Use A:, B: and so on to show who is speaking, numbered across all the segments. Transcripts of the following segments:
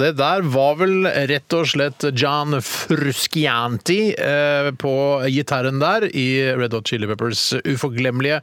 A: Det der var vel rett og slett John Fruscianti eh, på gitaren der i Red Hot Chili Peppers uforglemmelige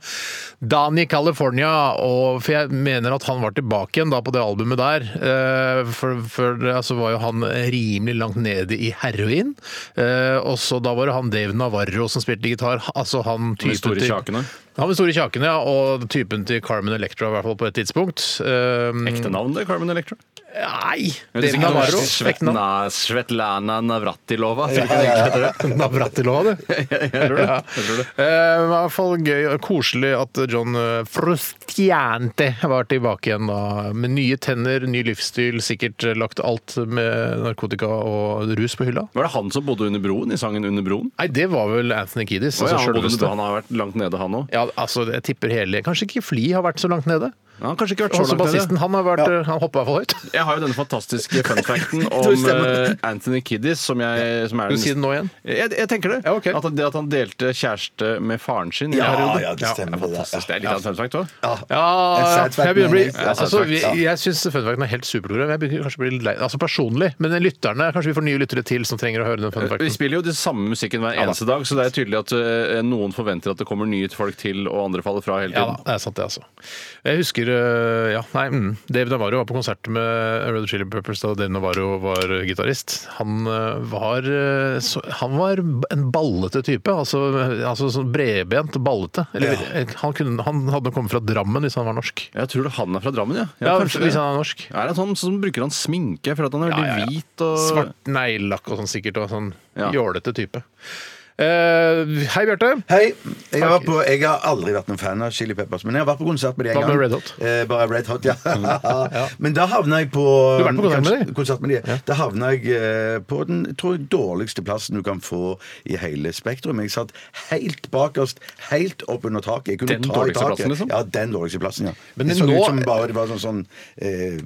A: Dani California. Og for jeg mener at han var tilbake igjen da på det albumet der. Eh, for før det så var jo han rimelig langt nede i heroin. Eh, og så da var det han Dave Navarro som spilte gitar. Altså han typen
B: store
A: til-
B: kjakene.
A: Han med store kjakene, ja. Og typen til Carmen Electra, i hvert fall på et tidspunkt. Eh,
B: Ekte navn, det, Carmen Electra?
A: Nei!
B: Jeg
A: David
B: husker ikke
A: Navarro.
B: noe.
A: Ekte
B: Svetna, Svetlana Navratilova.
A: navn. Navratilova, du.
B: Jeg tror det.
A: Ja.
B: Jeg tror det.
A: Eh, det var I hvert fall gøy og koselig at John eh, Frustiante var tilbake igjen da. Med nye tenner, ny livsstil, sikkert eh, lagt alt med narkotika og rus på hylla.
B: Var det han som bodde under broen i sangen 'Under broen'?
A: Nei, det var vel Anthony Kiddis.
B: Å ja,
A: Altså
B: han, bodde under,
A: selveste.
B: broen. han har vært langt nede, han òg.
A: Ja, altså, jeg tipper hele Kanskje ikke Fli har vært så langt nede?
B: Han har kanskje ikke vært så
A: Også
B: langt nede.
A: bassisten. Han, har vært, eh, han hoppa i hvert fall høyt.
B: Jeg har jo denne fantastiske funfacten om eh, Anthony Kiddis, som, jeg, som er
A: Skal du si det nå igjen?
B: Jeg, jeg tenker det.
A: Ja, ok.
B: at, det at han delte kjæreste med faren sin i en
A: Ja,
B: periode.
A: ja, det stemmer,
B: er fantastisk. Det er litt av en fun fact òg.
A: Ja,
C: En side
A: jeg begynner å bli
C: fact, men-
A: altså,
B: Ja,
A: vi, Jeg syns funfacten er helt superprogram. Jeg begynner kanskje å bli lei Altså personlig, men lytterne Kanskje vi får nye lyttere til som trenger å høre den
B: Vi
A: funfacten.
B: spiller jo den samme musikken hver eneste dag, så det er tydelig at eh, noen forventer at det kommer nye folk til, og andre faller fra hele
A: Ja,
B: tiden.
A: det er sant, det, altså. Jeg husker eh, ja, nei, mm, Dave Navarro var på konsert med Red Chili Peppers da Dave Navarro var eh, gitarist. Han eh, var eh, så, Han var en ballete type. Altså, altså sånn bredbent, ballete. Eller, eh, han, kunne, han hadde kommet fra Drammen hvis han var norsk.
B: Jeg tror det han er fra Drammen, ja.
A: Ja,
B: kanskje det.
A: hvis han er norsk.
B: Er det sånn som bruker han sminke? For at han er
A: Ja,
B: veldig
A: ja, ja.
B: hvit og
A: Svart neglelakk og sånn sikkert, og sånn
B: Ja.
A: jålete type. Eh, hei, Bjarte.
C: Hei. Jeg har, vært på, jeg har aldri vært noen fan av Chili Peppers, men jeg har vært på konsert med dem en
A: Hva
C: gang.
A: med Red Hot? Mm.
C: Eh, bare Red Hot, ja. Men da havna jeg på
A: Du har vært på konsert med dem?
C: Konsert med dem. Da havna jeg eh, på den tror jeg, dårligste plassen du kan få i hele Spektrum. Jeg satt helt bakerst, helt opp under taket. Jeg kunne ta
B: Den
C: i
B: dårligste
C: taket.
B: plassen, liksom?
C: Ja, den dårligste plassen, ja.
A: Men
C: det så
A: nå-
C: ut som bare det var sånn, sånn eh,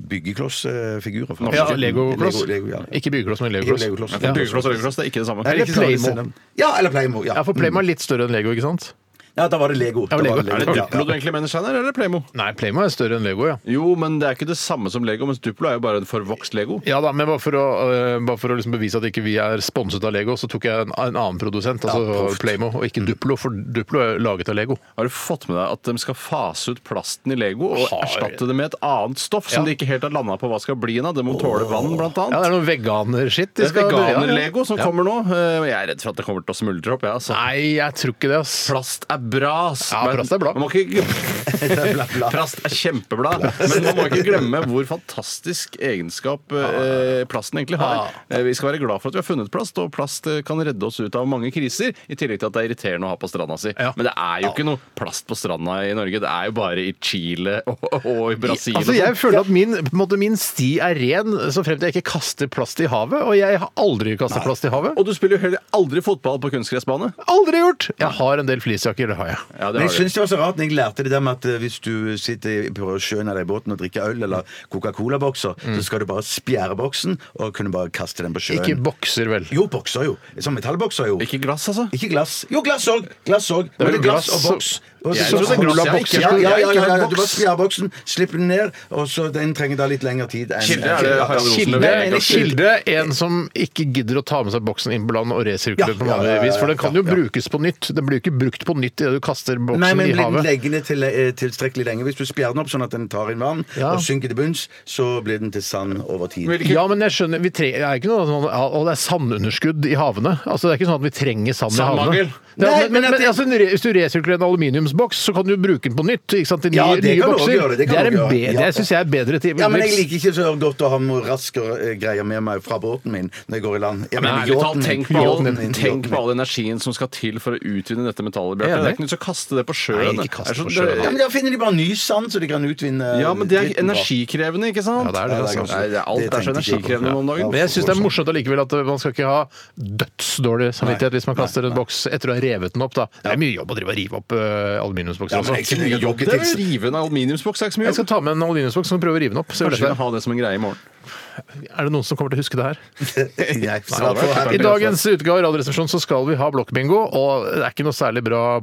C: byggeklossfigurer. faktisk.
A: Ja, Lego-kloss.
C: Lego- Lego, ja.
A: Ikke byggekloss, men
C: Ikke
A: Lego-kloss.
C: Lego-kloss.
B: Ja, for Byggekloss og øyekloss, det er ikke det
C: Nei,
B: samme.
C: det er ikke
A: Eller
C: sånn at
A: Playmo.
C: det ser- Ja, eller Playmo. Ja.
A: Ja, for Playmo er litt større enn Lego, ikke sant?
C: Ja, da var det Lego. Da
A: Ja, Lego.
C: var det
B: Er det
C: Lego.
B: Duplo du egentlig mener, Steinar, eller Playmo?
A: Nei, Playmo er større enn Lego, ja.
B: Jo, men det er ikke det samme som Lego, mens Duplo er jo bare en forvokst Lego.
A: Ja da, men bare for å, øh, bare for å liksom bevise at ikke vi er sponset av Lego, så tok jeg en, en annen produsent, altså Playmo, og ikke Duplo, for Duplo er laget av Lego.
B: Har du fått med deg at de skal fase ut plasten i Lego og
A: Har-
B: erstatte det med et annet stoff
A: Ja.
B: som de ikke helt har landa på hva skal bli av? Det må tåle vann, blant
A: Ja, det
B: annet.
A: er noe veganer-shit. de
B: det er
A: skal-
B: veganer-Lego som
A: Ja.
B: kommer nå. Eh, Jeg er redd for at det kommer til å smuldre opp. Ja, altså.
A: Nei, jeg tror ikke det, ass.
B: Plast er bra, ass.
A: Ja,
B: Men
A: plast er bra.
B: Man må ikke... Plast er kjempebra, men man må ikke glemme hvor fantastisk egenskap eh, plasten egentlig har. Eh, Vi skal være glad for at vi har funnet plast, og plast eh, kan redde oss ut av mange kriser, i tillegg til at det er irriterende å ha på stranda si.
A: Ja.
B: Men det er jo ikke noe plast på stranda i Norge, det er jo bare i Chile og, og i Brasil.
A: Altså,
B: og
A: jeg
B: sånn.
A: føler at min, på en måte, min sti er ren, så frem til jeg ikke kaster plast i havet, og jeg har aldri kastet plast i havet.
B: Og du spiller jo heller aldri fotball på kunstgressbane.
A: Aldri gjort! Jeg har en del fleecejakker, det har jeg.
B: Ja,
C: Men jeg
B: det har du.
C: syns det var så rart når jeg lærte det der med at eh, hvis du sitter på sjøen eller i båten og drikker øl eller Coca-Cola-bokser, så skal du bare spjære boksen og kunne bare kaste den på sjøen.
A: Ikke bokser, vel?
C: jo, bokser jo. Sånn metallbokser jo.
B: Ikke glass, altså.
C: Ikke glass. Jo, glass òg! Glass òg. Men
A: vel
C: det er glass
A: glass
C: og boks. Og
A: Jeg
C: så-
A: trodde det er
C: Ja,
A: glass.
C: Ja, ja, ja, ja, ja.
B: Jeg
C: Du
B: ikke
C: bare spjærer boksen, slipper den ned, og så den trenger da litt lengre tid enn
B: Kilde er det Harald Rosenløv
A: Kilde,
B: er
A: en
B: glass.
A: kilde, en som ikke gidder å ta med seg boksen inn på land og resirkulere
C: Ja, ja, ja,
A: på vanlig
C: ja, ja,
A: vis. For den kan jo
C: ja, ja.
A: brukes på nytt. Den blir jo ikke brukt på nytt idet du kaster boksen
C: Nei, men
A: i
C: blir den
A: havet.
C: leggende til, eh, tilstrekkelig lenge. Hvis du spjærer den opp sånn at den tar inn vann
A: Ja.
C: og synker til bunns, så blir den til sand over tid.
A: Ja, men jeg skjønner vi tre, det er ikke noe sånn, Og det er sandunderskudd i havene. Altså, det er ikke sånn at vi trenger sand i havene.
B: Sandmangel.
A: Det er-
C: Nei,
A: men,
C: men
A: men,
C: at det-
A: altså, en re- hvis du resirkulerer en aluminiumsboks, så kan du bruke den på nytt. Ikke sant? I nye,
C: Ja, det kan
A: nye
C: du også
A: bokser.
C: gjøre, det kan
A: er
C: du
A: en
C: også
A: be-
C: gjøre.
A: det syns jeg er bedre til
C: Ja, men jeg liker ikke så godt å ha noe raskere eh, greier med meg fra båten min når jeg går i land. Jeg
B: Men
C: mener,
B: ærlig talt,
C: yachten-
B: tenk på,
C: yachten
B: all,
C: min,
B: tenk
C: yachten
B: på
C: min.
B: all energien som skal til for å utvinne dette metallet,
A: Jeg er
B: Bjarte. Det
A: enig.
B: er ikke noe vits å kaste det på
A: Nei,
B: sjøen.
A: ikke kast
B: Det er
A: det på
B: så-
A: sjøen,
C: Ja, men Da finner de bare ny sand, så de kan utvinne
B: Ja, men det er
C: dritten bra.
B: energikrevende, ikke sant?
A: Ja, det er det, altså.
B: Nei, det er alt
C: Det
B: er så
C: tenkte jeg ikke på.
B: energikrevende nå om dagen.
A: Men jeg syns det er morsomt allikevel at man skal ikke ha dødsdårlig samvittighet hvis man kaster en boks etter å ha revet den opp. Da. Det er mye jobb å drive og rive opp eh, aluminiumsbokser
C: Ja, men
A: også.
C: jeg kunne
B: Jobb
C: jogget
B: det er å
C: til-
B: rive en aluminiumsboks. Det er ikke så mye
A: Jeg skal
B: jobb.
A: ta med en aluminiumsboks og prøve å rive den opp. Så
B: Kanskje
A: er,
B: jeg har det som en greie i morgen.
A: er det noen som kommer til å huske det her?
C: Nei, svar på her.
A: I dagens utgave av Radioresepsjonen så skal vi ha blokkbingo, og det er ikke noe særlig bra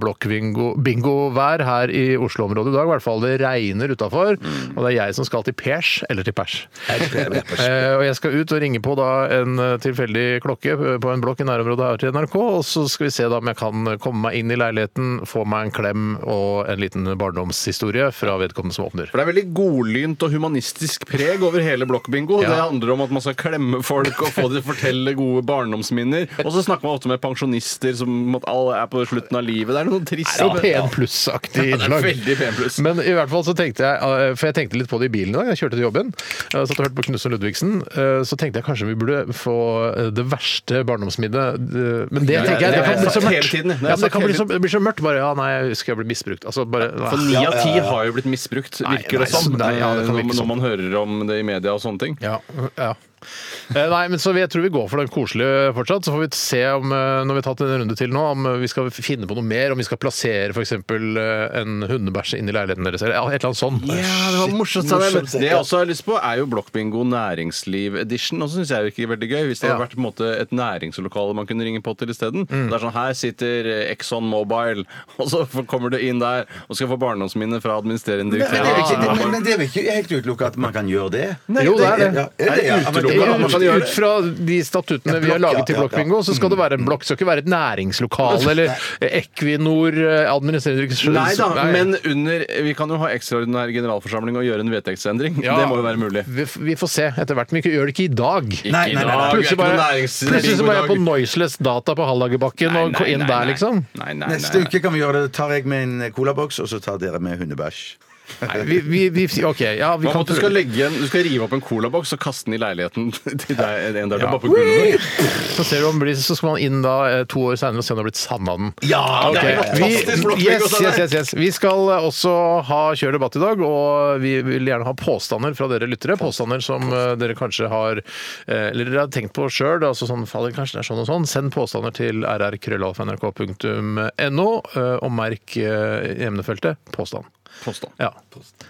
A: blokkbingo-vær her i Oslo-området i dag. I hvert fall det regner utafor, og det er jeg som skal til pers, eller til pers. Eh, og jeg skal ut og ringe på da en eh, tilfeldig klokke eh, på en blokk i nærområdet her til NRK, og så skal vi se da om jeg kan komme meg inn i leiligheten, få meg en klem og en liten barndomshistorie fra vedkommende som åpner.
B: For det er veldig godlynt og humanistisk preg over hele blokkbingo.
A: Ja.
B: Det handler om at man skal klemme folk og få dem til å fortelle gode barndomsminner. Og så snakker man ofte med pensjonister som om at alle er på slutten av livet. Det er noe trist.
A: Ja, P1 pluss-aktig
B: Ja, det er
A: innslag.
B: veldig P1 pluss.
A: Men i hvert fall så tenkte jeg, eh, for jeg tenkte litt på det i bilen i dag, jeg kjørte til jobben, eh, satt og hørte på Knutsen Ludvigsen, eh, så tenkte jeg kanskje vi burde få eh, det verste barndomsminnet. eh, Men det
B: Ja,
A: tenker jeg,
B: det
A: det
B: har
A: kan
B: jeg
A: bli så
B: sagt hele
A: mørkt.
B: tiden. Det har
A: Ja,
B: jeg
A: men det
B: sagt
A: kan bli
B: hele
A: så, det blir så mørkt bare, ja nei, jeg husker jeg ble misbrukt. Altså bare,
B: For ni av ti har jo blitt misbrukt,
A: Nei,
B: virker det
A: nei,
B: som.
A: nei, ja, det kan
B: eh,
A: virke
B: når,
A: sånn.
B: når man hører om det i media og sånne ting.
A: Ja, ja. Eh, Nei, men så vi- jeg tror vi går for den koselige fortsatt. Så får vi se om, eh, når vi har tatt en runde til nå, om eh, vi skal finne på noe mer. Om vi skal plassere f.eks. en hundebæsj inn i leiligheten deres, eller ja, et eller annet sånt.
B: det var morsomt. altså. sa jeg.
C: Morsomt,
B: Det jeg
C: ja.
B: også har lyst på, er jo Blokkbingo næringsliv edition. Og så syns jeg det virker veldig gøy hvis det hadde
A: Ja.
B: vært på en måte, et næringslokale man kunne ringe på til isteden. Det er sånn her sitter eh, Exxon Mobile, og så får- kommer du inn der og skal få barndomsminne fra administrerende
C: Men
B: direktør. Ah.
C: men det er jo ikke-
B: Ja.
C: men- men det er vel ikke helt utelukket at man kan gjøre det?
A: Jo, det er det.
C: Ja, er det, ja? Ja, men
A: Det
B: Utelukket at
A: er
B: man kan
A: Ut,
B: gjøre
A: ut fra de statuttene vi har
C: blokk,
A: laget
C: ja,
A: til
C: ja, ja.
A: Blokkbingo, så skal det være en blokk. Det skal ikke være et næringslokale eller Equinor eh, administrerende direktør.
B: Nei da, men under Vi kan jo ha ekstraordinær generalforsamling og gjøre en vedtektsendring.
A: Ja.
B: Det må jo være mulig.
A: vi, f- vi får se etter hvert, men vi gjør det ikke i dag.
C: Nei, nei, nei, nei.
A: Plutselig
B: Ikke noe
A: bare,
B: næringsliv
A: plutselig så
B: i
A: var jeg på
B: dag.
A: Noiseless Data på Hallagerbakken
B: Nei,
A: og
B: nei,
A: inn
B: nei,
A: der,
B: nei.
A: liksom.
B: Nei, nei,
C: Neste
B: nei, nei.
C: uke kan vi gjøre det. Tar jeg med en colaboks, og så tar dere med hundebæsj.
A: Nei, vi, vi, vi, OK, ja, vi
B: Hva om
A: kan
B: at du skal,
A: prøve.
B: legge en, du skal rive opp en colaboks og kaste den i leiligheten til deg en der. Bare på gulvet.
A: Så ser du om det blir, så skal man inn da eh, to år seinere og se om det har blitt sanda den.
C: Ja!
A: Ok, Vi, yes, yes, yes, yes. vi skal eh, også ha Kjør debatt i dag, og vi vil gjerne ha påstander fra dere lyttere. Påstander som eh, dere kanskje har eh, Eller dere har tenkt på sjøl. Altså sånn, faller, kanskje det er sånn og sånn. Send påstander til rrkrøllalfa.nrk.no, eh, og merk eh, i emnefeltet 'påstand'.
B: Påstand.
A: Ja.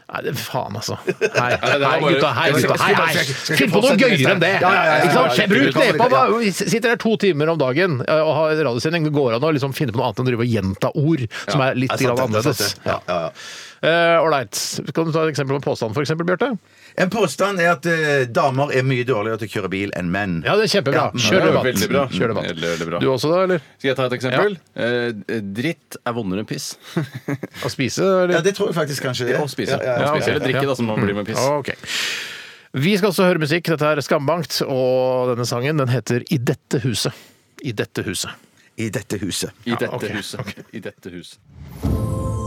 A: Nei, det faen, altså. Hei,
B: Ja, det var
A: hei
B: bare-
A: gutta. Hei,
B: Skal-
A: gutta. Hei,
B: skal- skal-
A: hei.
B: skal- skal-
A: Finn på noe gøyere enn det!
C: Ja, ja, ja, ja,
A: Ikke sant?
C: ja, ja.
A: Bruk
C: Vi kan-
A: nepa! bare- Vi sitter her to timer om dagen eh, og har radiosending. Det går an å liksom finne på noe annet enn å drive og gjenta ord som er litt
C: Det er sant,
A: grann
C: det er sant,
A: annerledes.
C: det.
A: Ja.
C: Ja, ja, ja.
A: Eh, Ålreit. Kan du ta et eksempel på en påstand, for eksempel, Bjarte?
C: En påstand er at eh, damer er mye dårligere til å kjøre bil enn menn.
A: Ja, det er kjempebra.
C: Ja,
A: Kjør
B: det er
A: debatt.
B: veldig bra.
A: Kjør debatt.
B: Veldig, veldig bra.
A: Du også, da? eller?
B: Skal jeg ta et eksempel? Eh, dritt er vondere enn piss.
A: Å spise?
C: Ja,
A: Eller?
C: det tror jeg faktisk kanskje det er.
B: Og
C: Ja,
B: spise.
C: ja, ja.
B: Og
A: ok.
B: spise. Eller drikke,
A: Ja.
B: da, som man blir med piss.
A: Ok. Vi skal også høre musikk. Dette er Skambankt, og denne sangen den heter I dette huset. I dette huset.
C: I dette huset.
B: I dette
A: ok,
B: huset. I dette huset.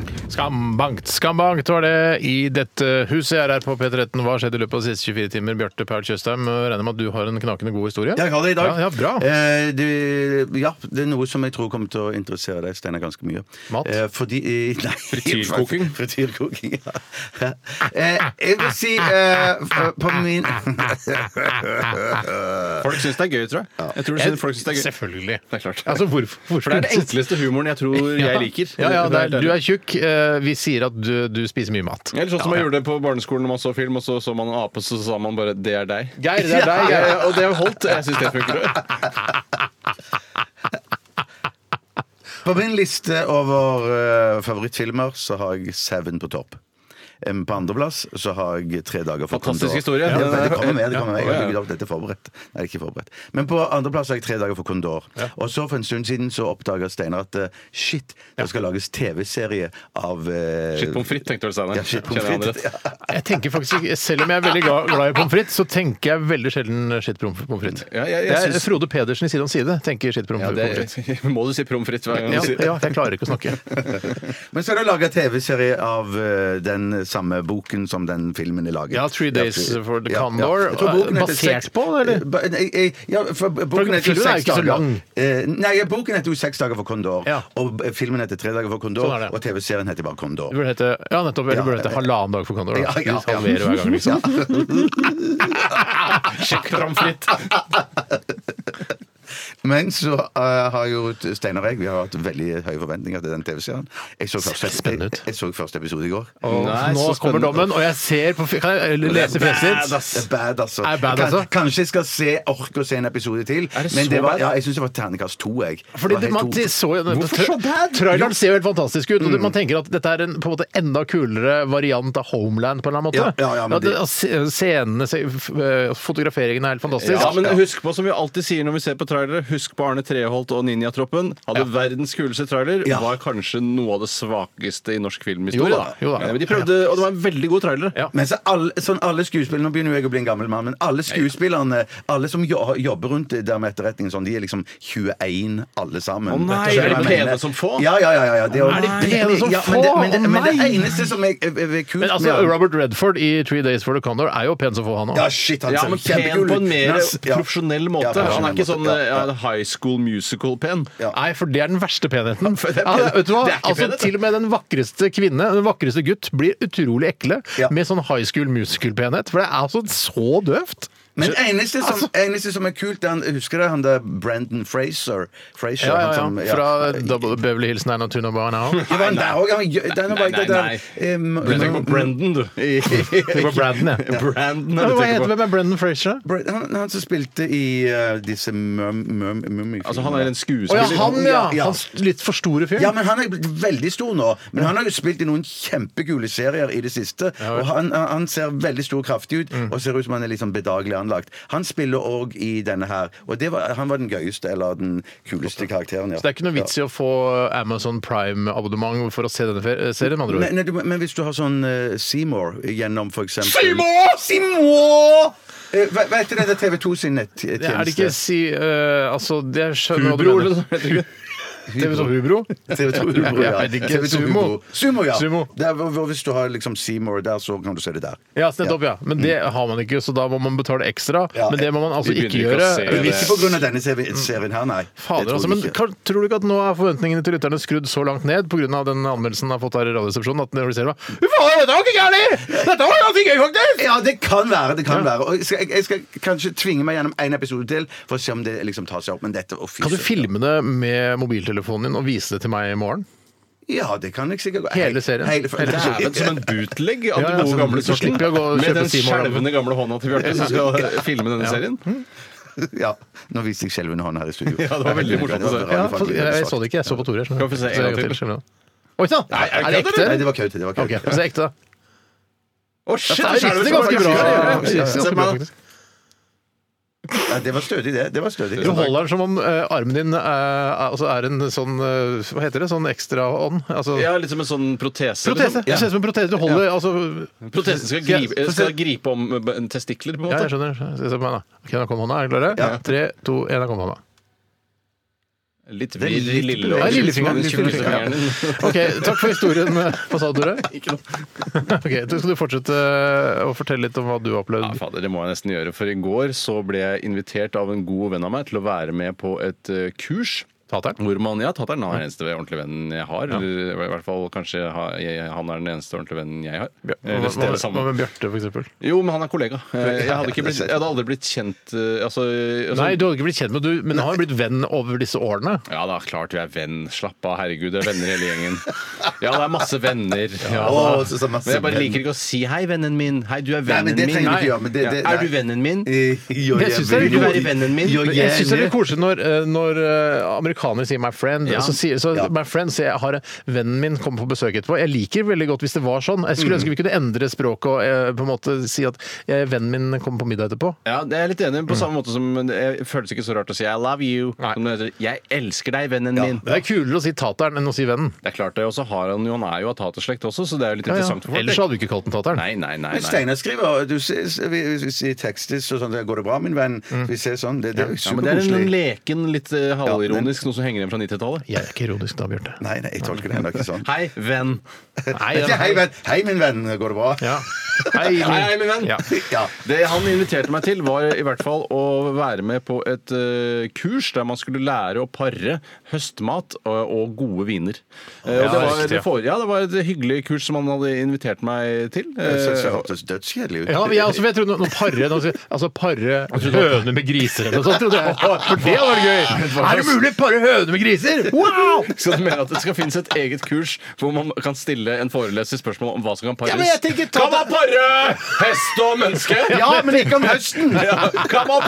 A: Skambankt, skambankt var det i dette huset. Jeg er her på P13. Hva har skjedd i løpet av de siste 24 timer? Bjarte Paul Tjøstheim, regner med at du har en knakende god historie?
C: Jeg har det i dag.
A: Ja, ja, bra.
C: Eh, du, ja, det er noe som jeg tror kommer til å interessere deg, Steinar, ganske mye.
A: Mat?
C: Eh, fordi eh, Nei.
B: Frityrkoking?
C: Frityrkoking, ja. Eh, jeg vil si eh, f- på min
B: Folk syns det er gøy, tror jeg. Jeg tror det synes, folk syns det er gøy.
A: Selvfølgelig.
B: Det er klart.
A: Altså, hvorfor? hvorfor?
B: For det er den enkleste humoren jeg tror jeg liker.
A: Ja, ja, det er, du
B: Eller
A: er tjukk. eh, Vi sier at du, du spiser mye mat.
B: sånn som man gjorde det på barneskolen når man så film, og så så man en ape, så sa man bare 'det er deg'.
A: Geir, det er deg,
B: Ja,
A: Geir.
B: ja, og det har holdt. Jeg syns det funker.
C: På min liste over eh, favorittfilmer så har jeg Seven på topp. Um, på andreplass så har jeg Tre dager for
B: Fantastisk
C: Kondor.
B: historie.
C: Ja, det, det kommer med. det
B: Ja.
C: kommer med. Jeg
B: Ja,
C: har
B: ja.
C: ikke lagt dette forberedt. Nei, ikke forberedt. Men på andreplass har jeg Tre dager for Kondor. Og så for en stund siden så oppdaga Steinar at eh, shit, det skal lages TV-serie av eh,
B: Shit pommes frites, tenkte du, Steinar.
C: Ja, shit pommes
B: Kjenner jeg han
C: frites.
B: rett?
C: Ja.
A: Jeg tenker faktisk, ikke- Selv om jeg er veldig glad, glad i pommes frites, så tenker jeg veldig sjelden skitt pommes frites.
B: Ja, jeg- jeg
A: Det er
B: synes-
A: Frode Pedersen i Side om side tenker skitt pommes
B: Ja,
A: frites.
B: det må du si pommes frites hver gang
A: Ja,
B: du sier
A: ja, jeg klarer ikke å snakke.
C: Men så er det laga TV-serie av eh, den samme boken som den filmen er laget.
A: Ja, Three Days
C: Three-
A: for the
C: Ja, ja.
A: Condor. eh,
C: Jeg tror boken heter
A: Basert
C: Seks-
A: på det, eller?
C: Ba- nei, eh, Ja, for boken heter
A: filmen er jo
C: Seks
A: ikke så
C: dager.
A: lang.
C: Eh, Nei, ja, boken heter jo Seks dager for Condor,
A: Ja.
C: og b- filmen heter Tre dager for Condor,
A: Sånn er det.
C: og TV-serien heter bare Condor.
A: Det burde hete, ja, nettopp. Eller
C: Ja.
A: burde hete halvannen dag for Condor. da.
C: Ja, ja,
A: Vi halverer hver gang, liksom.
B: Sjekk pommes frites.
C: Men så eh, har jo Steinar og jeg vi har hatt veldig høye forventninger til den TV-serien. Jeg, så første-
A: Spennende ut.
C: jeg, jeg så første episode i går.
A: Og
B: Nei,
A: nå
B: så
A: kommer
B: spennende.
A: dommen, og jeg ser på Kan jeg eh, lese
C: Bad,
A: fjeset ditt?
C: ass. Det er Bad, altså.
A: Er det bad, altså?
C: Kan, kanskje jeg skal se, orke å se en episode til.
B: Er det
C: men
B: så
C: det var,
B: bad?
C: ja, jeg syns det var terningkast to. Jeg.
A: Fordi
C: Det
A: det,
C: var
A: man
C: helt
A: de
C: ok.
A: så jo
B: Hvorfor så bad?
A: Traileren ser jo helt fantastisk ut, og det-
C: Mm.
A: man tenker at dette er en på en måte enda kulere variant av Homeland, på en eller annen måte.
C: Ja, ja, ja, men
A: det,
C: de-
A: og se- scenene, se- f- eh, fotograferingen er helt fantastisk.
B: Ja, men husk på, som vi alltid sier når vi ser på trailere, husk på Arne Treholt og Ninjatroppen. Hadde verdens kuleste trailer,
C: Ja.
B: var kanskje noe av det svakeste i norsk
A: Jo
B: filmhistorie.
A: da, jo da.
B: Eh, Men de prøvde, og det var en veldig god trailer.
A: Ja.
C: Men så alle, sånn alle skuespillerne, Nå begynner jo jeg å bli en gammel mann, men alle skuespillerne alle som jo, jobber rundt det der med etterretningen, sånn, de er liksom 21 alle sammen.
B: Å nei,
C: Så
B: er de
C: jeg
B: pene
C: mener-
B: som få?
C: Ja, ja, ja. ja, ja det
A: Er de pene som
C: ja, men det, men, det,
A: få? Å
C: men det
A: nei!
C: eneste som er, er, er kult
A: Men altså,
C: med han-
A: Robert Redford i Three Days for the Condor er jo pen som få, han òg.
C: Ja, shit, han
B: Ja,
C: ser
B: men
C: kjempekul
B: pen
C: ut.
B: på en mer
C: Men han- ja.
B: profesjonell måte.
C: Ja, profesjonell
B: Han er ikke
C: måte,
B: sånn
C: ja,
B: eh,
C: ja.
B: high school musical-pen.
C: Ja.
A: Nei, for det er den verste penheten.
B: det er
A: Ja,
B: penhet.
A: vet du hva?
B: Det er ikke
A: Altså,
B: penhet, det.
A: til og med den vakreste kvinne, den vakreste gutt, blir utrolig ekle
C: Ja.
A: med sånn high school musical-penhet. For det er altså så Altså- døvt.
C: Men eneste som, eneste som er kult, han, husker du han der Brendan Fraser? Fraser
A: Ja,
C: han
A: ja,
B: Sånn
A: ja.
C: som-
A: Fra Double- Beverly Hills 90210 Now.
C: Det var han der òg.
B: Nei, nei, nei. Du tenker på Brendan, du.
A: Tenk på Brandon, jeg.
B: Brandon, er det du
A: Hva
B: tenker
A: heter
B: på.
A: hvem er Brendan Fraser? da?
C: Bra- Han, han som spilte i eh, disse Mummy-filmene.
B: Altså, han er
A: Å
B: en
A: ja,
B: skuespiller.
A: han, ja!
C: Ja, ja.
A: Han s- litt for store fyr.
C: ja, men Han er blitt veldig stor nå, men han har jo spilt i noen kjempekule serier i det siste. Og han, han- han ser veldig stor og kraftig ut,
A: Mm.
C: og ser ut som han er litt sånn bedagelig anlagt. Han spiller òg i denne her, og det var, han var den gøyeste, eller den kuleste karakteren. Ja.
A: Så det er ikke noe vits i å få Amazon Prime-abonnement for å se denne fe- serien, med andre
C: Men,
A: ord.
C: nei, du, men hvis du har sånn eh, Seymour gjennom for eksempel
A: Seymour!
C: Seymour! Eh, vet- vet du det er TV 2 sin nettjeneste?
A: Er det ikke si eh, Altså, jeg skjønner
B: Hubro,
A: hva du
B: eller
A: mener. TV 2 sånn Hubro?
C: TV 2 Hubro,
A: Jeg
C: ja.
A: vet ikke.
C: TV2
A: Sumo.
C: Hubro. Sumo, ja.
A: Sumo.
C: Der, hvor, hvor, hvis du har liksom Seymour der, så kan du se det der.
A: Ja, nettopp, ja. Mm. Men det har man ikke, så da må man betale ekstra.
C: Ja.
A: Men det må man altså
B: Vi
A: ikke
B: begynner ikke
A: gjøre.
B: å se det.
C: Men Ikke på grunn av denne serien serien her, nei. Det
A: Mm. Fader,
C: tror
A: altså,
C: jeg
A: men
C: ikke.
A: kan, tror du ikke at nå er forventningene til lytterne skrudd så langt ned pga. den anmeldelsen han har fått her i Radioresepsjonen? At når de ser det, bare, Fy faen, dette var ikke gærent! Dette var ganske gøy, faktisk!
C: Ja, det kan være. det kan være Og jeg skal, jeg, jeg skal kanskje tvinge meg gjennom én episode til for å se om det liksom tar seg opp. Men dette å, fy
A: Kan du
C: søren.
A: filme det med mobiltelefonen din og vise det til meg i morgen?
C: Ja, det kan jeg sikkert.
A: Hele serien.
C: Hele,
A: Hele serien.
B: Dæven, som en bootleg av
A: Ja,
B: den
A: ja,
B: gode
A: så-
B: gamle
A: så
B: sorten.
A: slipper jeg å gå og
B: Med
A: kjøpe
B: den
A: Seymour Abel.
B: skjelvende gamle hånda til Bjarte som skal eh, filme denne serien.
A: Mm.
C: Ja. Nå viste jeg skjelvende hånd her i studio.
B: Ja, det var veldig morsomt å se.
A: Ja, for, jeg, jeg så det ikke, jeg så på Tore. skjønner du.
B: Kan vi få se en
A: Så jeg
B: gang
A: går
B: til?
A: skjønner du. Oi sann! Er det ekte?
C: Nei, det var køyte. Det var
A: Ok,
C: køyte.
A: så det er ekte, da.
B: Å, shit,
A: Det er
B: skjelvet
A: riktig
B: som
A: ganske
B: en
A: bra.
B: skjelv.
A: Ja,
B: Ja,
A: det er ganske bra, faktisk.
C: Ja, det var stødig, det. det var stødig.
A: Du holder den som om eh, armen din eh, er- altså er en sånn eh, Hva heter det? Sånn ekstraånd? Altså,
B: Ja, litt som en sånn protese.
A: protese!
B: liksom.
A: Det ser ut som en protese. Du holder altså
B: Protesen skal gripe, skal gripe om eh, en testikler, på en
A: Ja, jeg
B: måte.
A: skjønner. Se på meg, da. Ok, da kom hånda. Er dere klare?
C: Ja.
A: Tre, to, én, da kom hånda.
B: Litt
C: er
B: vri
C: litt
B: i lille-
A: Nei, lillefingeren.
B: Den tjukke
A: Lillefingeren.
B: fingeren din.
A: OK, takk for historien. eh, Hva sa du, Tore? Ok, da skal du fortsette eh, å fortelle litt om hva du har
B: Ja,
A: opplevd.
B: fader, det må jeg nesten gjøre, for i går så ble jeg invitert av en god venn av meg til å være med på et eh, kurs.
A: Tateren?
B: Hvor man, ja, Tateren han er den eneste ordentlige vennen jeg har. Eller i hvert fall kanskje ha- jeg, han er den eneste ordentlige vennen jeg har.
A: Hva
B: Eller
A: hva-
B: det er det
A: hva
B: samme.
A: med Bjarte, for eksempel?
B: Jo, men han er kollega. Eh, Jeg hadde, ikke blitt, jeg hadde aldri blitt kjent eh, altså, altså,
A: Nei, du har ikke blitt kjent med du, men han har blitt venn over disse årene.
B: Ja da, klart vi er venn. Slapp av, herregud. Det er venner hele gjengen. Ja, det er masse venner. Ja,
C: Å,
B: da.
C: så- så masse
B: men jeg bare
C: venn.
B: liker ikke å si 'hei, vennen min'. 'Hei, du er
C: Nei,
B: vennen
C: men det
B: min'.
C: trenger du ikke
B: Nei.
C: gjøre. Men det, det,
B: Er du vennen min?
C: Jo, vil
A: Men jeg synes det er litt-
C: jo-
B: Vil du være vennen min?
C: Jo,
A: Men Jeg syns det er
C: gjerne.
A: litt koselig når, eh, når eh, amerikanere sier 'my friend'.
B: Ja.
A: Så, sier, så
C: Ja.
A: my friend, så jeg har en- Vennen min kommer på besøk etterpå. Jeg liker veldig godt hvis det var sånn. Jeg skulle ønske vi kunne endre språket og eh, på en måte si at eh, 'vennen min kommer på middag etterpå'.
B: Ja, det er jeg litt enig i. På samme måte som det føles ikke så rart å si 'I love you'.
A: Mm. Nei.
B: Som det heter 'jeg elsker deg, vennen min'.
A: Det er kulere å si tateren enn å si vennen.
B: Det er klart det, og så har han jo, han er jo av taterslekt også, så det er jo litt
A: Ja, ja.
B: interessant for folk.
A: Ellers hadde du ikke kalt den tateren.
B: Nei, nei, nei.
C: Men
B: nei.
C: Steinar skriver du ser- s- vi- vi- vi sier tekster så sånn, 'Går det bra, min venn?' Vi ser sånn. Det, det er jo
B: Ja, men det er en
C: superkoselig.
B: leken, litt eh, halvironisk noe som henger igjen fra 90-tallet?
A: Jeg er ikke ironisk da, Bjarte.
C: Nei, nei, jeg tolker det heller ikke sånn.
B: Hei, venn.
A: Nei,
C: Ikke,
A: ja.
C: hei, venn. hei, min venn, går det bra?
A: Ja. Hei, min-
B: Hei, min venn.
A: Ja.
C: Ja.
B: Det han inviterte meg til, var i hvert fall å være med på et eh, kurs der man skulle lære å pare høstmat og, og gode viner. Eh, og
A: Ja,
B: det, var,
A: riktig,
B: det, fore- ja, det var et hyggelig kurs som han hadde invitert meg til. Eh,
C: Jeg synes det hørtes dødskjedelig ut.
A: Ja, altså men jeg, også, jeg trodde noe parre noe, Altså parre høne med griser eller noe sånt. trodde jeg. For det var gøy! Er det mulig? Parre høne med griser? Wow!
B: Så du mener at det skal finnes et eget kurs hvor man kan stille en foreleser spørsmål om hva som kan pares?
A: Ja, men jeg tenker, ta
B: kan man pare hest og menneske?
C: Ja, men ikke om høsten!
B: Ja. Kan man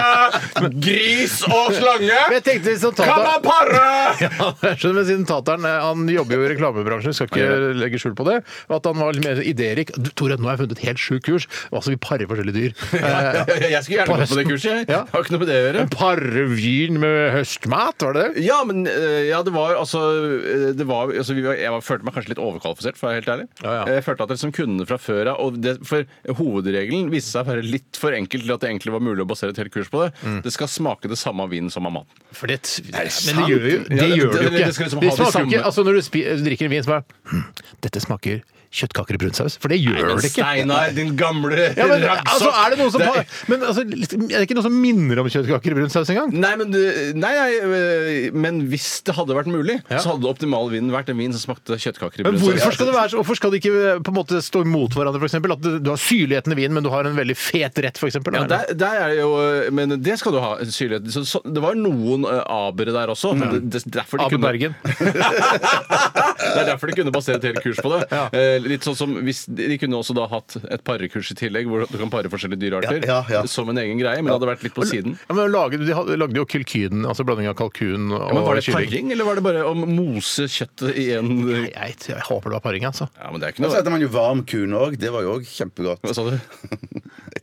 B: pare gris og
A: Men
B: slange?
A: jeg tenkte liksom
B: Kan man
A: tateren
B: pare?
A: ja, jeg skjønner, men siden tateren eh, han jobber jo i reklamebransjen, skal ikke legge skjul på det. Og at han var litt mer idérik. Du, Tore, nå har jeg funnet et helt sjukt kurs. Altså, vi parer forskjellige dyr.
B: Ja,
A: Eh,
B: Jeg skulle gjerne gått på det kurset. jeg.
A: Ja.
B: Jeg har ikke noe med det å gjøre.
A: Parre Eh, vin med høstmat, var det det?
B: Ja, men eh, ja, det var altså, eh, det var, altså vi var, Jeg var, følte meg kanskje litt overkvalifisert, for å være helt ærlig.
A: Ja, ja.
B: Jeg følte at det som kundene fra før av og det, For hovedregelen viste seg å være litt for enkel til at det egentlig var mulig å basere et helt kurs på det.
A: Mm.
B: Det skal smake det samme av vinen som av maten.
A: For det,
B: sant?
A: men det gjør jo det gjør
B: Ja, det-
A: det jo ikke.
B: det- det skal liksom
A: Det
B: ha de
A: smaker jo
B: samme-
A: ikke altså Når du spi, drikker en vin, så bare hm, Dette smaker kjøttkaker i brunsaus. For det gjør det ikke.
B: Steinar, din gamle
A: Ja, men, altså, er det noe som
B: Det er-
A: har, men altså, er det ikke noe som minner om kjøttkaker i brunsaus engang?
B: Nei, men, du- nei, nei, øh, men hvis det hadde vært mulig,
A: Ja.
B: så hadde optimalvinen vært en vin som smakte kjøttkaker i
A: Men
B: brødsaus.
A: hvorfor skal, det være så, hvorfor skal det ikke eh, på en måte stå imot hverandre, f.eks.? At du- du har syrligheten i vinen, men du har en veldig fet rett, f.eks.?
B: Ja, der, der er det jo, men det skal du ha, syrlighet. Så, så, det var noen eh, abere der også. Det, det, derfor de
A: Abu
B: kunne-
A: Bergen.
B: det er derfor de kunne basere et helt kurs på det.
A: Ja.
B: Eh, litt sånn som hvis De de kunne også da hatt et parekurs i tillegg, hvor du kan pare forskjellige dyrearter
C: Ja, ja, ja.
B: som en egen greie, men det hadde vært litt på siden.
A: Ja, men lagde, de hadde- lagde jo kylkyden, altså blanding av kalkun og
B: Ja, men Var det
A: kylling.
B: paring, eller var det bare å mose kjøttet i en
A: Nei, Jeg, jeg håper det var paring, altså.
B: Ja, men det er
C: Og
B: ikke
C: så
B: noe
C: hadde man jo varm kun òg. Det var jo òg kjempegodt.
B: Hva sa du?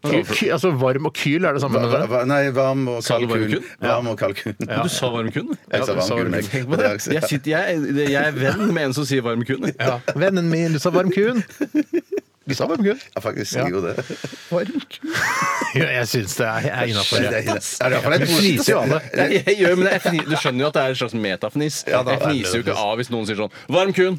A: Ky, ky, altså varm og kyl er det samme?
C: Va- va- Nei, varm og
B: Sa du varm
C: kalkun.
B: kun?
C: Varm og kalkun.
B: Du sa varm kun?
C: Jeg sa
A: Ja, du sa
C: varm kun,
A: varm
C: jeg.
B: Tenk på det. Jeg, sitter, jeg, jeg er venn med en som sier varm kun.
A: Ja. Vennen min, du sa varm kun. Du sa varm kun.
C: Ja, faktisk.
A: Ja.
C: Jeg gjorde det.
A: Ja, jeg syns det er, er innafor.
C: Det er- det er iallfall et
A: Du fniser jo av det.
B: Jeg, jeg gjør, men jeg fni, Du skjønner jo at det er en slags metafnis.
C: da,
B: jeg fniser jo ikke av hvis noen sier sånn 'varm kun'.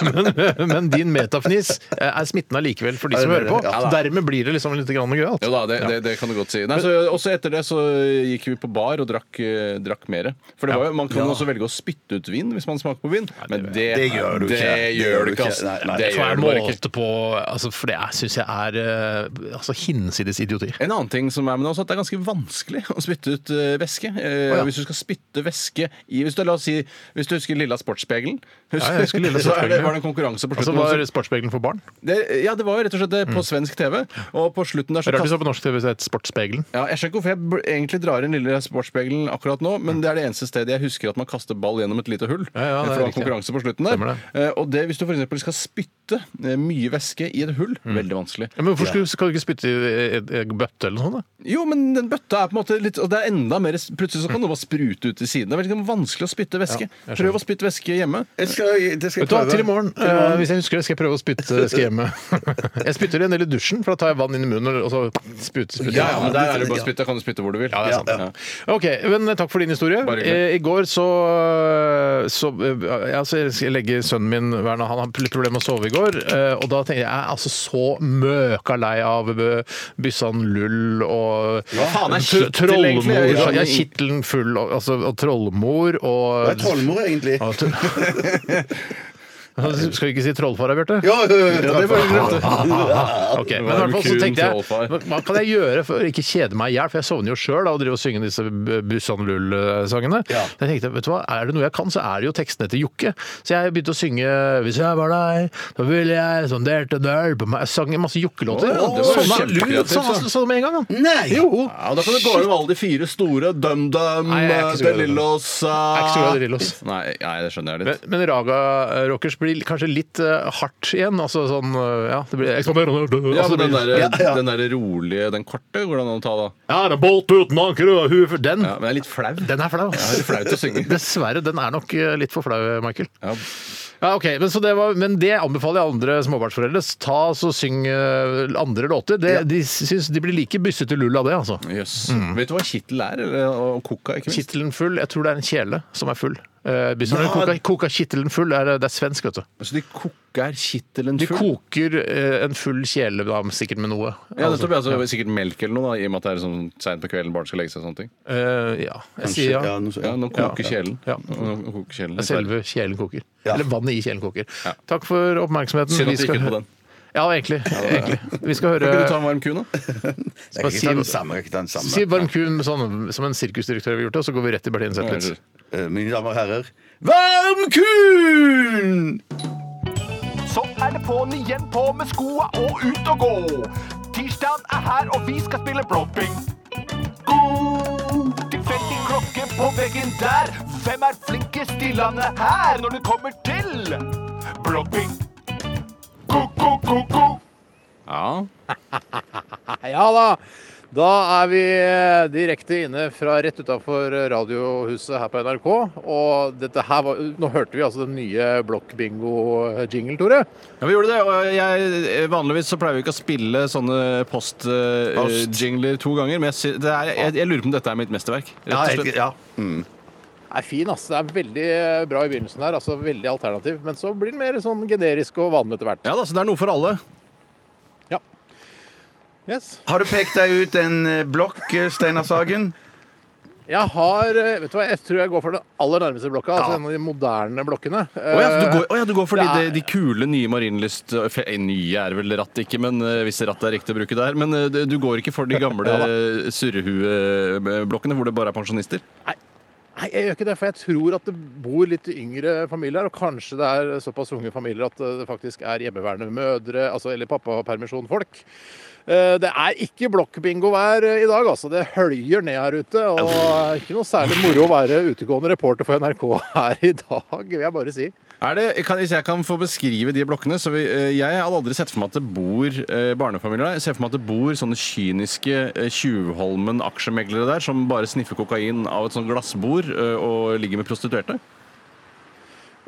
A: Men, men din metafnis eh, er smittende allikevel for de som
C: Ja, det
A: hører
C: blir
A: på.
C: det. Ja,
A: Dermed blir det liksom litt grann gøyalt.
B: Jo da, det, det, det kan du godt si. Nei, så, også etter det så gikk vi på bar og drakk, eh, drakk mer. For det var jo, man kan også velge å spytte ut vin hvis man smaker på vin, men det,
C: det gjør du
B: det
C: ikke.
B: gjør du ikke. ass.
C: Nei, nei.
B: Det
A: For
B: gjør
A: jeg
B: du bare ikke.
A: målte på altså, For det syns jeg er eh, altså, hinsides idioti.
B: En annen ting som er med det også, at det er ganske vanskelig å spytte ut eh, væske. Eh,
A: Å, ja.
B: Hvis du skal spytte væske i hvis du, La oss si hvis du husker Lilla Sportsspegelen.
A: Ja, jeg husker Lilla
B: så er det,
A: Sportsspegelen.
B: var det en konkurranse på
A: Altså
B: slutten.
A: var Sportsspegelen for barn.
B: det, ja, det var jo rett og slett det på svensk TV. Og på slutten der så
A: Rart hvis
B: kastet-
A: det var på norsk TV så het Sportsspegelen.
B: Ja, jeg skjønner ikke hvorfor jeg bl- egentlig drar inn lille sportsspegelen akkurat nå, men det er det eneste stedet jeg husker at man kaster ball gjennom et lite hull.
A: Ja, ja, det er
B: for det var
A: riktig.
B: konkurranse på slutten der.
A: Stemmer det.
B: Eh, Og det hvis du f.eks. skal spytte eh, mye væske i et hull, veldig vanskelig.
A: Ja, men hvorfor skulle, skal du ikke spytte i i- i- i bøtte eller noe sånt? da?
B: Jo, men den bøtta er på en måte litt Og det er enda mer Plutselig så kan noe bare sprute ut til siden. Det er veldig vanskelig å spytte væske.
A: jeg skjønner.
B: Prøv å spytte væske hjemme.
C: Jeg skal, det skal jeg
A: Vet du hva,
C: prøve.
A: til i morgen, eh, hvis jeg husker det, skal jeg prøve å spytte skal jeg hjemme. jeg spytter en del i dusjen, for da tar jeg vann inn i munnen og så spyter spyter jeg.
B: Ja, ja, men der er det bare å spytte. Kan du spytte hvor du vil. Ja,
C: er sant.
A: Ok, men takk for din historie.
B: Bare hyggelig.
A: Eh, I går så, så eh, altså, Jeg skal legge sønnen min Werner, han har litt problemer med å sove i går. eh, Og da tenkte jeg jeg er altså så møka lei av eh, Byssan Lull og
B: Hva faen er
A: Tr-
B: kittel egentlig? Jeg
A: Trollmor.
B: skjønner
A: Ja,
B: ikke.
A: kittelen full og, altså, og trollmor
C: Hva er
A: og
C: trollmor, egentlig?
A: Ja, tr- Skal vi ikke si trollfar her, Bjarte?
C: Jo, jo, jo,
B: det var jo greit, det.
A: Ok, men i hvert fall så
B: Varmkuen
A: tenkte jeg
B: trollfar.
A: hva hva kan jeg gjøre for å ikke kjede meg i hjel? For jeg sovner jo sjøl og driver og synger disse B- Busan Lull-sangene.
C: Ja.
A: Så Jeg tenkte, vet du hva, Er det noe jeg kan, så er det jo tekstene til Jokke. Så jeg begynte å synge 'Hvis jeg var deg, så ville jeg sondert en øl på meg' Jeg sang masse Jokke-låter.
B: Å, det var jo
A: Sånne-
B: kjempekreativt,
A: sånne-
B: da.
A: sånne med en gang, da.
C: Nei!
A: Jo.
B: Ja, og Da kan du gå over alle de fire store. DumDum, eh.
A: Nei, jeg er ikke så glad i det.
B: Delillos
A: Jeg er ikke så glad i Drillos.
B: Nei, nei, det skjønner jeg
A: Men,
B: litt.
A: men Raga eh, Rockers blir kanskje litt eh, hardt igjen. Altså sånn eh, Ja, det blir
B: Ja,
A: altså,
B: men
A: det
B: den
A: blir-
B: der, eh,
C: Ja, ja.
B: den der rolige, den korte, går det an å ta da?
A: Ja, det er bolt uten anker og hue for den.
B: Ja, men det er litt flau.
A: Den er flau.
B: Det er
A: ass.
B: litt flaut å synge.
A: Dessverre. Den er nok eh, litt for flau, Michael.
B: Ja.
A: Ja, ok, men, så det var, men det anbefaler jeg andre småbarnsforeldre. Ta så Syng eh, andre låter. Det, De syns de blir like byssete lull av det, altså.
B: Jøss. Vet du hva kittel er? Eller, og koka, ikke minst.
A: Kittelen full. Jeg tror det er en kjele som er full. Eh, byssene. koka, koka kittelen full. Er, det er svensk, vet du.
B: Så Altså, de koker kittelen
A: De
B: full?
A: koker eh, en full kjele, da, sikkert med noe.
B: Ja, det blir altså sikkert melk eller noe, da, i og med at det er sånn seint på kvelden barn skal legge seg og sånne ting.
A: Eh, ja. Jeg sier ja.
C: Ja, noe så-
B: Ja, nå koker kjelen.
A: Ja.
B: Nå koker kjelen.
A: Selve kjelen koker.
C: Ja.
A: Eller vannet i kjelen koker. Takk for oppmerksomheten.
B: Synd
A: Vi
B: at det
A: skal
B: gikk ut
A: hø-
B: på den.
A: Ja, egentlig. egentlig. Vi skal
B: Kan ikke du
A: høre
B: ta en varm ku, da?
C: Jeg kan ikke ta den samme. Jeg kan ikke ta den samme.
A: Si varm ku med sånn, som en sirkusdirektør ville gjort det, og så går vi rett til Berlin Zetlitz.
C: Eh, Mine damer og herrer, varm kun!
D: Så er det på'n igjen, på med skoa og ut og gå. Tirsdagen er her, og vi skal spille blåping. God tilfeldig klokke på veggen der. Hvem er flinkest i landet her når det kommer til blåping? Ko-ko-ko-ko.
B: Ja.
A: Ja da! Da er vi eh, direkte inne fra rett utafor eh, Radiohuset her på NRK. Og dette her var Nå hørte vi altså den nye blokkbingo-jingle, Tore.
B: Ja, vi gjorde det, og jeg, eh, vanligvis så pleier vi ikke å spille sånne
C: Post.
B: post-jingler to ganger, men jeg, sy- det er, jeg, jeg lurer på om dette er mitt mesterverk.
C: Ja,
B: Rett og
C: jeg-
B: slett.
C: ja.
B: Mm.
A: er fin, ass. Det er veldig eh, bra i begynnelsen her, altså veldig alternativ. Men så blir den mer sånn generisk og vanlig etter hvert.
B: Ja da, så det er noe for alle.
A: Yes.
C: Har du pekt deg ut en eh, blokk, eh, Steinar Sagen?
A: Jeg har eh, Vet du hva, jeg tror jeg går for den aller nærmeste blokka. Altså en av de moderne blokkene.
B: Å ja, du går, å ja, du går for de,
A: Eh, Det er-
B: de, de kule nye marinlyst fe- eh, Nye er vel rattet ikke, men eh, hvis rattet er riktig å bruke der. Men eh, det- du går ikke for de gamle eh, surrehueblokkene hvor det bare er pensjonister?
A: Nei, jeg gjør ikke det, for jeg tror at det bor litt yngre familier her. Og kanskje det er såpass unge familier at eh, det faktisk er hjemmeværende mødre altså, eller pappapermisjon-folk. Eh, Det er ikke blokkbingo hver i dag, altså. Det høljer ned her ute. Og ikke noe særlig moro å være utegående reporter for NRK her i dag, vil jeg bare si.
B: Er det, kan, hvis jeg kan få beskrive de blokkene så vi, eh, Jeg hadde aldri sett for meg at det bor eh, barnefamilier der. Jeg ser for meg at det bor sånne kyniske eh, Tjuvholmen aksjemeglere der som bare sniffer kokain av et sånt glassbord eh, og ligger med prostituerte.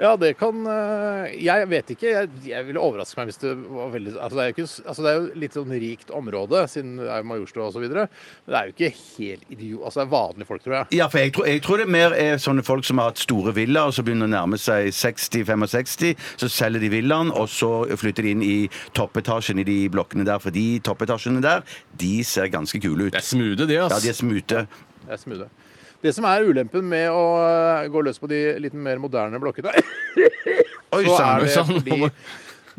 A: Ja, det kan eh, Jeg vet ikke. Jeg, jeg ville overraske meg hvis det var veldig altså det, er jo ikke, s- altså det er jo litt sånn rikt område, siden det er Majorstua osv. Men det er jo ikke helt idiot... Altså det er vanlige folk, tror jeg.
C: Ja, for jeg tror, jeg tror det mer er sånne folk som har hatt store villaer, og så begynner å nærme seg 60-65, så selger de villaen, og så flytter de inn i toppetasjen i de blokkene der, for de toppetasjene der, de ser ganske kule ut.
B: Det er smoothe, de,
C: Ja,
B: ass.
C: de er smute.
A: Det er smoothe. Det som er ulempen med å eh, gå løs på de litt mer moderne blokkene,
C: Oi,
A: så er
C: sann,
A: det
B: sann.
A: fordi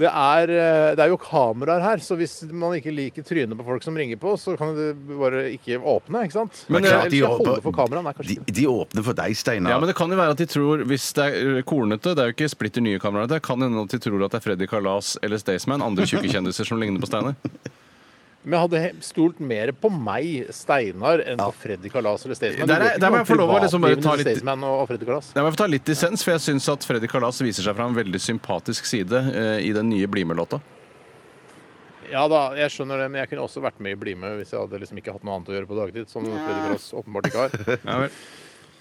A: det er, eh, det er jo kameraer her, så hvis man ikke liker trynet på folk som ringer på, så kan det bare ikke åpne, ikke sant?
C: Men det er klart de
A: Eller skal jeg holde
C: åpner-
A: for kameraet? Nei, kanskje
C: de, de åpner for deg, Steinar.
B: Ja, men Det kan jo være at de tror, hvis det er eh, kornete Det er jo ikke splitter nye kameraer. Det kan hende at de tror at det er Freddy Kalas eller Staysman, andre tjukke kjendiser som ligner på Steinar.
A: Men jeg hadde he- stolt mer på meg, Steinar, enn på Freddy Kalas eller Staysman.
B: Der er-
A: Du vet ikke
B: der må
A: om
B: jeg få lov å liksom bare ta
A: privatlivene til
B: litt-
A: Staysman og og Freddy Kalas.
B: Jeg må få ta litt dissens, for jeg syns at Freddy Kalas viser seg fra en veldig sympatisk side eh, i den nye Bli med-låta.
A: Ja da, jeg skjønner det, men jeg kunne også vært med i Bli med hvis jeg hadde liksom ikke hatt noe annet å gjøre på dagtid, som Freddy Kalas åpenbart ikke har.
B: Ja, vel.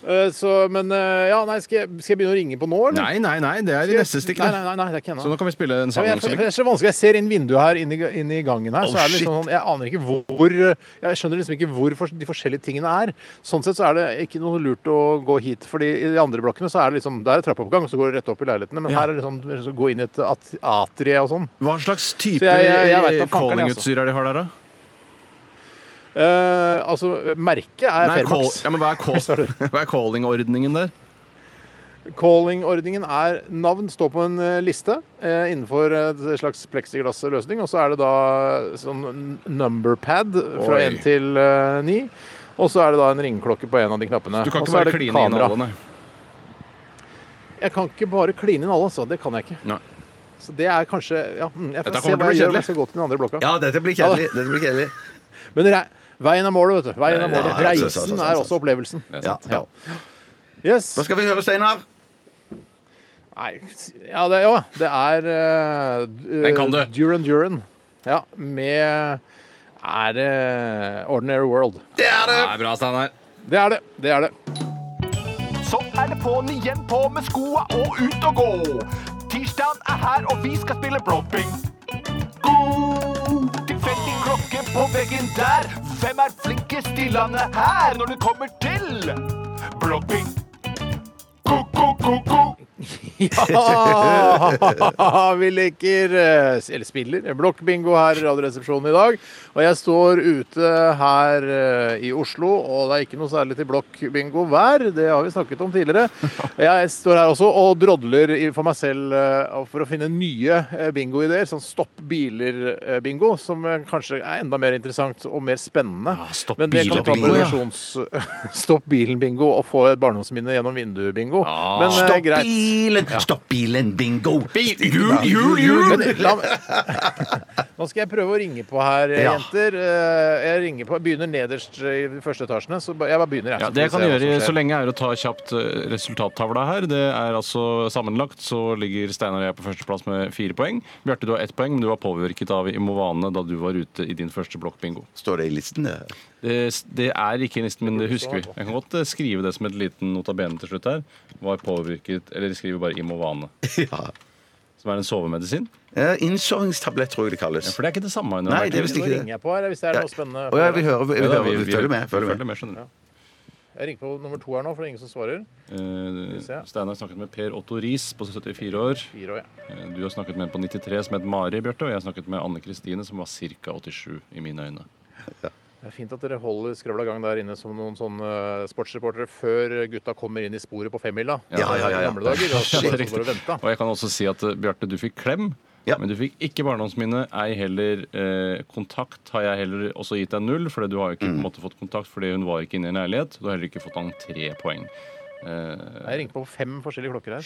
A: Eh, Så, men eh, ja, nei, skal jeg, skal jeg begynne å ringe på nå, eller?
B: Nei, nei, nei, det er i neste stikk.
A: Nei,
B: det.
A: nei, nei, nei, det er ikke ennå.
B: Så nå kan vi spille
A: Ja,
B: en sang.
A: men jeg, for det er så vanskelig. Jeg ser inn vinduet her, inn i, inn i gangen her,
B: Oh,
A: så er det liksom sånn, jeg aner ikke hvor Jeg skjønner liksom ikke hvor for, de forskjellige tingene er. Sånn sett så er det ikke noe lurt å gå hit, fordi i de andre blokkene så er det liksom Der er trappeoppgang, så går det rett opp i leilighetene, men her er det sånn så gå inn i et at- atrie og sånn.
B: Hva slags type
A: Så jeg- jeg- jeg vet da fankeren, jeg,
B: callingutstyr er altså. det de har der, da?
A: Eh, altså, merket er
B: Nei, call,
A: Fairbox.
B: ja, men hva er, call,
A: Sorry.
B: hva er callingordningen der?
A: Calling-ordningen er navn står på en eh, liste eh, innenfor et slags pleksiglassløsning, og så er det da sånn n- numberpad fra
B: Oi.
A: 1 til eh, 9. Og så er det da en ringeklokke på en av de knappene.
B: Du kan
A: og
B: ikke
A: så er
B: bare
A: det
B: kline inn
A: kamera.
B: alle, nei.
A: Jeg kan ikke bare kline inn alle, altså. Det kan jeg ikke.
B: Nei.
A: Så det er kanskje ja, hm, Jeg
B: Dette
A: får se
B: kommer til å
A: hva jeg gjør
B: bli
A: om
B: kjedelig.
A: jeg skal gå til den andre blokka.
C: Ja, dette blir kjedelig. Dette blir kjedelig.
A: Men re veien er målet, vet du. Veien er
C: ja,
A: målet.
C: ja, ja, ja, ja,
A: Reisen
C: ja, ja, ja.
A: er også opplevelsen.
C: Ja, ja.
A: Yes.
C: Hva skal vi høre, Steinar?
A: Nei, ja, det, ja, det er eh, d-
B: Den kan du.
A: Duran Duran. Ja, med Er det Ordinary World?
B: Det er bra, Steinar.
A: Det er det. det er det.
D: Så er det på'n igjen, på med skoa og ut og gå. Tirsdagen her, og vi skal spille blopping. God tilfeldig klokke på veggen der. Hvem er flinkest i landet her når det kommer til blopping? Ko-ko-ko-ko.
A: Ah, vi leker eh, eller spiller eh, blokkbingo her i Radioresepsjonen i dag. Og jeg står ute her eh, i Oslo, og det er ikke noe særlig til blokkbingo hver. Det har vi snakket om tidligere. Jeg står her også og drodler i- for meg selv eh, for å finne nye eh, bingoideer. Sånn stopp biler-bingo, som eh, kanskje er enda mer interessant og mer spennende.
B: stopp
A: Men det kan ta på
B: biler-bingo, ja.
A: redaksjons- Stopp bilen-bingo og få et barndomsminne gjennom vinduet-bingo. Men, eh,
C: Stopp
A: greit.
C: bilen! Stopp bilen, bingo!
B: Jul, jul, jul!
A: Men, la, meg- nå skal jeg prøve å ringe på her,
C: Ja.
A: jenter. Eh, Jeg ringer på, begynner nederst i de første etasjene. Så ba- jeg bare begynner. jeg,
B: Ja,
A: så
B: det
A: får
B: jeg kan
A: vi se hva
B: gjøre
A: som
B: så
A: skjer.
B: lenge er å ta kjapt eh, resultattavla her. Det er altså sammenlagt så ligger Steinar og jeg på førsteplass med fire poeng. Bjarte, du har ett poeng, men du var påvirket av Imovane da du var ute i din første blokkbingo.
C: Står det i listen, det?
B: Det, det er ikke i listen, men det husker vi. Jeg kan godt eh, skrive det som et liten notabene til slutt her. Var påvirket Eller skriver bare Imovane.
C: Ja.
B: Som er en sovemedisin.
C: Eh, Innsovningstablett, tror jeg det kalles.
B: Ja, for det er ikke det samme. Hun har
C: Nei,
B: vært
C: det er
B: i.
C: visst
A: Nå
C: ikke
A: ringer
C: det.
A: jeg på her hvis det er
C: Ja.
A: noe spennende.
C: Å, ja, vi hører, vi,
B: Ja, da,
C: hører, vi, følger med. Følger med.
B: følger med, skjønner du.
A: Jeg ringer på nummer to her nå, for det er ingen som svarer.
B: Eh,
A: se.
B: Steinar snakket med Per Otto Riis på 74 år.
A: Fire år, ja.
B: Eh, Du har snakket med en på 93 som het Mari, Bjarte, og jeg har snakket med Anne Kristine, som var ca. 87 i mine øyne.
A: Det er fint at dere holder skrøvla gang der inne som noen sånne eh, sportsreportere før gutta kommer inn i sporet på femmila.
C: Ja, ja, ja, ja.
A: I gamle dager. Da
B: Det er
A: bare, bare
B: riktig.
A: vente.
B: Og jeg kan også si at eh, Bjarte, du fikk klem.
C: Ja.
B: Men du fikk ikke barndomsminne, ei heller eh, kontakt har jeg heller også gitt deg null, for du har jo ikke på
A: Mm.
B: en måte fått kontakt fordi hun var ikke inne i en leilighet. Du har heller ikke fått entrépoeng. Eh,
A: Jeg ringer på fem forskjellige klokker her.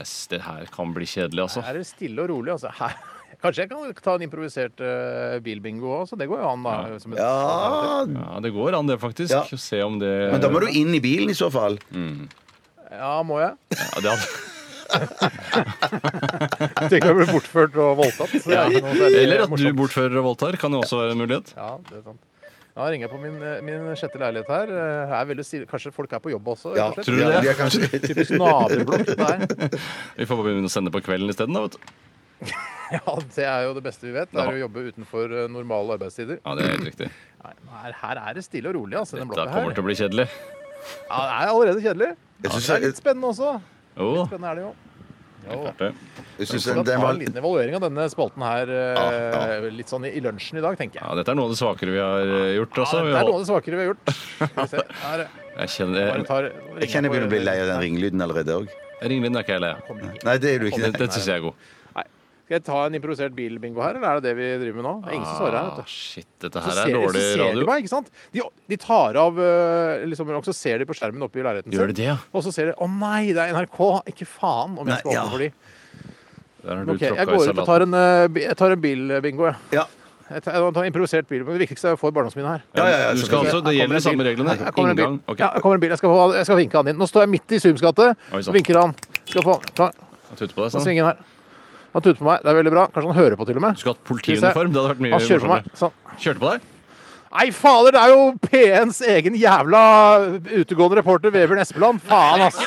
B: yes, det her kan bli kjedelig, altså.
A: Her er det stille og rolig, altså. Her. Kanskje jeg kan ta en improvisert eh, bilbingo òg, så det går jo an, da. som et alternativ.
C: Ja,
B: Ja, det går an, det, faktisk.
C: Ja.
B: Se om det
C: men da må du inn i bilen i så fall.
A: Ja, må jeg?
B: ja, det hadde...
A: Tenk å bli bortført og voldtatt. Så det er ikke noe særlig
B: Eller at du
A: morsomt.
B: bortfører og voldtar, kan jo også være en mulighet.
A: Ja, det er sant. Da ringer jeg på min, eh, min sjette leilighet her. Jeg Er veldig stille. Kanskje folk er på jobb også?
C: Ja,
A: rett og slett.
B: tror du det?
C: Ja, de er kanskje...
A: Typisk naboblokk. det der.
B: Vi får bare begynne å sende på kvelden isteden, da, vet du.
A: Ja, det er jo det beste vi vet. Det er å jobbe utenfor eh, normale arbeidstider.
B: Ja, det er helt riktig.
A: Nei, men her, her er det stille og rolig, altså. Den
B: Dette
A: blokka
B: kommer
A: her.
B: til å bli kjedelig.
A: Ja, det er allerede kjedelig.
C: Jeg
A: Men
C: synes,
A: det er
C: jeg,
A: litt spennende også.
B: Jo,
A: Spennende er det jo. Jo.
B: klart det.
C: jeg synes
A: Så da
C: den, den
A: tar vi
C: var
A: en liten evaluering av denne spalten her eh, litt sånn i i lunsjen i dag, tenker jeg.
B: Ja, dette er noe av det svakere vi har eh, gjort,
A: Ja, det
B: altså.
A: er
B: Vi
A: noe
B: har-
A: av det svakere vi har gjort. Skal vi se. Her,
B: Jeg kjenner
A: bare
B: Jeg,
A: tar,
C: Jeg kjenner jeg begynner å bli lei av den ringelyden allerede òg.
B: Ringelyden er ikke jeg lei av.
C: Nei, det er du ikke.
B: Den, den syns jeg er god.
A: Skal jeg ta en improvisert bilbingo her, eller er det det vi driver med nå? Det er ingen som svarer her.
B: Ah,
A: vet du.
B: shit, dette
A: Så
B: her er
A: ser, så
B: dårlig
A: ser de
B: radio.
A: meg, ikke sant? De, de tar av øh, liksom, Og så ser de på skjermen oppe i leiligheten
B: Gjør de det, ja?
A: Og så ser de Å nei, det er NRK! Ikke faen om jeg skal
C: Nei, ja.
A: åpne for de.
B: Der har du
A: Ok, jeg
B: tråkka i
A: går ut og
B: salaten.
A: tar en, øh, bi- jeg tar en bilbingo, jeg.
C: Ja.
A: Jeg tar, jeg tar en improvisert bilbingo. Det viktigste er å få et barndomsminne her.
C: Ja, ja, ja,
B: Du skal
C: selvfølgelig.
B: altså,
A: Her kommer
B: Det gjelder de
A: en
B: samme
A: bil.
B: reglene.
A: Her kommer en bil.
B: Inngang. ok.
A: Ja, her kommer en bil. Jeg skal, få, jeg skal vinke han inn. Nå står jeg midt i Sums gate.
B: Oi, sant.
A: Vinker han. Skal få Klar,
B: Jeg tutter på
A: nå
B: deg, sånn.
A: svinger han her. Han tuter på meg. Det er veldig bra. Kanskje han hører på, til og
B: Du
A: med.
B: skulle hatt
A: Skal vi se.
B: politiuniform. Det hadde vært mye
A: Han kjører på meg.
B: morsommere.
A: Sånn.
B: Kjørte på deg?
A: Nei, fader, det er jo P1s egen jævla utegående reporter Vebjørn Espeland. Faen, ass.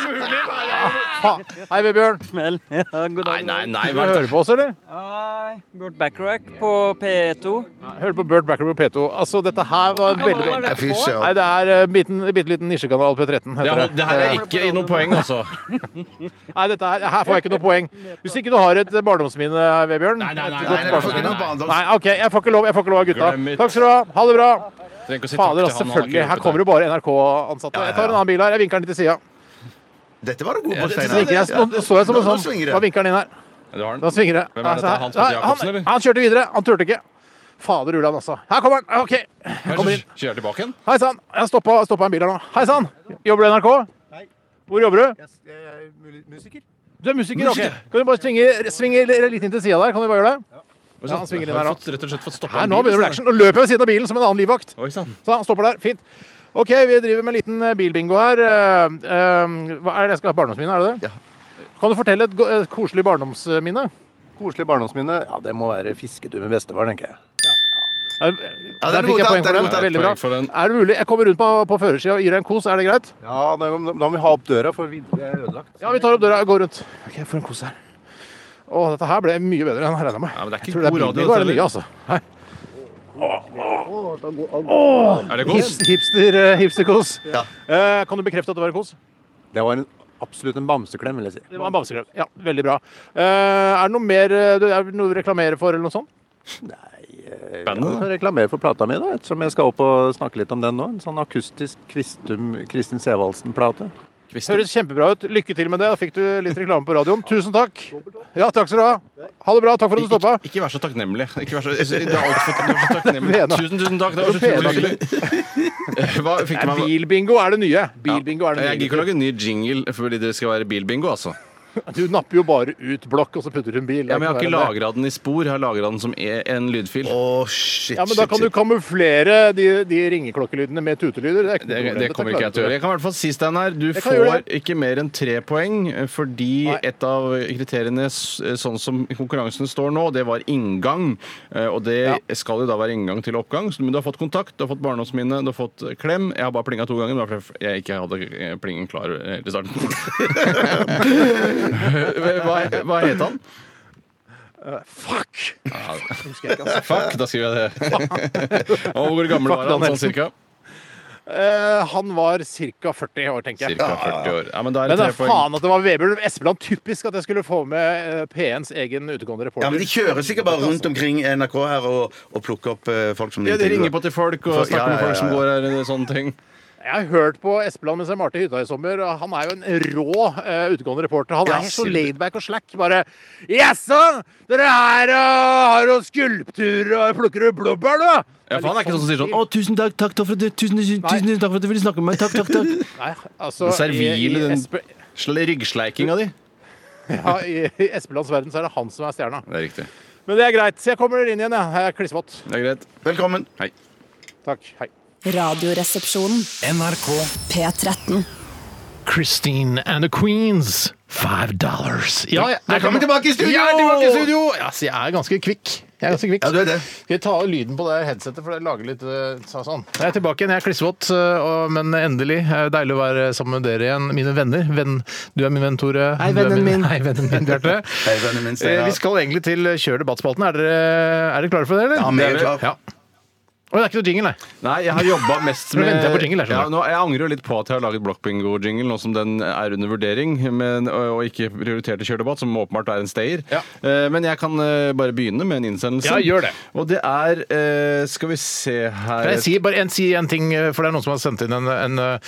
A: Faen. Hei, Vebjørn.
E: Smell. Ja, god dag.
B: Nei, nei, nei.
A: Du
B: vent da.
A: hører på oss, eller?
E: Hei, Burt Bacharach på E P2.
A: Hører på Burt Backer på P2. Altså, dette her var veldig
E: Hva var det
C: Fy
E: på?
A: Nei,
C: søren.
A: det er eh, biten- bitte liten nisjekanal P13,
B: Det,
A: heter
B: er-
A: det.
B: det her er ikke noe poeng, altså.
A: Nei, dette her, her får jeg ikke noe poeng. Hvis ikke du har et eh, barndomsminne, Vebjørn.
B: Nei, nei,
A: et
B: nei, nei,
A: godt
B: nei,
C: Nei, for ikke
B: nei,
A: barndomsminne.
C: noe barndoms-
A: Nei, OK, jeg får ikke lov, jeg får ikke lov av gutta.
B: Glem it.
A: Takk skal du ha. Ha det bra.
B: Trenger ikke å si takk
A: Fader,
B: til
A: ass,
B: han, han har
A: selvfølgelig.
B: ikke
A: Her
B: hjulpet deg.
A: kommer det bare NRK-ansatte. Jeg tar en annen bil her. Jeg vinker den litt til sida.
C: Dette var du god på,
B: Jeg
A: Så gikk
C: Steinar.
A: jeg, nå så jeg som en
C: Nå- nå
A: sånn.
C: svinger det.
A: Da vinker han inn her.
B: Du har den.
A: Da svinger det.
B: Hvem er dette?
A: Altså,
B: Hans Petter
A: nei,
B: Jacobsen,
A: han,
B: eller?
A: han kjørte videre. Han turte ikke. Fader Ulland, altså. Her kommer han! OK. Kommer inn.
B: Kjører jeg tilbake igjen?
A: Hei sann. Jeg stoppa, stoppa en bil her nå. Hei sann. Jobber du i NRK? Nei. Hvor jobber du? Jeg er musiker. Du er musiker, ok. Kan du bare svinge, svinge litt inn til sida der? Kan du bare gjøre det? Ja, han svinger inn
B: Har
A: her nå.
B: jeg fått, rett og slett fått stoppa
A: Her, nå begynner det å bli action. Nå løper jeg ved siden av bilen som en annen livvakt.
B: Oi sann.
A: Så han stopper der. Fint. OK, vi driver med en liten eh, bilbingo her. Eh, eh, Hva er det jeg skal ha barndomsminne, er det det? Kan du fortelle et, go- et koselig barndomsminne?
F: Koselig barndomsminne? Ja, det må være fisketur med bestefar, tenker jeg.
A: Ja,
C: den
A: Der
C: er
A: fikk jeg
C: mottatt,
A: poeng
C: den
A: for
C: er
A: den.
C: mottatt.
A: Veldig
B: Poeng
A: bra.
B: for den.
A: Er det mulig? Jeg kommer rundt på, på førersida og gir deg en kos. Er det greit?
F: Ja, Da da må vi ha opp døra, for vinduet er ødelagt.
A: Ja, vi tar opp døra og går rundt. OK, jeg får en kos her.
G: Å, dette her ble mye bedre enn jeg regna med.
B: Ja, men det er ikke
G: Jeg tror det
B: god radio,
G: Bilniko er det
B: dette,
G: nye, altså. Nei.
B: Er det
G: Hips,
B: godt?
G: hipster, eh, hipsterkos. Eh, kan du bekrefte at det var en kos?
F: Det var en, absolutt en bamseklem, vil jeg si.
G: Det var en bamseklem. Ja, veldig bra. Eh, er det noe mer eh, du er det noe å reklamere for, eller noe sånt?
F: eh, Jeg kan reklamere for plata mi, da, ettersom jeg skal opp og snakke litt om den nå. En sånn akustisk Kvistum, Kristin Sevaldsen-plate.
G: Høres kjempebra ut. Lykke til med det. Da fikk du litt reklame på radioen. Tusen takk. Ja, takk skal du ha. Ha det bra. Takk for at du stoppa.
B: Ikke, ikke vær så takknemlig. Ikke vær så, det er alt for, du er så takknemlig.
G: Pena.
B: Tusen, tusen takk. Det var så utrolig hyggelig. Eh, Hva fikk
G: Nei,
B: man
G: Bilbingo er det nye. Bilbingo er
B: Jeg
G: det
B: gidder ikke å
G: nye.
B: lage en ny jingle fordi det skal være bilbingo, altså.
G: Du napper jo bare ut blokk, og så putter du en bil.
B: Ja, men jeg har
G: Det
B: ikke
G: er det.
B: lagra den i spor, jeg har lagra den som e- en lydfil.
C: shit,
G: Ja, men da kan du kamuflere de, de ringeklokkelyddene med tutelyder. Det, er ikke noe
B: Det,
G: problem.
B: det
G: Dette
B: kommer ikke jeg til
G: klarer
B: å gjøre. Jeg kan i hvert fall si, Steinar, du
G: Jeg kan gjøre
B: får ikke mer enn tre poeng, eh, fordi
G: Nei.
B: et av kriteriene s- eh, sånn som konkurransen står nå, det var inngang. Eh, Og det skal jo da være inngang til oppgang. Så- Men du har fått kontakt, du har fått barndomsminne, du har fått eh, klem. Jeg har bare plinga to ganger, men det var fordi jeg ikke hadde eh, plingen klar eh, helt i starten. hva, hva het han?
G: Fuck!
B: Fuck, da skriver jeg det. Og hvor
G: Fuck
B: gammel var han sånn
G: Danielsen.
B: cirka?
G: Eh, han var ca. 40 år, tenker jeg.
B: Cirka 40 år. Ja, men da er
G: Men
B: det
G: det er
B: tre poeng.
G: faen at det var Vebjørn Espeland. Typisk at jeg skulle få med eh, P1s egen utegående reporter.
C: Ja, men De kjører sikkert bare rundt omkring NRK her og, og plukker opp eh, folk som de
B: Ja, de
C: intervjuer.
B: ringer på til folk og
C: Ja,
B: snakker med
C: ja,
B: folk som
C: ja, ja.
B: går her. og Sånne ting.
G: Jeg har hørt på Espeland mens jeg malte hytta i sommer. og Han er jo en rå eh, utegående reporter. Han
B: Ja,
G: er så
B: sier du.
G: laidback og slack. Bare Jaså, dere her eh, har jo skulpturer og plukker du blåbær, da?
B: Ja, for han er ikke sånn som sier sånn Å, tusen takk, takk, takk for at du tusen, tusen,
G: Nei.
B: tusen takk for at du ville snakke med meg. Takk, takk, takk.
G: Nei, altså,
B: Den servile,
G: i- i
B: den-
G: Espe-
B: Sl- Ryggsleikinga di.
G: Ja, I i Espelands verden så er det han som er stjerna.
B: Det er riktig.
G: Men det er greit. Så jeg kommer inn igjen, jeg. Jeg er klissvåt.
B: Det er greit.
C: Velkommen.
B: Hei.
G: Takk. Hei.
H: Radioresepsjonen.
I: NRK
H: P13.
A: Christine and the Queens. Five dollars. Ja, jeg er
C: Velkommen tilbake i studio!
A: Jeg er tilbake i studio! Ja, så jeg er ganske kvikk. Jeg er ganske kvikk.
C: Ja, du er det.
A: Skal jeg ta av lyden på det headsetet, for det lager litt eh, sa- sånn. Jeg er tilbake igjen. Jeg er klissvåt, eh, og- men endelig. eh, Deilig å være sammen med dere igjen, mine venner. Venn, du er min venn, Tore. Hei, vennen min. Hei, vennen min, Bjarte.
C: Hei, vennen min, Steinar.
A: Eh, Vi skal egentlig til Kjør debattspalten. Er dere, er dere klare for det, eller?
C: Ja, vi er klare.
A: Ja. Og det er ikke noe jingle, nei.
B: Nei, jeg har jobba mest
A: Nå
B: med
A: venter jeg på jingle, jeg skjønner.
B: Ja, nå, Jeg angrer jo litt på at jeg har laget blokkbingo-jingle nå som den er under vurdering, men, og, og ikke prioriterte kjørdebatt, som åpenbart er en stayer.
A: Ja.
B: Eh, men jeg kan eh, bare begynne med en innsendelse.
A: Ja, gjør det.
B: Og det er eh, Skal vi se her
A: Kan jeg si bare en, si en ting, eh, for det er noen som har sendt inn en, en eh,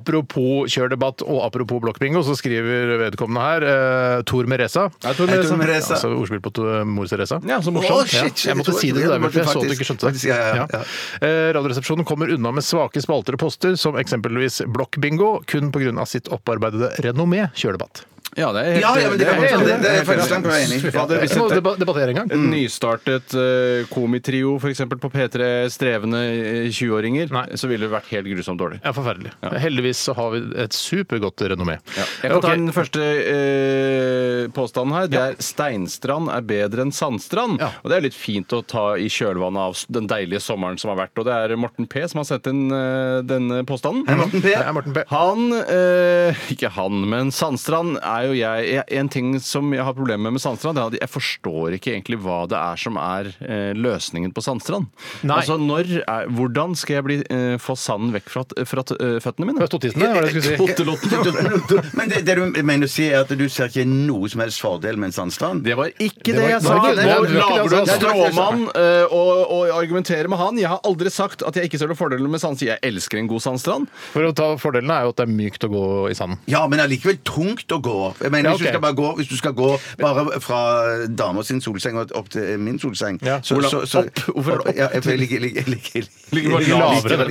A: apropos kjørdebatt og apropos blokkbingo, så skriver vedkommende her eh, Tor Meresa.
B: Ja, Tor Meresa.
C: Tor Meresa.
A: Altså ordspill på to, mor Teresa.
B: Ja, så morsomt.
C: Å, shit, shit,
A: jeg måtte si det til
C: jeg
A: deg,
C: måtte
A: Bjarte. Jeg så at du
C: faktisk-
A: ikke skjønte det.
C: faktisk, ja, ja, ja.
A: Eh, Radioresepsjonen kommer unna med svake spalter og poster, som eksempelvis blokkbingo, kun pga. sitt opparbeidede renommé kjørdebatt.
B: Ja, det er helt
C: Ja, ja, men det kan
B: det er
C: man- det-
B: helt-
C: det er faktisk langt på vei enig. Mm.
B: Fy fader, hvis
A: Vi må
B: et-
A: deba- debattere en gang.
B: Et nystartet uh, komitrio for eksempel på P3 strevende eh, 20-åringer,
A: Nei.
B: så ville det vært helt grusomt dårlig.
A: Ja, forferdelig. Heldigvis så har vi et supergodt renommé.
B: Jeg kan ta
A: Ok.
B: den første eh, påstanden her. Det er steinstrand er bedre enn sandstrand.
A: Ja.
B: Og det er litt fint å ta i kjølvannet av s- den deilige sommeren som har vært. Og det er Morten P som har sendt inn eh, denne påstanden.
C: Hei, Morten P.
A: Det er Morten P.
B: Han eh, Ikke han, men Sandstrand er jo jeg, jeg En ting som jeg har problemer med med Sandstrand, det er at jeg forstår ikke egentlig hva det er som er eh, løsningen på Sandstrand.
A: Nei.
B: Altså, når er, Hvordan skal jeg bli, eh, få sanden vekk fra, t- fra t- eh, føttene mine?
A: Fra totissene, var det jeg skulle si.
B: Fottelotten.
C: Men det, det du mener å si, er at du ser ikke noe som helst fordel med en sandstrand?
B: Det var ikke
A: Det
B: det,
A: var-
B: jeg
A: det
B: sa!
A: var ikke det.
B: Nå
A: Det var ikke
B: lager du
A: det
B: en
A: jeg sa.
B: stråmann eh, og, og argumenterer med han. Jeg har aldri sagt at jeg ikke ser noen fordeler med sandstrand. Jeg elsker en god sandstrand.
A: For å ta Fordelene er jo at det er mykt å gå i sanden.
C: Ja, men allikevel tungt å gå. Jeg mener,
A: Ja,
C: hvis, du
A: ok.
C: skal bare gå, hvis du skal gå bare fra damer sin solseng og opp til min solseng
A: Ja.
C: så,
B: Hvordan-
C: så, så,
B: opp? Hvorfor opp?
C: Ja, jeg ligger, ligger, ligger,
B: Ligger bare
A: Ikke
B: lavere.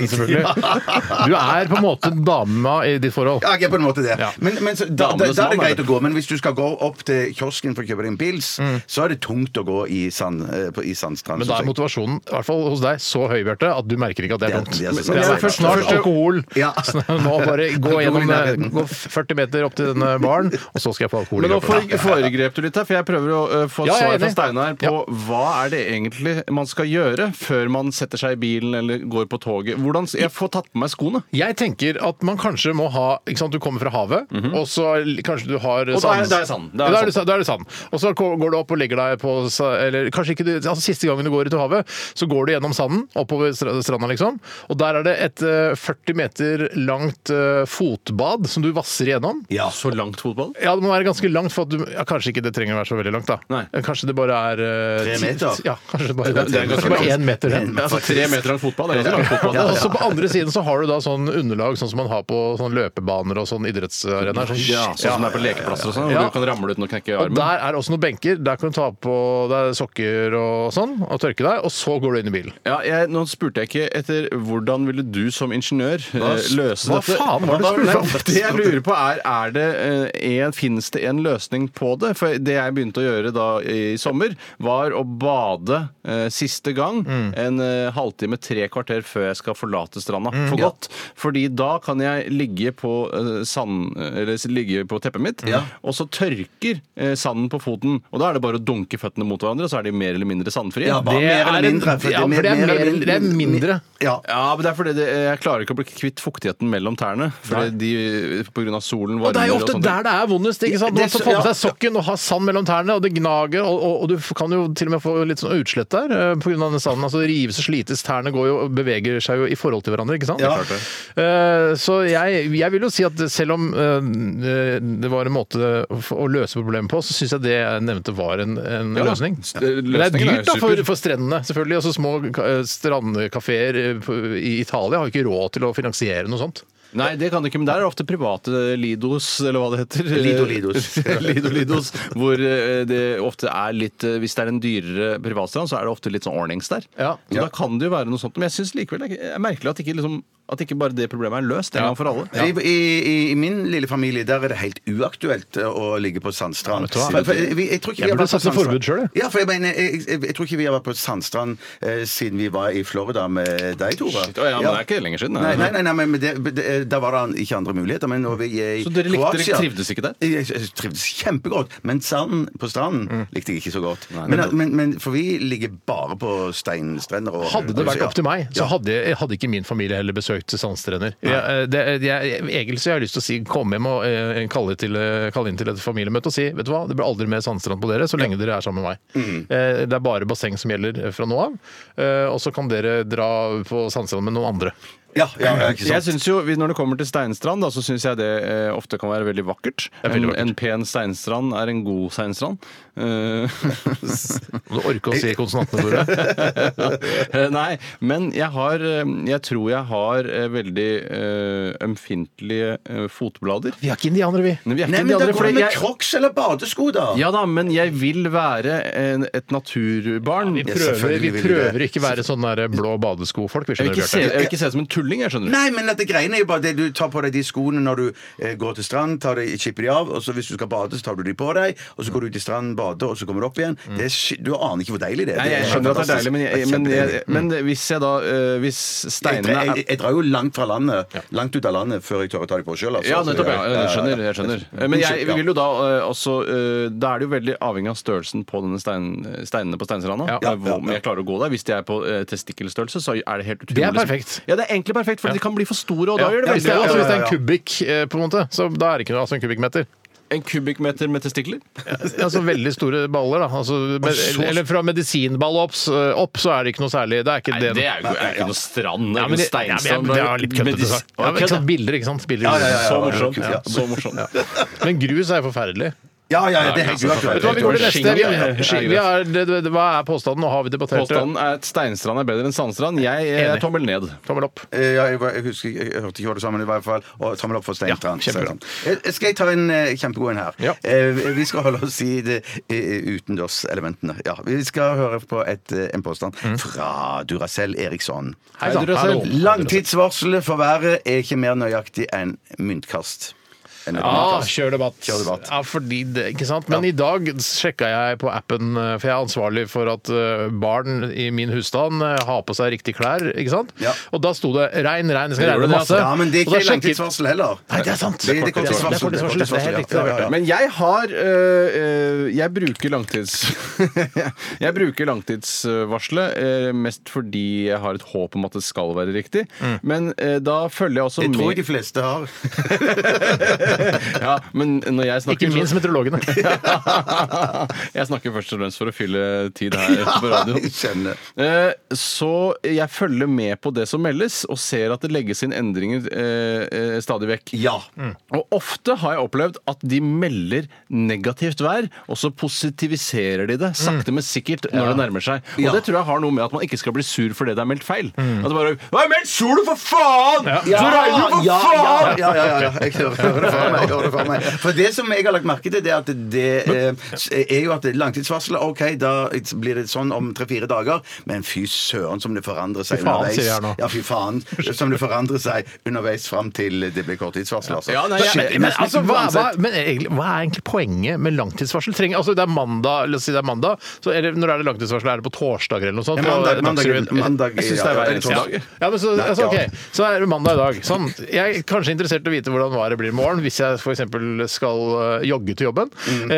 A: lavere, den, selvfølgelig. Du er på en måte dama i ditt forhold.
C: Ja, jeg er på en måte det.
A: Ja.
C: Men, men så, da, da,
B: Damenes
C: da er det
B: mann er
C: greit
B: det.
C: å gå. Men hvis du skal gå opp til kiosken for å kjøpe deg en pils, så er det tungt å gå i, sand, eh, på, i sandstrand.
A: Mm. Men da
C: sånn.
A: er motivasjonen i hvert fall hos deg så høy, Bjarte, at du merker ikke at det er
C: Det er-
A: tungt.
C: det er så
A: Men
C: sant.
A: først snart alkohol.
C: Ja.
A: Så nå bare gå
C: Alkohol i
A: gjennom eh,
C: nærheten.
A: gå 40 meter opp til denne baren og så skal jeg få alkohol
B: Men
A: i
B: nå
A: kroppen.
B: for- foregrep du litt her, for jeg prøver å eh, få et
A: Ja, jeg er
B: svar fra
A: enig.
B: Steinar på hva er det egentlig man skal gjøre før man setter seg i bilen eller går på toget. Hvordan s- Jeg får tatt på meg skoene.
A: Jeg tenker at man kanskje må ha ikke sant, Du kommer fra havet, og så l- kanskje du har
B: Mhm. Og da er- da er sand. Da er
A: Da er det sa-
B: sand.
A: da er det sand. Og så ko- går du opp og legger deg på sa- Eller kanskje ikke du altså, Siste gangen du går ut i havet, så går du gjennom sanden, oppover stra- stranda, liksom. Og der er det et eh, 40 meter langt eh, fotbad som du vasser igjennom.
C: Ja.
B: Så langt fotball?
A: Ja, det må være ganske langt, for at du, ja, kanskje ikke det trenger å være så veldig langt, da.
B: Nei.
A: Kanskje det bare er eh,
C: Tre
A: ti-
C: meter?
A: Ja, kanskje det bare,
B: Det er ganske
A: bare
B: langt.
A: én meter. Ja.
B: Ja, altså Tre meter lang fotball det er ganske langt fotball.
A: Ja, og så på andre siden så har du da sånn underlag sånn som man har på sånn løpebaner og sånn idrettsarenaer. Sånn,
B: Ja, sånn som det er på lekeplasser og sånn, hvor
A: Ja.
B: du kan ramle uten å knekke
A: og
B: armen.
A: der er også noen benker. Der kan du ta på deg sokker og sånn og tørke deg, og så går du inn i bilen.
B: Ja, jeg, nå spurte jeg ikke etter hvordan ville du som ingeniør eh, løse
A: hva
B: dette.
A: faen var det
B: Hva
A: du spurte om?
B: Nei, Det jeg lurer på er, er det eh, en, finnes det en løsning på det? For det jeg begynte å gjøre da i sommer, var å bade eh, siste gang
A: Mm.
B: en eh, halvtime, tre kvarter før jeg skal forlate stranda
A: Mm,
B: for godt. Fordi da kan jeg ligge på eh, sand, eller ligge på teppet mitt, og så tørker eh, sanden på foten. Og da er det bare å dunke føttene mot hverandre, så er de mer eller mindre sandfrie.
C: Ja, bare mer eller mindre.
A: en, ja, for det er,
C: mer eller
A: mer, det er mindre.
C: Ja.
B: Ja, men det er fordi det, jeg klarer ikke å bli kvitt fuktigheten mellom tærne. Fordi de, på grunn av solen varmer
A: Og det er jo ofte
B: sånne ting.
A: der det er vondest. ikke sant?
C: Det-
A: Man
C: det-
A: får på
C: ja.
A: seg sokken og har sand mellom tærne, og det gnager. Og, og, og du kan jo til og med få litt sånn utslett der eh, på grunn av den sanden. Altså det rives og slites, tærne går jo, og beveger seg jo i forhold til hverandre, ikke sant?
C: Ja.
A: Eh, Så jeg, jeg vil jo si at selv om eh, det var en måte å løse problemet på, så syns jeg det jeg nevnte var en, en
B: Ja,
A: løsning. Men
B: s-
A: det er
B: løsningen er
A: dyrt da
B: jo
A: for,
B: super.
A: for strendene, selvfølgelig. Altså små eh, strandkafeer eh, på- i Italia har jo ikke råd til å finansiere noe sånt.
B: Nei, det kan det ikke, men der er det ofte private Lidos, eller hva det heter.
C: Lido Lidos.
B: Lido Lidos, Hvor eh, det ofte er litt eh, Hvis det er en dyrere privatstrand, så er det ofte litt sånn ordnings der.
A: Ja.
B: Så da kan det jo være noe sånt. Men jeg syns likevel det er merkelig at ikke, liksom, at ikke bare det problemet er løst en gang for alle.
C: I, i, I min lille familie der er det helt uaktuelt eh, å ligge på sandstrand.
A: Ja, vet du hva?
C: For- for- vi- jeg, tror ikke
A: Jeg
C: vi har
A: burde
C: vært på
A: satt i
C: sandstrand.
A: forbud selv, jeg.
C: Ja, for jeg, mener, jeg, jeg, jeg tror ikke vi har vært på sandstrand eh, siden vi var i Florida med deg, Tore.
B: Shit, å ja, men det er ikke lenger siden,
C: Nei, nei,
B: nei.
C: nei, nei, men det, det, da var det ikke andre muligheter. Men når vi i
B: Så dere likte- dere
C: Kroatia-
B: trivdes ikke der?
C: Jeg, jeg trivdes kjempegodt. Men sanden på stranden
B: Mm.
C: likte jeg ikke så godt. men, men, men, for vi ligger bare på steinstrender. og-
A: Hadde det vært
C: Ja.
A: opp til meg, så hadde, jeg- hadde ikke min familie heller besøkt sandstrender. Jeg, det, jeg, egentlig så jeg har lyst til å si kom hjem og eh, kalle, til, eh, kalle inn til et familiemøte og si vet du hva, det blir aldri mer sandstrand på dere så lenge dere er sammen med meg.
C: Mhm.
A: Eh, Det er bare basseng som gjelder fra nå av. eh, Og så kan dere dra på sandstrand med noen andre.
C: Ja, ja, ja, ikke sant?
B: Jeg synes jo, Når det kommer til steinstrand, da, så syns jeg det eh, ofte kan være veldig vakkert.
A: er veldig
B: En, en pen steinstrand er en god steinstrand. Eh,
A: Om du orker å si konsonantene våre.
B: eh, Nei, men jeg har eh, Jeg tror jeg har eh, veldig eh, ømfintlige eh, fotblader.
A: Vi er ikke indianere, vi.
B: Men vi er
C: Nei,
B: ikke
C: men
B: de
C: da
B: andre,
C: går
B: fordi
C: det med
B: jeg-
C: crocs eller badesko, da!
B: Ja da, men jeg vil være en, et naturbarn.
A: Vi
B: Jeg
A: prøver, vi
C: selvfølgelig vil vi det.
A: prøver ikke være sånn der blå badeskofolk. Vi
B: vil
A: skjønner
B: ikke se-
A: Bjarte.
B: jeg vil ikke se ut som en tulling, jeg, skjønner du.
C: Nei, men dette greiene er jo bare det du tar på deg de skoene når du eh, går til strand, tar de, chipper de av, og så hvis du skal bade, så tar du de på deg, og så går du ut i stranden, bader, og så kommer du opp igjen. Det er, sky- du aner ikke hvor deilig det er.
B: Mm. Nei, jeg
C: er
B: skjønner at det er deilig,
C: fantastisk.
B: men, jeg,
C: Det er
B: men, jeg,
C: kjempedeilig.
B: men hvis jeg da eh, Hvis
C: jeg,
B: steinene
C: jeg,
B: er
C: jeg, jeg drar jo langt fra landet, langt ut av landet, før jeg tør å ta de på sjøl. Altså.
B: Ja, nettopp. Ja.
C: ja,
B: Jeg
C: ja.
B: skjønner. jeg skjønner. Men jeg vi vil jo da eh, også eh, Da er det jo veldig avhengig av størrelsen på denne stein, steinene på steinstranda.
A: Ja.
B: Eh, hvor- Om jeg klarer å gå der. Hvis de er på eh, testikkelstørrelse, så er det helt utrolig.
A: Det er perfekt.
B: Ja, det er egentlig perfekt, for de kan bli for store, og da gjør det
A: Ja, hvis
B: veldig
A: det, er- altså,
B: vondt.
A: hvis det er en
C: Ja, ja, ja.
A: kubikk, eh, på en måte, så da er det ikke noe altså en kubikkmeter.
B: En kubikkmeter med testikler?
A: Altså veldig store baller, da. Altså, med, eller fra medisinball opp, s- opp, så er det ikke noe særlig. Det er ikke det.
B: er jo er jo ikke noe strand.
A: Ja, men det, ja, men jeg- det er litt køddete.
B: Medis-
A: sagt. Ja, men ikke sant, Bilder, ikke sant? Bilder,
B: Så
A: Så-
B: morsomt. Så morsomt.
A: Men grus er jo forferdelig.
C: Ja, ja, ja, det er helt
A: Vet du hva,
C: uaktuelt.
A: vi går til neste.
B: Jeg tror
A: Vi,
B: skinga er-
A: skinga- vi er, det, det, det, hva er påstanden? Nå har vi debattert det.
B: Påstanden er at steinstrand er bedre enn sandstrand. Jeg er
A: Enig.
B: tommel ned.
A: Tommel opp.
C: Eh, Ja, jeg, var- jeg husker, jeg, jeg hørte ikke hva du sa, men i hvert fall og tommel opp for Steinstrand.
A: Ja, kjempebra.
C: Eh, Skal jeg ta en eh, kjempegod en her?
A: Ja.
C: Eh, Vi skal holde oss i det eh, utendørselementene. Ja, vi skal høre på et, eh, en påstand
A: Mm.
C: fra Duracell Eriksson.
A: Hei sann.
B: Duracell.
A: Hallo.
C: Langtidsvarselet for været er ikke mer nøyaktig enn myntkast. En
A: Ja,
C: debatt.
A: kjør debatt.
C: Ah, Kjør debatt.
A: Ja, fordi det, ikke sant? Men i dag sjekka jeg på appen, eh, for jeg er ansvarlig for at eh, barn i min husstand eh, har på seg riktige klær. ikke sant?
C: Ja.
A: Og da sto det 'regn, regn', det skal
B: Det gjorde
A: regne
B: det
A: masse.
C: Ja, men det er
A: Og da
C: ikke
A: sjekket-
C: langtidsvarsel heller.
A: Nei, det er sant.
C: Det- det er korttidsvarsel.
A: Det er korttidsvarsel, det er helt riktig.
C: Ja, ja, ja.
B: Men jeg har øh, øh, Jeg bruker langtids... jeg bruker langtidsvarselet øh, mest fordi jeg har et håp om at det skal være riktig. Men øh, da følger jeg også
C: Det tror
B: med
C: jeg de fleste har.
B: ja, men når jeg snakker sånn-
A: Ikke minst meteorologene.
B: jeg snakker først og fremst for å fylle tid her på radioen.
C: Jeg skjønner.
B: Eh, Så jeg følger med på det som meldes, og ser at det legges inn endringer eh, eh, stadig vekk.
C: Ja.
B: Og ofte har jeg opplevd at de melder negativt vær, og så positiviserer de det sakte, men sikkert når det nærmer seg. Og
C: Ja.
B: det tror jeg har noe med at man ikke skal bli sur fordi det er meldt feil. At det bare Hva er meldt sol, for faen! Så regner det, for
C: ja,
B: faen!
C: ja, ja, ja, ja, ja. Jeg hører, hører det for meg. jeg Hører det for meg. For det som jeg har lagt merke til, det er at det eh, er jo at langtidsvarselet OK, da blir det sånn om tre-fire dager, men fy søren som det forandrer seg
A: Fy faen, sier jeg nå.
C: underveis. Ja, fy faen. Som det forandrer seg underveis fram til det blir korttidsvarsel, altså.
B: Ja, nei,
C: Da
B: jeg-
C: skjer det
A: Men,
C: nesten
A: altså, hva, hva,
C: uansett.
A: men egentlig, hva er egentlig poenget med langtidsvarsel? Trenger, altså, det er mandag, la oss si det er mandag, så er det, når er det langtidsvarsel? Er det på torsdager eller noe sånt?
C: Ja, mandag-
A: På
C: mandag-
A: Dagsrevyen?
C: mandag-
B: Jeg syns det er
C: ja,
B: hver
C: eller
B: eneste
C: torsdag.
B: dag.
A: Ja, men så,
C: Nei,
A: altså,
C: ja.
A: ok, så er det mandag i dag. Sånn. Jeg er kanskje interessert i å vite hvordan været blir i morgen, hvis jeg f.eks. skal øh, jogge til jobben.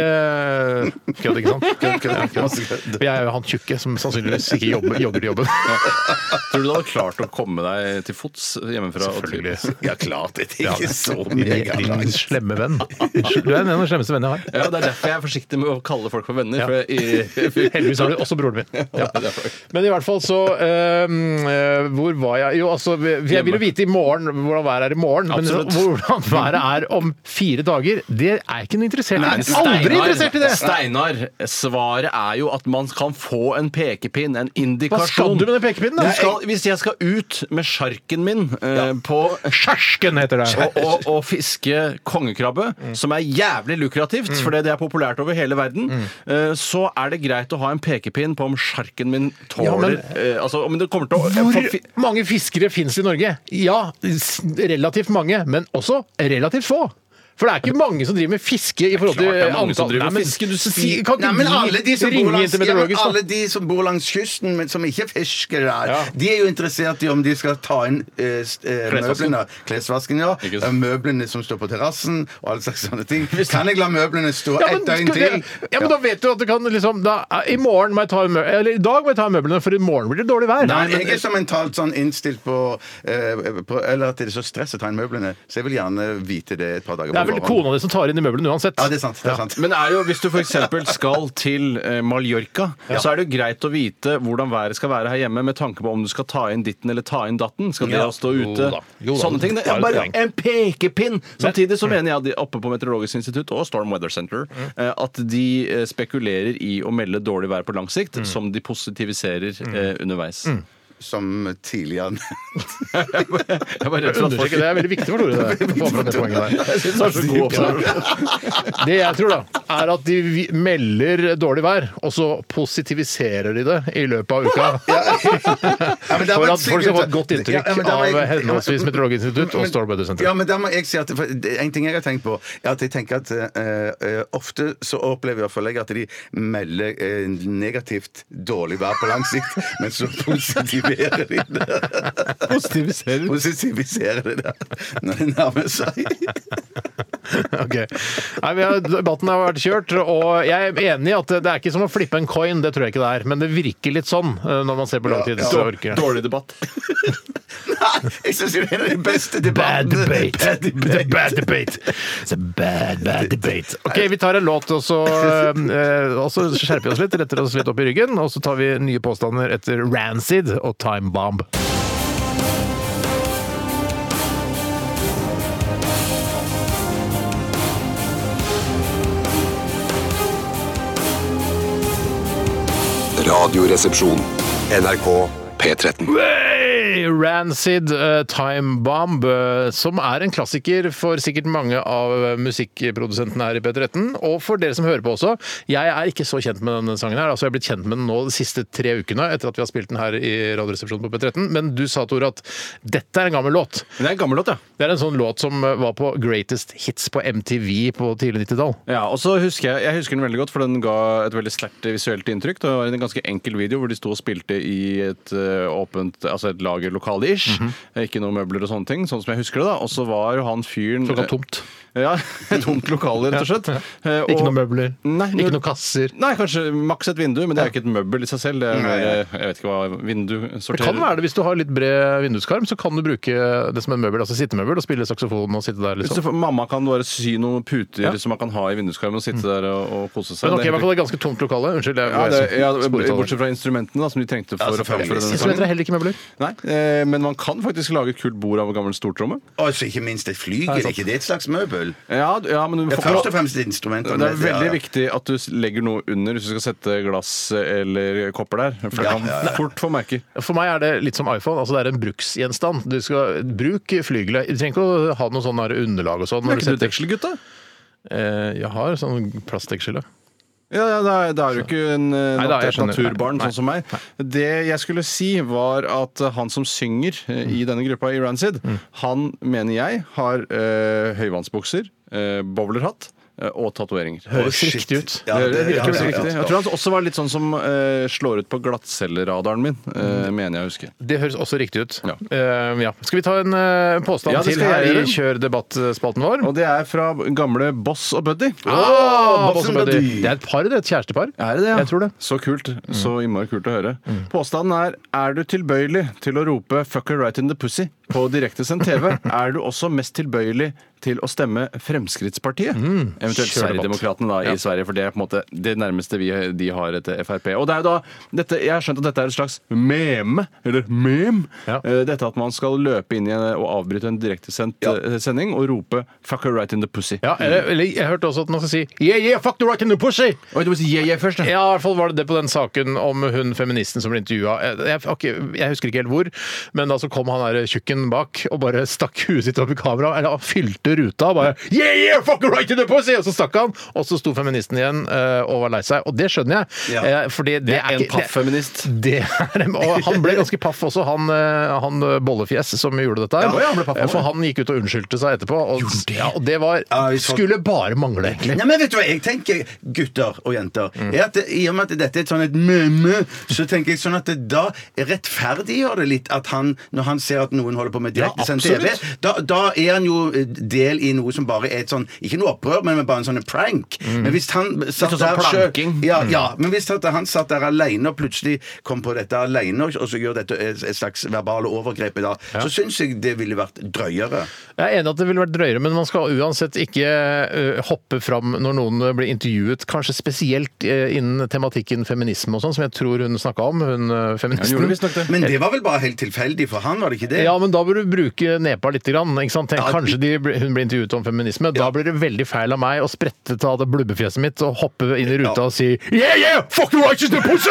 A: Eh, kødd, ikke sant?
C: Mm. Kødd, kødd, kødd.
A: Jeg er jo han tjukke som sannsynligvis ikke jobber, jogger til jobben.
B: Tror du du hadde klart å komme deg til fots hjemmefra? og til-
A: Selvfølgelig.
C: Ja, klart. Det er ikke så mye. jeg har
A: Din
C: lagt.
A: slemme venn. Du er en av de slemmeste vennene jeg har.
B: Ja, Det er derfor jeg er forsiktig med å kalle folk for venner.
A: Ja.
B: For jeg,
A: Heldigvis har du også broren min. Ja.
B: det er derfor.
A: Men i hvert fall så øhm, øh, Hvor var jeg? Jo, altså vi- Jeg vil jo vite i morgen hvordan været er i morgen. Men
B: Absolutt.
A: hvordan været er om fire dager, det er jeg ikke noe interessert i. Jeg er Aldri interessert i det!
B: Steinar, svaret er jo at man kan få en pekepinn, en indikasjon.
A: Hva skal du med den pekepinn, da?
B: Du skal, hvis jeg skal ut med sjarken min eh, på
A: Kjersken heter det.
B: og, og, og fiske kongekrabbe, som er jævlig lukrativt, fordi det er populært over hele verden, eh, så er det greit å ha en pekepinn på om sjarken min tåler
A: Ja, men-
B: eh, Altså om det kommer til å
A: Hvor mange fiskere fins i Norge? Ja, s- relativt mange, men også relativt få. For det er ikke mange som driver med fiske i forhold til
B: Klart det er mange
A: antall
B: som driver med
A: men
B: fiske. Du
A: si-
B: sier-
A: kan
C: Nei,
A: ikke
C: men
A: vi
C: alle de som bor
A: ringe
C: langs,
A: inn til
C: ja, men
A: meteorologisk, da?
C: alle de som bor langs kysten, men som ikke er fiskere, der,
A: Ja.
C: de er jo interessert i om de skal ta inn eh, s- eh,
B: Klesvasken.
C: møblene, klesvasken, ja,
B: Ikke sant.
C: eh, møblene som står på terrassen, og all slags sånne ting. Kan jeg la møblene stå
A: Ja,
C: ett
A: men,
C: døgn
A: skal
C: til?
A: det, ja, men da vet du at du kan liksom da, I morgen må jeg ta mø Eller i dag må jeg ta møblene, for i morgen blir det dårlig vær.
C: Nei, men jeg er så mentalt sånn innstilt på, eh, på Eller at det er så stress å ta inn møblene, så jeg vil gjerne vite det et par dager
A: det er vel kona di som tar inn i møblene uansett.
C: Ja, det er sant. Det er sant.
B: Men er jo, hvis du f.eks. skal til eh, Mallorca, så er det jo greit å vite hvordan været skal være her hjemme, med tanke på om du skal ta inn ditten eller ta inn datten. Skal det
A: Ja.
B: stå
A: Jo
B: ute?
A: da. Jo da.
B: Sånne ting. Det
A: Det er
B: er
A: et
B: bare
A: poeng. Mm.
B: en pekepinn! Samtidig så mener jeg at de oppe på Meteorologisk institutt og Storm Weather Center eh, at de eh, spekulerer i å melde dårlig vær på lang sikt,
A: Mm.
B: som de positiviserer eh, underveis.
C: Som tidligere nevnt.
B: Jeg var redd for at folk
A: Understreke, det er veldig viktig for Tore. det, å få fram det poenget der.
B: Jeg synes det er så god observasjon.
A: Det jeg tror, da, er at de vi- melder dårlig vær, og så positiviserer de det i løpet av uka.
C: Ja, men det har
A: For
C: vært
A: at folk skal få
C: sikkert-
A: et godt inntrykk
C: Ja, men det har
A: av
C: jeg-
A: henholdsvis Meteorologisk institutt og
C: Men-
A: Storm Weather
C: Ja,
A: Center.
C: men der må jeg si at for det- En ting jeg har tenkt på, er at jeg tenker at eh, eh, ofte så opplever i hvert fall jeg at de melder eh, negativt dårlig vær på lang sikt, men så positiverer de det.
A: Positiviserer.
C: Positiviserer de det når det nærmer seg.
A: Ok. Nei, vi har, debatten har vært kjørt, og jeg er enig i at det er ikke som å flippe en coin, det tror jeg ikke det er, men det virker litt sånn eh, når man ser på langtidsorker.
B: Dårlig debatt.
C: Nei, jeg syns det er den beste
A: Bad
C: debatten.
A: debate.
C: Bad
A: The
C: debate.
A: bad debate. It's a bad, bad debate. Ok, vi tar en låt, og så, eh, og så skjerper vi oss litt, retter oss litt opp i ryggen, og så tar vi nye påstander etter Rancid og Time Bomb.
J: Radioresepsjon. NRK P13.
A: Hey! Oi! Rancid eh, Time Bomb, eh, som er en klassiker for sikkert mange av eh, musikkprodusentene her i P13. Og for dere som hører på også. Jeg er ikke så kjent med denne sangen her. altså Jeg er blitt kjent med den nå de siste tre ukene etter at vi har spilt den her i Radioresepsjonen på P13. Men du sa, Tore, at dette er en gammel låt.
B: Det er en gammel låt, ja.
A: Det er en sånn låt som eh, var på Greatest Hits på MTV på tidlig 90-tall.
B: Ja, og så husker jeg, jeg husker den veldig godt, for den ga et veldig sterkt visuelt inntrykk. Det var en ganske enkel video hvor de sto og spilte i et eh, åpent altså et lagerlokale-ish.
A: Mhm.
B: Ikke noe møbler og sånne ting, sånn som jeg husker det. da. Og så var jo han fyren
A: Såkalt tomt.
B: Ja, tomt lokale, rett og slett. Eh,
A: Ikke
B: og-
A: noen møbler,
B: Nei,
A: ikke noen kasser.
B: Nei, kanskje maks et vindu, men det er jo ikke et møbel i seg selv. Det er, mer, eh, jeg vet ikke hva vindu sorterer.
A: Det kan være det. Hvis du har litt bred vinduskarm, så kan du bruke det som en møbel, altså sittemøbel, og spille saksofon og sitte der.
B: Hvis du
A: liksom.
B: får- Mamma kan bare sy noen puter
A: Ja. Mm.
B: som man kan ha i vinduskarmen og sitte der og, og kose seg.
A: Men ok,
B: Det
A: i
B: er
A: hvert fall det er ganske tomt lokale. Unnskyld. Jeg,
B: Ja, det, ja,
A: sporet av
B: bortsett fra instrumentene da, som de trengte for å
C: selvfølgelig.
B: framføre denne
A: Instrumenter
B: sangen.
A: er heller ikke møbler.
B: Nei, eh, men man kan faktisk lage et kult bord av en gammel stortromme.
C: Og så Altså, ikke minst et flygel. Er ikke det et slags møbel?
B: Ja, d- ja, men du
C: Det er
B: får
C: først og
B: ikke
C: fremst et instrument.
B: det er veldig viktig at du s- legger noe under hvis du skal sette glass eller kopper der. For det
C: Ja,
B: kan
C: ja, ja.
B: fort få merker.
A: For meg er det litt som iPhone. altså Det er en bruksgjenstand. Du skal bruke flygelet. Du trenger ikke å ha noe sånn der underlag og sånn.
B: Men
A: når du
B: er ikke du
A: setter-
B: dekselgutta?
A: Eh, Jeg har sånn plastdeksel, ja.
B: Ja, ja, da, er- da er du ikke en eh,
A: Nei, da,
B: nat
A: jeg skjønner.
B: naturbarn
A: Nei,
B: sånn som meg. Det jeg skulle si, var at eh, han som synger eh, i denne gruppa i Rancid, han mener jeg har eh, høyvannsbukser, eh, bowlerhatt eh, og tatoveringer.
A: Høres riktig ut.
C: Ja,
B: det,
C: det- ja,
B: virker veldig
C: ja, ja.
B: riktig. Jeg tror han også var litt sånn som eh, slår ut på glattcelleradaren min, eh, mener jeg å huske.
A: Det høres også riktig ut.
B: Ja.
A: Eh, ja. Skal vi ta en eh, påstand
B: Ja, det
A: til
B: skal
A: her
B: jeg
A: i
B: gjøre.
A: Kjør debatt-spalten vår?
B: Og det er fra gamle Boss og Buddy.
A: Ah,
C: Boss and
A: Buddy.
C: Buddy.
A: det er et par, det. Et kjærestepar.
B: Er det det, ja?
A: Jeg tror det.
B: Så kult. Så innmari kult å høre. Påstanden er er du tilbøyelig til å rope 'fucker right in the pussy' på direktesendt TV, er du også mest tilbøyelig til å stemme Fremskrittspartiet? Eventuelt
A: Kjør debatt.
B: Sverigedemokratene da, i Sverige, for det er på en måte det nærmeste vi, de har etter Frp. Og det er jo da, dette, Jeg har skjønt at dette er et slags meme, eller mem.
A: Ja.
B: Eh, Dette at man skal løpe inn i en, og avbryte en direktesendt eh, sending og rope 'fucker right in the pussy'.
A: Ja, eller, eller jeg hørte også at man skal si Yeah, yeah, fuck the right in the pussy!
B: Oi, du må si yeah, yeah først,
A: Ja, i hvert fall var det det på den saken om hun feministen som ble intervjua. Jeg, jeg, har ikke- jeg husker ikke helt hvor, men da så kom han der tjukken bak og bare stakk huet sitt opp i kameraet, eller han fylte ruta og bare Yeah, yeah, fuck right in the pussy! Og så stakk han, og så sto feministen igjen eh, og var lei seg. Og det skjønner jeg.
C: Ja.
A: eh, Fordi det, er
B: En
A: ikke- det-
B: paff feminist.
A: det er, og han ble ganske paff også, han, eh, han eh, bollefjes som gjorde dette. her. Eh,
B: Ja, ja, han ble paff, han.
A: For han gikk ut og unnskyldte seg etterpå. Og, ja, og det var,
C: Ja, vi så-
A: skulle bare mangle,
C: Nei,
A: egentlig.
C: men vet du hva, jeg tenker gutter og jenter
B: Mm.
C: er at det, I og med at dette er et sånn et mø-mø, så tenker jeg sånn at det, da rettferdiggjør det litt at han, når han ser at noen holder på med direktesendt
B: Ja, absolutt.
C: TV, da, da er han jo eh, del i noe som bare er et sånn Ikke noe opprør, men bare en sånn prank. Men hvis han satt
B: Mm. Litt sånn
C: der selv-
B: planking.
C: ja, ja, men hvis at han satt der alene og plutselig kom på dette alene, og så gjør dette et et slags verbale overgrep i dag, så syns jeg det ville vært drøyere.
A: Jeg er enig at det ville vært drøyere, men man skal uansett ikke eh, hoppe fram når noen eh, blir intervjuet, kanskje spesielt eh, innen tematikken feminisme og sånn, som jeg tror hun snakka om, hun eh,
B: Hun gjorde
A: feministen.
B: visstnok det.
C: Men det var vel bare helt tilfeldig for han, var det ikke det?
A: Ja, men da bør du bruke nepa litt. Grann, ikke sant? Tenk,
C: Ja.
A: Kanskje de, blir- hun blir intervjuet om feminisme. Da blir det veldig feil av meg å sprette ta det blubbefjeset mitt og hoppe inn i ruta
C: Ja.
A: og si Yeah, yeah! Fuck the righteous the pussy!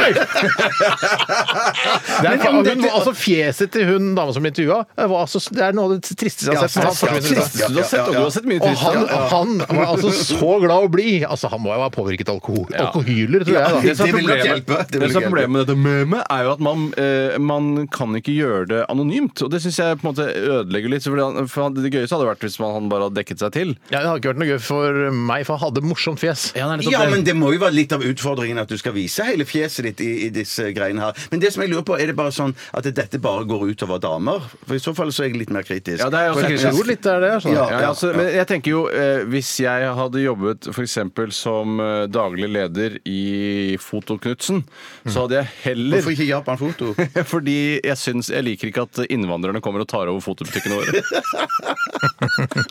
A: det
C: Men
A: er,
C: om
A: fa- hun,
C: dette-
A: altså, fjeset til hun dama som ble intervjua, var altså, det er noe av det tristeste jeg
C: Ja,
A: har sett. Han
C: ja,
A: forsvinner ut av-
C: ja,
B: Du har sett, og du har sett mye
A: Og
B: trist.
A: han, han var altså så glad å bli. Altså, han må jo ha påvirket alkohol. alkohyler, tror jeg. da.
B: Det
C: Det vil
B: som er
C: nok
B: problemet,
C: hjelpe. Det vil
B: det som
C: nok
B: er problemet med dette memet, er jo at man, eh, man kan ikke gjøre det anonymt. Og det syns jeg på en måte ødelegger litt. fordi han- For han- det gøyeste hadde vært hvis man, han bare hadde dekket seg til.
A: Ja, det hadde ikke vært noe gøy for meg, for han hadde morsomt fjes.
C: Ja, men det må jo være litt av utfordringen at du skal vise hele fjeset ditt i, i disse greiene her. Men det som jeg lurer på, er det bare sånn at dette bare går utover damer? For i så fall så er jeg litt mer kritisk.
B: Ja, det er jeg også
C: For-
B: kritisk.
A: Jo, litt er det, altså.
C: Ja,
B: Ja,
C: Ah, ja,
B: altså,
C: ja.
B: Men jeg tenker jo, eh, hvis jeg hadde jobbet f.eks. som eh, daglig leder i Fotoknutsen, så hadde jeg heller
C: Hvorfor ikke Japan Foto?
B: Fordi jeg syns Jeg liker ikke at innvandrerne kommer kommer og tar over fotobutikkene våre.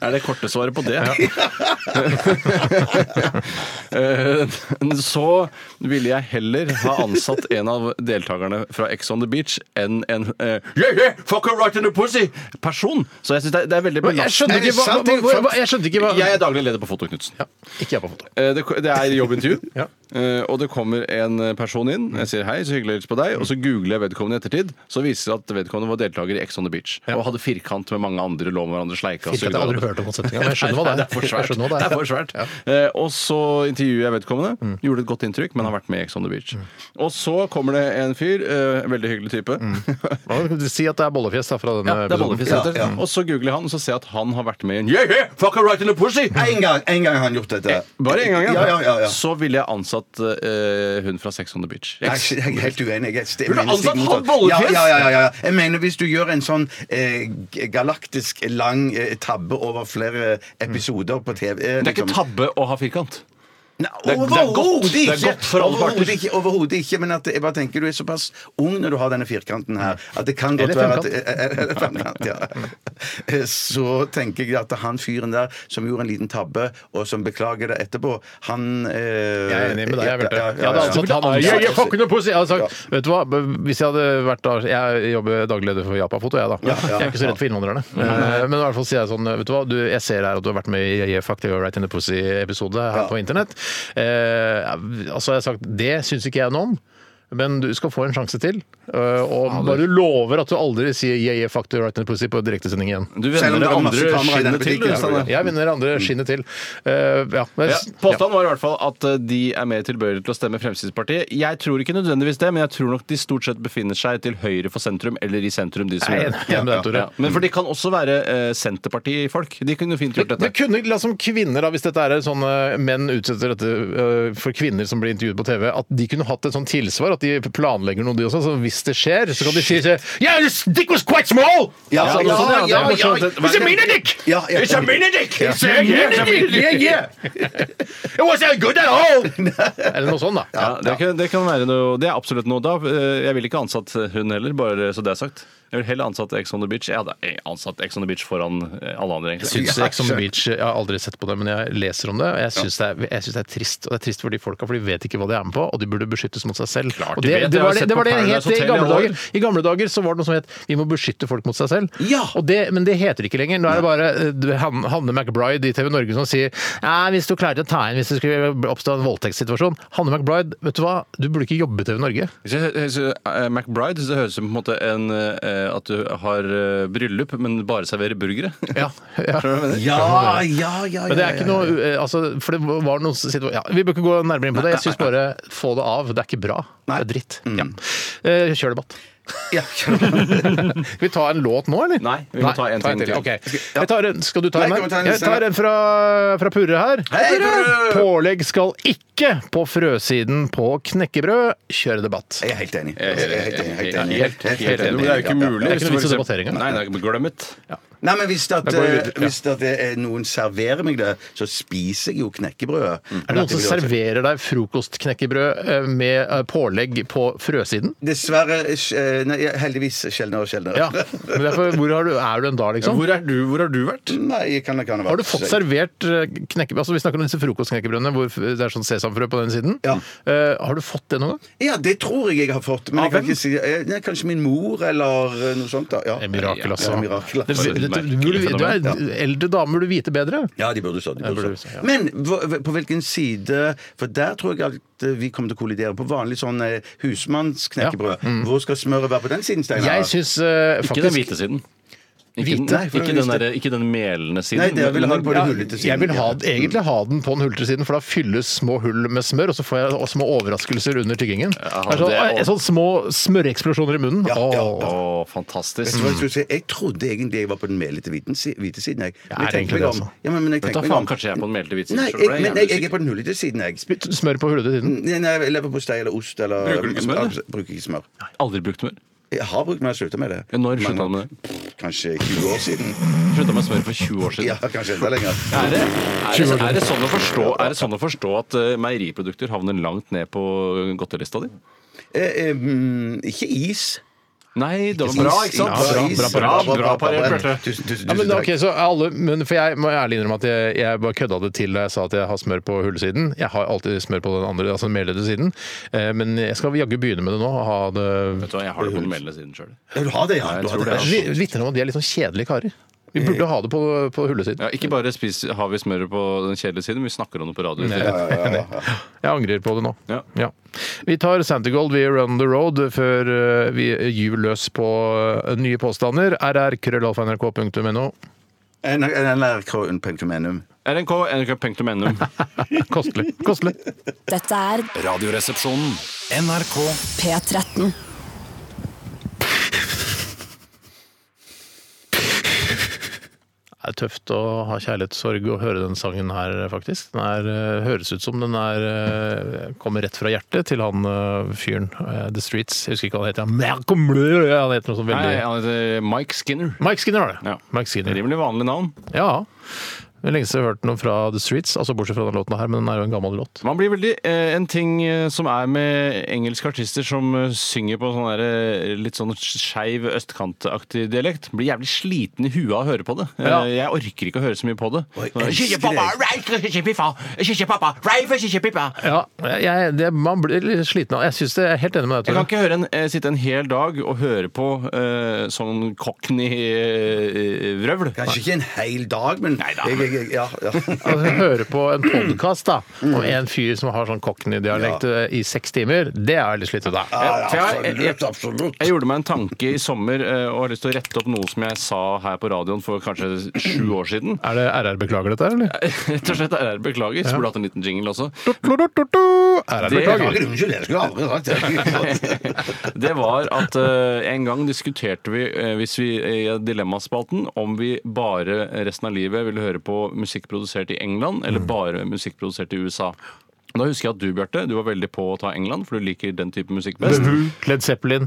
B: er det korte svaret på det? Eh, Så ville jeg heller ha ansatt en av deltakerne fra Ex on the Beach enn en eh, yeah, yeah, fuck her right in the pussy-person. Så jeg synes det, er- det er veldig
A: Men jeg skjønte ikke hva-
B: belastende.
A: hva- hva- hva- jeg skjønte ikke hva-
B: Jeg er daglig leder på Foto Knutsen.
A: Ikke jeg på foto.
B: Eh, Det, det er jobbintervju,
A: Ja.
B: Eh, og det kommer en eh, person inn. Jeg sier hei, så hyggelig å hilse på deg. Og så googler jeg vedkommende i ettertid. Så viser det seg at vedkommende var deltaker i Ex on the Beach. Og hadde firkant med mange andre, lå med hverandre, sleika
A: Firkant,
B: og
A: jeg har aldri
B: hverandre.
A: hørt om motsetninga, men jeg skjønner hva det er.
B: Nei, Det er for svært.
A: Jeg skjønner hva det er.
B: Det er for svært. Eh, Og så intervjuer jeg vedkommende. Gjorde et godt inntrykk, men har vært med i Ex on the Beach. Og så kommer det en fyr, eh, veldig hyggelig type.
A: Hva kan du Si at det er bollefjes da, fra denne
B: Ja, det er
A: episoden.
B: bollefjes. rett og slett. Og så googler jeg han, og så ser jeg at han har vært med i en yeah, yeah, fuck her right in the pussy!
C: En gang, en gang har han gjort dette.
B: Eh, Bare en gang,
C: ja. ja, ja, ja.
B: Så ville jeg ansatt eh, hun fra Sex on the Beach.
C: Nei, Jeg, jeg er helt uenig. Jeg, jeg
B: Burde
C: mener
B: ansatt
C: stikk motsatt.
B: han bollefjes?
C: Ja, ja, ja, ja, ja. Jeg mener hvis du gjør en sånn eh, g- galaktisk lang eh, tabbe over flere episoder på TV eh,
B: Det er ikke
C: liksom.
B: tabbe å ha firkant.
C: Nei,
B: det er godt.
C: Overhodet
B: Det er
C: ikke!
B: godt for alle
C: Overhodet
B: parter.
C: ikke, Overhodet ikke. Men at jeg bare tenker du er såpass ung når du har denne firkanten her, at det kan godt
A: Eller
C: være at eh, Eller femkant. Ja. Eh, Så tenker jeg at han fyren der som gjorde en liten tabbe, og som beklager det etterpå, han eh,
A: Jeg er altså- enig med deg. Jeg, Bjarte.
C: ja, ja,
A: jeg hadde
C: ja, ja.
A: ansatt han
C: Ja, ja,
A: også. Jeg, jeg,
C: ja.
A: fucking pussy! jeg hadde sagt, vet du hva, hvis jeg hadde vært da, Jeg jobber daglig leder for Japafoto, jeg, da.
C: ja.
A: Jeg er ikke så redd for innvandrerne. Eh, Men i hvert fall sier jeg sånn Vet du hva, du, jeg ser her at du har vært med i Yeah, Fuck the Right in the Pussy-episode her
C: Ja.
A: på internett. Eh, altså, jeg har sagt Det syns ikke jeg noe om. Men du skal få en sjanse til. Eh, og bare du lover at du aldri sier yeah, yeah, fuck the right in the pussy på direktesending igjen.
B: Du
C: Selv om
B: vender
C: det
B: det
C: var masse
B: andre
C: kamera i denne
B: skinnet til.
C: butikken,
B: du, Steinar.
A: Jeg vinner andre skinnet til. Eh, ja, men-
B: Ja, påstanden var i hvert fall at eh, de er mer tilbøyelige til å stemme Fremskrittspartiet. Jeg tror ikke nødvendigvis det, men jeg tror nok de stort sett befinner seg til høyre for sentrum, eller i sentrum, de som
A: Jeg er
B: gjør det.
A: enig med deg, Tore.
B: Men for de kan også være eh, Senterparti-folk. De kunne fint gjort
A: Det
B: dette.
A: kunne, la oss som kvinner da, Hvis dette er sånne menn utsetter dette øh, for kvinner som blir intervjuet på TV, at de kunne hatt et sånt tilsvar, at de planlegger noe, de også. Så hvis det skjer, så kan de si si, Yeah, this dick was quite small!
C: Ja,
A: Altså,
C: ja,
A: sånn,
C: ja,
A: det er
C: ja,
A: morsomt.
C: ja.
A: It's a mini dick!
C: Ja, ja.
A: It's a mini dick! It's a mini dick! Yeah, yeah! It wasn't good at all! Eller noe sånt, da.
B: Ja, det, kan, det kan være noe Det er absolutt noe. Da, eh, jeg ville ikke ansatt hun heller, bare så det er sagt. Jeg ville heller ansatt Ex on the Beach. Jeg hadde eh, ansatt Ex on the Beach foran eh, alle andre, egentlig.
A: Syns Ex on the Beach Jeg har aldri sett på det, men jeg leser om det. Og jeg syns det, er- jeg syns det er trist. Og det er trist for de folka, for de vet ikke hva de er med på, og de burde beskyttes mot seg selv.
B: Klart
A: og
B: de
A: det,
B: vet.
A: det
B: Jeg har
A: var det,
B: sett
A: det,
B: på
A: var det det het i
B: Paradise Hotel i
A: gamle
B: alle år.
A: dager. I gamle dager så var det noe som het 'vi må beskytte folk mot seg selv'.
C: Ja.
A: Og det, men det heter ikke lenger. Nå er det bare eh, du, Han- Hanne McBride i TV Norge som sier «Nei, 'hvis du klarte å ta inn hvis det skulle oppstå en voldtektssituasjon'. Hanne McBride, vet du hva, du burde ikke jobbe i TV Norge.
B: Hvis jeg- jeg sier, eh, McBride så høres det ut som på en måte en, eh, at du har eh, bryllup, men bare serverer burgere.
A: Ja, ja.
C: Ja, ja, ja.
A: Men det er
C: ja,
A: ikke
C: ja, ja.
A: noe eh, altså, For det var noen situasjoner ja, Vi bør ikke gå nærmere inn på det. Jeg syns bare få det av. Det er ikke bra. Det er dritt.
C: Mm.
A: Ja. Eh, Kjør debatt.
C: Ja, kjør.
A: Skal vi ta en låt nå, eller?
B: Nei, vi må ta en ting til.
A: Ok. Jeg tar en, skal du ta
C: Nei, kan
A: en?
C: vi ta en
A: her? Jeg tar en fra, fra Purre her.
C: Hei, Purre!
A: Pålegg skal ikke på frøsiden på knekkebrød. Kjør debatt.
C: Jeg er helt enig. Jeg er helt enig. Helt enig.
B: Helt, helt, helt enig. Det er jo ikke
C: Ja, ja.
B: mulig.
A: Det er ikke noe vits i
B: Hvis du-
A: debattering, ja.
B: Nei, det er ikke- glem det.
C: Nei, men hvis, at,
A: Da går vi
C: eh,
A: videre, ja.
C: hvis at det er noen serverer meg det, så spiser jeg jo knekkebrødet.
A: Mm. Er det noen som serverer deg frokostknekkebrød eh, med eh, pålegg på frøsiden?
C: Dessverre eh, Nei, heldigvis sjeldnere og sjeldnere.
A: Ja. Men derfor, hvor har du, er du en da, liksom?
B: Hvor, er du, hvor har du vært?
C: Nei, jeg kan, jeg kan
A: Har du fått servert eh, knekkebrød? Altså, vi snakker om disse frokostknekkebrødene hvor det er sånn sesamfrø på den siden.
C: Ja.
A: Eh, har du fått det noen gang?
C: Ja, det tror jeg jeg har fått. Men jeg kan ikke si eh, nei, Kanskje min mor eller eh, noe sånt. da. Ja.
A: Et mirakel, altså.
C: Ja, et mirakel.
A: Det, det, det, du, burde- du er, eldre dame burde vite bedre.
C: Ja, de burde så. De
A: Ja,
C: burde
A: burde
C: så.
A: så, ja.
C: Men hva- på hvilken side For der tror jeg at eh, vi kommer til å kollidere på vanlig sånn eh, husmannsknekkebrød. Hvor skal smøret være på den siden, Steinar?
A: Mm. Jeg syns eh,
B: Ikke den
A: faktisk
B: hvite siden. Ikke,
A: Hvite?
B: nei, ikke, den
C: hvite.
B: der, ikke den melende siden.
C: Nei, det vil
B: men-
C: ha på den
B: Ja,
C: hullete siden.
A: jeg vil ha, egentlig ha den på den hullete siden, for da fylles små hull med smør, og så får jeg også små overraskelser under tyggingen.
B: Ja,
A: Det er sånn,
B: det-
A: eh, sånn små smøreksplosjoner i munnen. Åh.
B: Å,
C: Vet
B: fantastisk.
C: du hva jeg, skulle si? jeg trodde egentlig jeg var på den melete hviten si- hvite siden. Jeg. Men jeg
A: Ja, er det
C: tenker
A: egentlig
C: meg
A: det,
C: om.
A: altså?
C: Ja, men, men jeg
B: Vet du,
C: tenker meg
B: faen,
C: om.
B: kanskje jeg er på den melte hvitsen.
C: Nei,
B: Skjønner du
C: jeg,
B: det?
C: men
B: Jeg er
C: jeg, jeg er på den hullete siden. Jeg.
A: Smør på hullete siden.
C: Nei, nei, Leverpostei eller ost eller
B: Bruker du ikke smør, eller?
C: Bruker ikke smør.
B: Aldri brukt mer.
C: Jeg har brukt mer, jeg slutta med det.
B: Ja, når slutta
C: Mange-
B: du med det?
C: Pff, Kanskje 20 år siden.
B: Slutta med smør for 20 år siden.
C: Ja, kanskje enda lenger.
B: Er det, er, det, er, det sånn å forstå, er det sånn å forstå at eh, meieriprodukter havner langt ned på godtelista di?
C: Eh, eh, mm, ikke is.
B: Nei, det var
C: Bra,
B: bra,
C: ikke
B: ikke
C: sant?
B: sant?
C: Bra, bra, bra, bra, bra. Tusen,
B: Tusen,
C: tusen,
A: Ja, men,
C: tusen
A: ok,
C: takk.
A: så alle, men for Jeg må ærlig innrømme at jeg, jeg bare kødda det til da jeg sa at jeg har smør på hulesiden. Jeg har alltid smør på den andre, altså den medledde siden. Eh, men jeg skal jaggu begynne med det nå. og Ha det
B: Vet du hva, jeg har det på den meldende siden sjøl.
C: Ja, du har det, ja.
B: Nei, jeg
C: Du har det,
B: tror det
C: ja.
B: er-
A: Det vitner om at de er litt sånn kjedelige karer. Vi burde ha det på, på hulesiden.
B: Ja, ikke bare spis, har vi smøret på den kjedelige siden, men vi snakker om det på radio.
A: Jeg angrer på det nå.
B: Ja.
A: Vi tar Santigold via Run the Road før eh, vi gyver løs på eh, nye påstander. rr.krøllalfa.nrk.no.
C: NRK.no.
B: RNK, nrk.no.
A: Kostelig. Kostelig.
H: Dette er
I: Radioresepsjonen. NRK
H: P13.
A: Det er tøft å ha kjærlighetssorg og høre den sangen her, faktisk. Den er, eh, høres ut som den er eh, kommer rett fra hjertet til han eh, fyren. eh, The Streets. Jeg husker ikke hva han heter. Han Malcolm Blue, ja, han heter noe sånt
B: Nei,
A: veldig
B: han heter Mike Skinner.
A: Mike Skinner var det.
B: Ja.
A: Mike Skinner.
B: Rimelig vanlig navn.
A: Ja. Det er Lenge siden jeg har hørt noe fra The Streets, altså bortsett fra den låten her, men den er jo en gammel låt.
B: Man blir veldig, eh, En ting eh, som er med engelske artister som eh, synger på sånn der, eh, litt sånn skeiv østkantaktig dialekt, blir jævlig sliten i huet av å høre på det. Eh,
A: Ja.
B: Jeg orker ikke å høre så mye på det.
C: Oi,
B: Sånn,
C: elsker det.
B: «Kjøkkenpappa, reit, kjøkkenpippa, kjøkkenpappa, reit, kjøkkenpippa».
A: Ja, jeg, det, man blir litt sliten av Jeg synes det jeg er helt enig med deg,
B: Jeg
A: Tore.
B: kan ikke høre en, eh, sitte en hel dag og høre på eh, sånn eh, cockney-vrøvl.
C: Kanskje ikke en hel dag, men
B: Neida.
C: jeg, jeg, jeg, ja, ja.
A: Altså, høre på en podkast om en fyr som har sånn cockney-dialekt
C: Ja.
A: eh, i seks timer, det er jeg litt slitsomt av.
C: Absolutt, absolutt.
B: Jeg gjorde meg en tanke i sommer eh, og har lyst til å rette opp noe som jeg sa her på radioen for kanskje sju år siden.
A: Er det RR beklager dette, eller?
B: Rett og slett RR beklager. Så burde jeg hatt en liten jingle også.
A: RR beklager.
C: Beklager, unnskyld, jeg skulle aldri sagt det.
B: Det var at eh, en gang diskuterte vi, eh, hvis vi i Dilemmaspalten, om vi bare resten av livet ville høre på musikk produsert i England, eller bare musikk produsert i USA. Da husker jeg at du, Bjarte, du var veldig på å ta England, for du liker den type musikk best.
A: Led Zeppelin.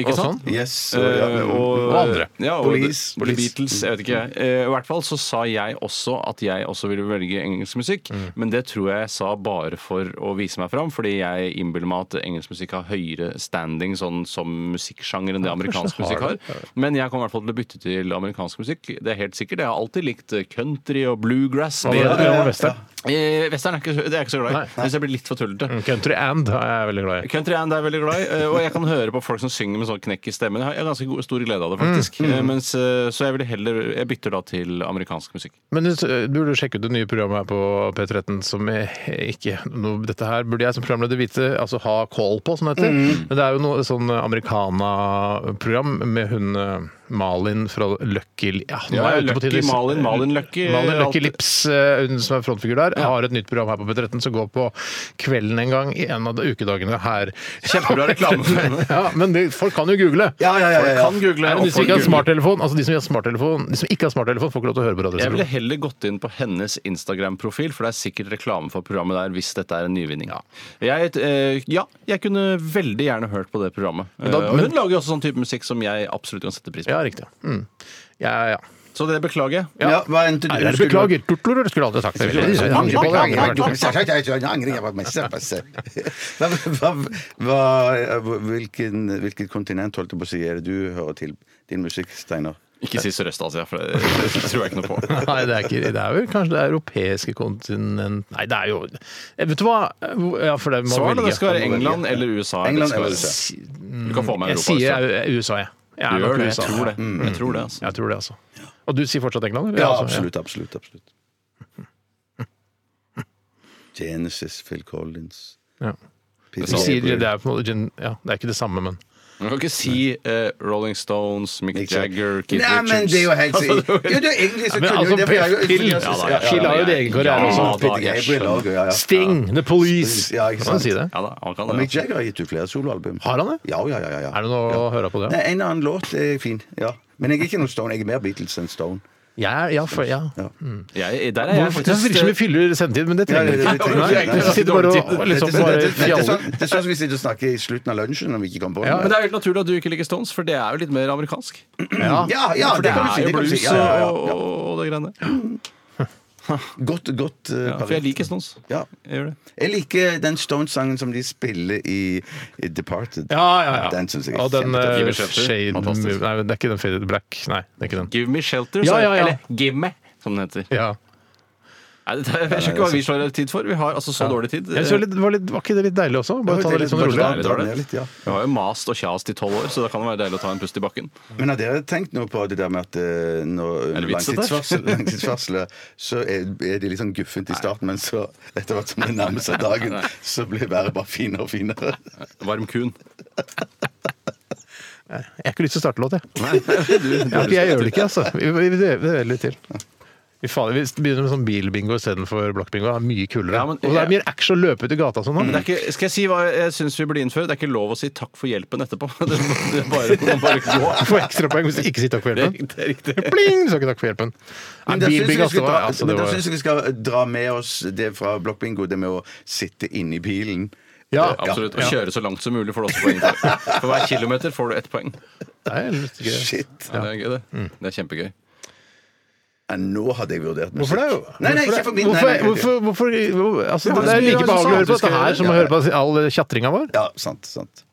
B: Ikke
A: og
B: sant?
C: Yes, og, ja.
B: Eh, og,
A: Og andre.
B: Ja, og
C: Police,
B: The-
C: Police.
B: Beatles, jeg vet ikke. Eh, I hvert fall så sa jeg også at jeg også ville velge engelsk musikk, men det tror jeg jeg sa bare for å vise meg fram, fordi jeg innbiller meg at engelsk musikk har høyere standing sånn som musikksjanger enn det amerikansk
A: kanskje det
B: musikk
A: har
B: har.
A: det.
B: Men jeg kommer i hvert fall til å bytte til amerikansk musikk, det er helt sikkert. Jeg har alltid likt country og bluegrass.
A: Bedre
B: bedre.
A: enn Western.
B: Eh, Western er ikke, det er jeg ikke så glad i. Jeg syns jeg blir litt for tullete.
A: Country and er jeg veldig glad i.
B: Country and er jeg veldig glad i, eh, og jeg kan høre på folk som synger med sånn knekk i stemmen. Jeg har- Jeg har ganske god, stor glede av det, faktisk.
A: Mm.
B: Eh, Mens, eh, så jeg ville heller Jeg bytter da til amerikansk musikk.
A: Men du du burde sjekke ut det nye programmet her på P13 som jeg ikke noe, Dette her burde jeg som programleder vite, altså ha call på, som det heter.
B: Mm.
A: Men det er jo noe sånn americana-program med hun eh, Malin fra Lucky ja, nå
B: Ja,
A: er jeg ute på
B: Lucky
A: tidlig-
B: Malin, Malin Lucky,
A: Malin
B: alt-
A: Lucky Lips, eh, hun som er frontfigur der, har et nytt program her på P13 som går på kvelden en gang i en av de ukedagene her.
B: Kjempebra reklame for henne.
A: ja, men det, folk kan jo google.
C: Ja, ja, ja, ja, ja.
B: Kan google.
A: Nei, men
B: og
A: de som
B: folk
A: ikke har
B: googler.
A: smarttelefon, altså de som, har smarttelefon, de som ikke har smarttelefon, får ikke lov til å høre på
B: Jeg ville
A: radioresepsjonen.
B: heller gått inn på hennes Instagram-profil, for det er sikkert reklame for programmet der hvis dette er en nyvinning. Jeg, eh, ja, jeg kunne veldig gjerne hørt på det programmet.
A: da-
B: Eh, og
A: men-
B: hun lager jo også sånn type musikk som jeg absolutt kan sette pris på.
A: Ja, riktig. Mm. Ja, ja.
B: Så det beklager jeg.
C: Ja, hva endte du?
A: Nei, jeg beklager. Tutler skulle aldri sagt det. Jeg angrer på det. Jeg angrer på det.
C: Hva, hva, hva, hvilken, hvilket kontinent holdt jeg på å si er det du hører til din musikk, Steinar?
B: Ikke si Sørøst-Asia, for det, det tror jeg ikke noe på.
A: Nei, det er, ikke, det er vel kanskje det europeiske kontinent Nei, det er jo Eh, Vet du hva? Ja, for det må
B: Svar da,
A: velge.
B: det skal være England eller USA.
C: England
B: Det skal
C: eller
B: være-
C: USA.
B: Du kan få meg
A: Jeg
B: Europa. hvis
A: sier
B: du-
A: eu- USA, jeg. Jeg
B: Du
A: er
B: gjør
A: nok
B: det.
A: USA.
B: Jeg tror det.
C: Mm.
B: Jeg tror det altså.
A: Jeg tror det, altså. Og du sier fortsatt England? eller?
C: Ja,
A: altså,
C: absolutt, absolutt, absolutt. Genesis, Phil Collins
A: Ja.
C: Peter
A: Du sier
C: Gabriel.
A: det er, på en måte, gen- ja, det er ikke det samme, men
B: Du kan ikke si eh, Rolling Stones, Mick
C: Mick
B: Jagger, Keith
C: Nei,
B: Richards
C: men det er jo helt
B: Altså,
C: sikkert. Jo, det er egentlig så
A: Men
C: kunne
A: altså,
C: jo det for jeg-
A: Phil- Phil-
C: Ja, da, ja, ja,
A: Phil har jo
C: ja.
A: det egen karriere
C: Ja,
A: også.
C: Peter Gabriel også, ja, ja.
A: Sting! The Police!
C: Ja, ikke
A: Kan
C: sant?
A: du si det?
B: Ja da, han kan
C: Og
B: det.
C: Mick Jagger har gitt ut flere soloalbum.
A: Har han det?
C: Ja, ja, ja. ja, ja.
A: Er det noe å høre på det?
C: Nei, en annen låt er fin. ja. Men jeg er ikke noen Stone. Jeg er mer Beatles enn Stone.
A: Ja, ja, for, ja.
B: Ja. Jeg, der er jeg
A: Hvorfor- Det virker som vi
B: faktisk eh,
A: fyller sendetid, men det
C: Ja,
A: trenger vi
C: det- det
A: ikke.
C: trenger vi
A: Nei,
C: ikke.
A: vi sitter bare og
C: Dette-
A: liksom
C: dette-
A: bare
C: dette- dette er
A: fjaller.
C: sånn- det er sånn som vi sitter og snakker i slutten av lunsjen når vi ikke kommer på
A: Ja,
B: men
C: den.
B: det er helt naturlig at du ikke liker Stones, for det er jo litt mer amerikansk.
C: Ja, ja,
B: For
C: det
B: det
C: kan du
B: er
C: si.
B: jo
C: Det kan du si.
B: blues
C: Ja, ja, ja.
B: og, og, og det greiene der.
C: Godt, godt eh,
B: Ja, for jeg liker Stones.
C: Ja.
B: Jeg gjør det.
C: Jeg liker den Stones-sangen som de spiller i, i Departed.
A: Ja, ja, ja.
C: Den syns jeg er
A: Og den
C: kjempetøff.
A: eh,
B: Give me shelter.
A: Shade Move-
B: Fantastisk.
A: Nei, det er ikke den Faded Black. Nei, det er ikke den.
B: Give me shelter,
A: Ja,
B: sa jeg.
A: ja, ja.
B: Eller give me, som den heter.
A: Ja.
B: Nei, det, jeg skjønner ikke hva vi slår tid for. Vi har altså så dårlig tid.
A: Jeg synes det var, litt, var, litt, var ikke det litt deilig også? Bare ta det litt sånn
C: Bare
A: rolig.
C: dra-
B: rolig.
C: dra ned litt, ja.
B: Vi har jo mast og kjast i tolv år, så da kan det være deilig å ta en pust i bakken.
C: Men har dere tenkt noe på det der med at eh, når
B: Er det vits i dette?
C: langtidsvarsel- langtidsvarselet Så er, er de litt sånn guffent i starten, men så etter hvert som det nærmer seg dagen, så blir været bare finere og finere.
B: Varm kun.
A: Jeg har ikke lyst til å starte låt, jeg.
B: Nei, du-
A: Ja, jeg gjør det ikke, altså. Vi, vi, vi, det er litt til. Fy faen, vi begynner med sånn bilbingo istedenfor blokkbingo. Det er mye kulere.
B: Ja, men-
A: og det er mye action å løpe ut i gata og sånn nå.
B: Det er ikke, skal jeg si hva jeg syns vi burde innføre? Det er ikke lov å si takk for hjelpen etterpå. Det må- det er bare, man bare gå.
A: Du får ekstrapoeng hvis du ikke sier takk for
B: Det,
A: hjelpen.
B: det er riktig.
A: Pling! Du sa ikke takk for hjelpen. Nei,
C: Men da syns jeg,
A: bilbingo,
C: vi skal
A: altså, det var-
C: dra-
A: altså,
C: men
A: det
C: da
A: var-
C: synes jeg vi skal dra med oss det fra blokkbingo, det med å sitte inne i bilen.
A: Ja,
B: Absolutt. Og
A: Ja.
B: kjøre så langt som mulig får du også poeng. for. For hver kilometer får du ett poeng.
A: Nei, jeg synes ikke det.
C: Shit.
B: Ja, det er gøy,
A: Mm.
B: det. Det er kjempegøy.
C: Ja, nå hadde jeg vurdert musikk.
A: Hvorfor det?
C: Nei, nei,
A: Hvorfor
C: ikke
A: det?
C: for min.
A: Hvorfor,
C: nei, nei,
A: hvorfor, hvorfor, hvor- altså,
B: Ja,
A: det
B: det
A: er
B: er
A: like
B: jo
A: behagelig
C: sånn
A: å høre på
B: sant,
A: dette her som å
C: ja, ja.
A: høre på all tjatringa vår.
C: Ja, sant, sant.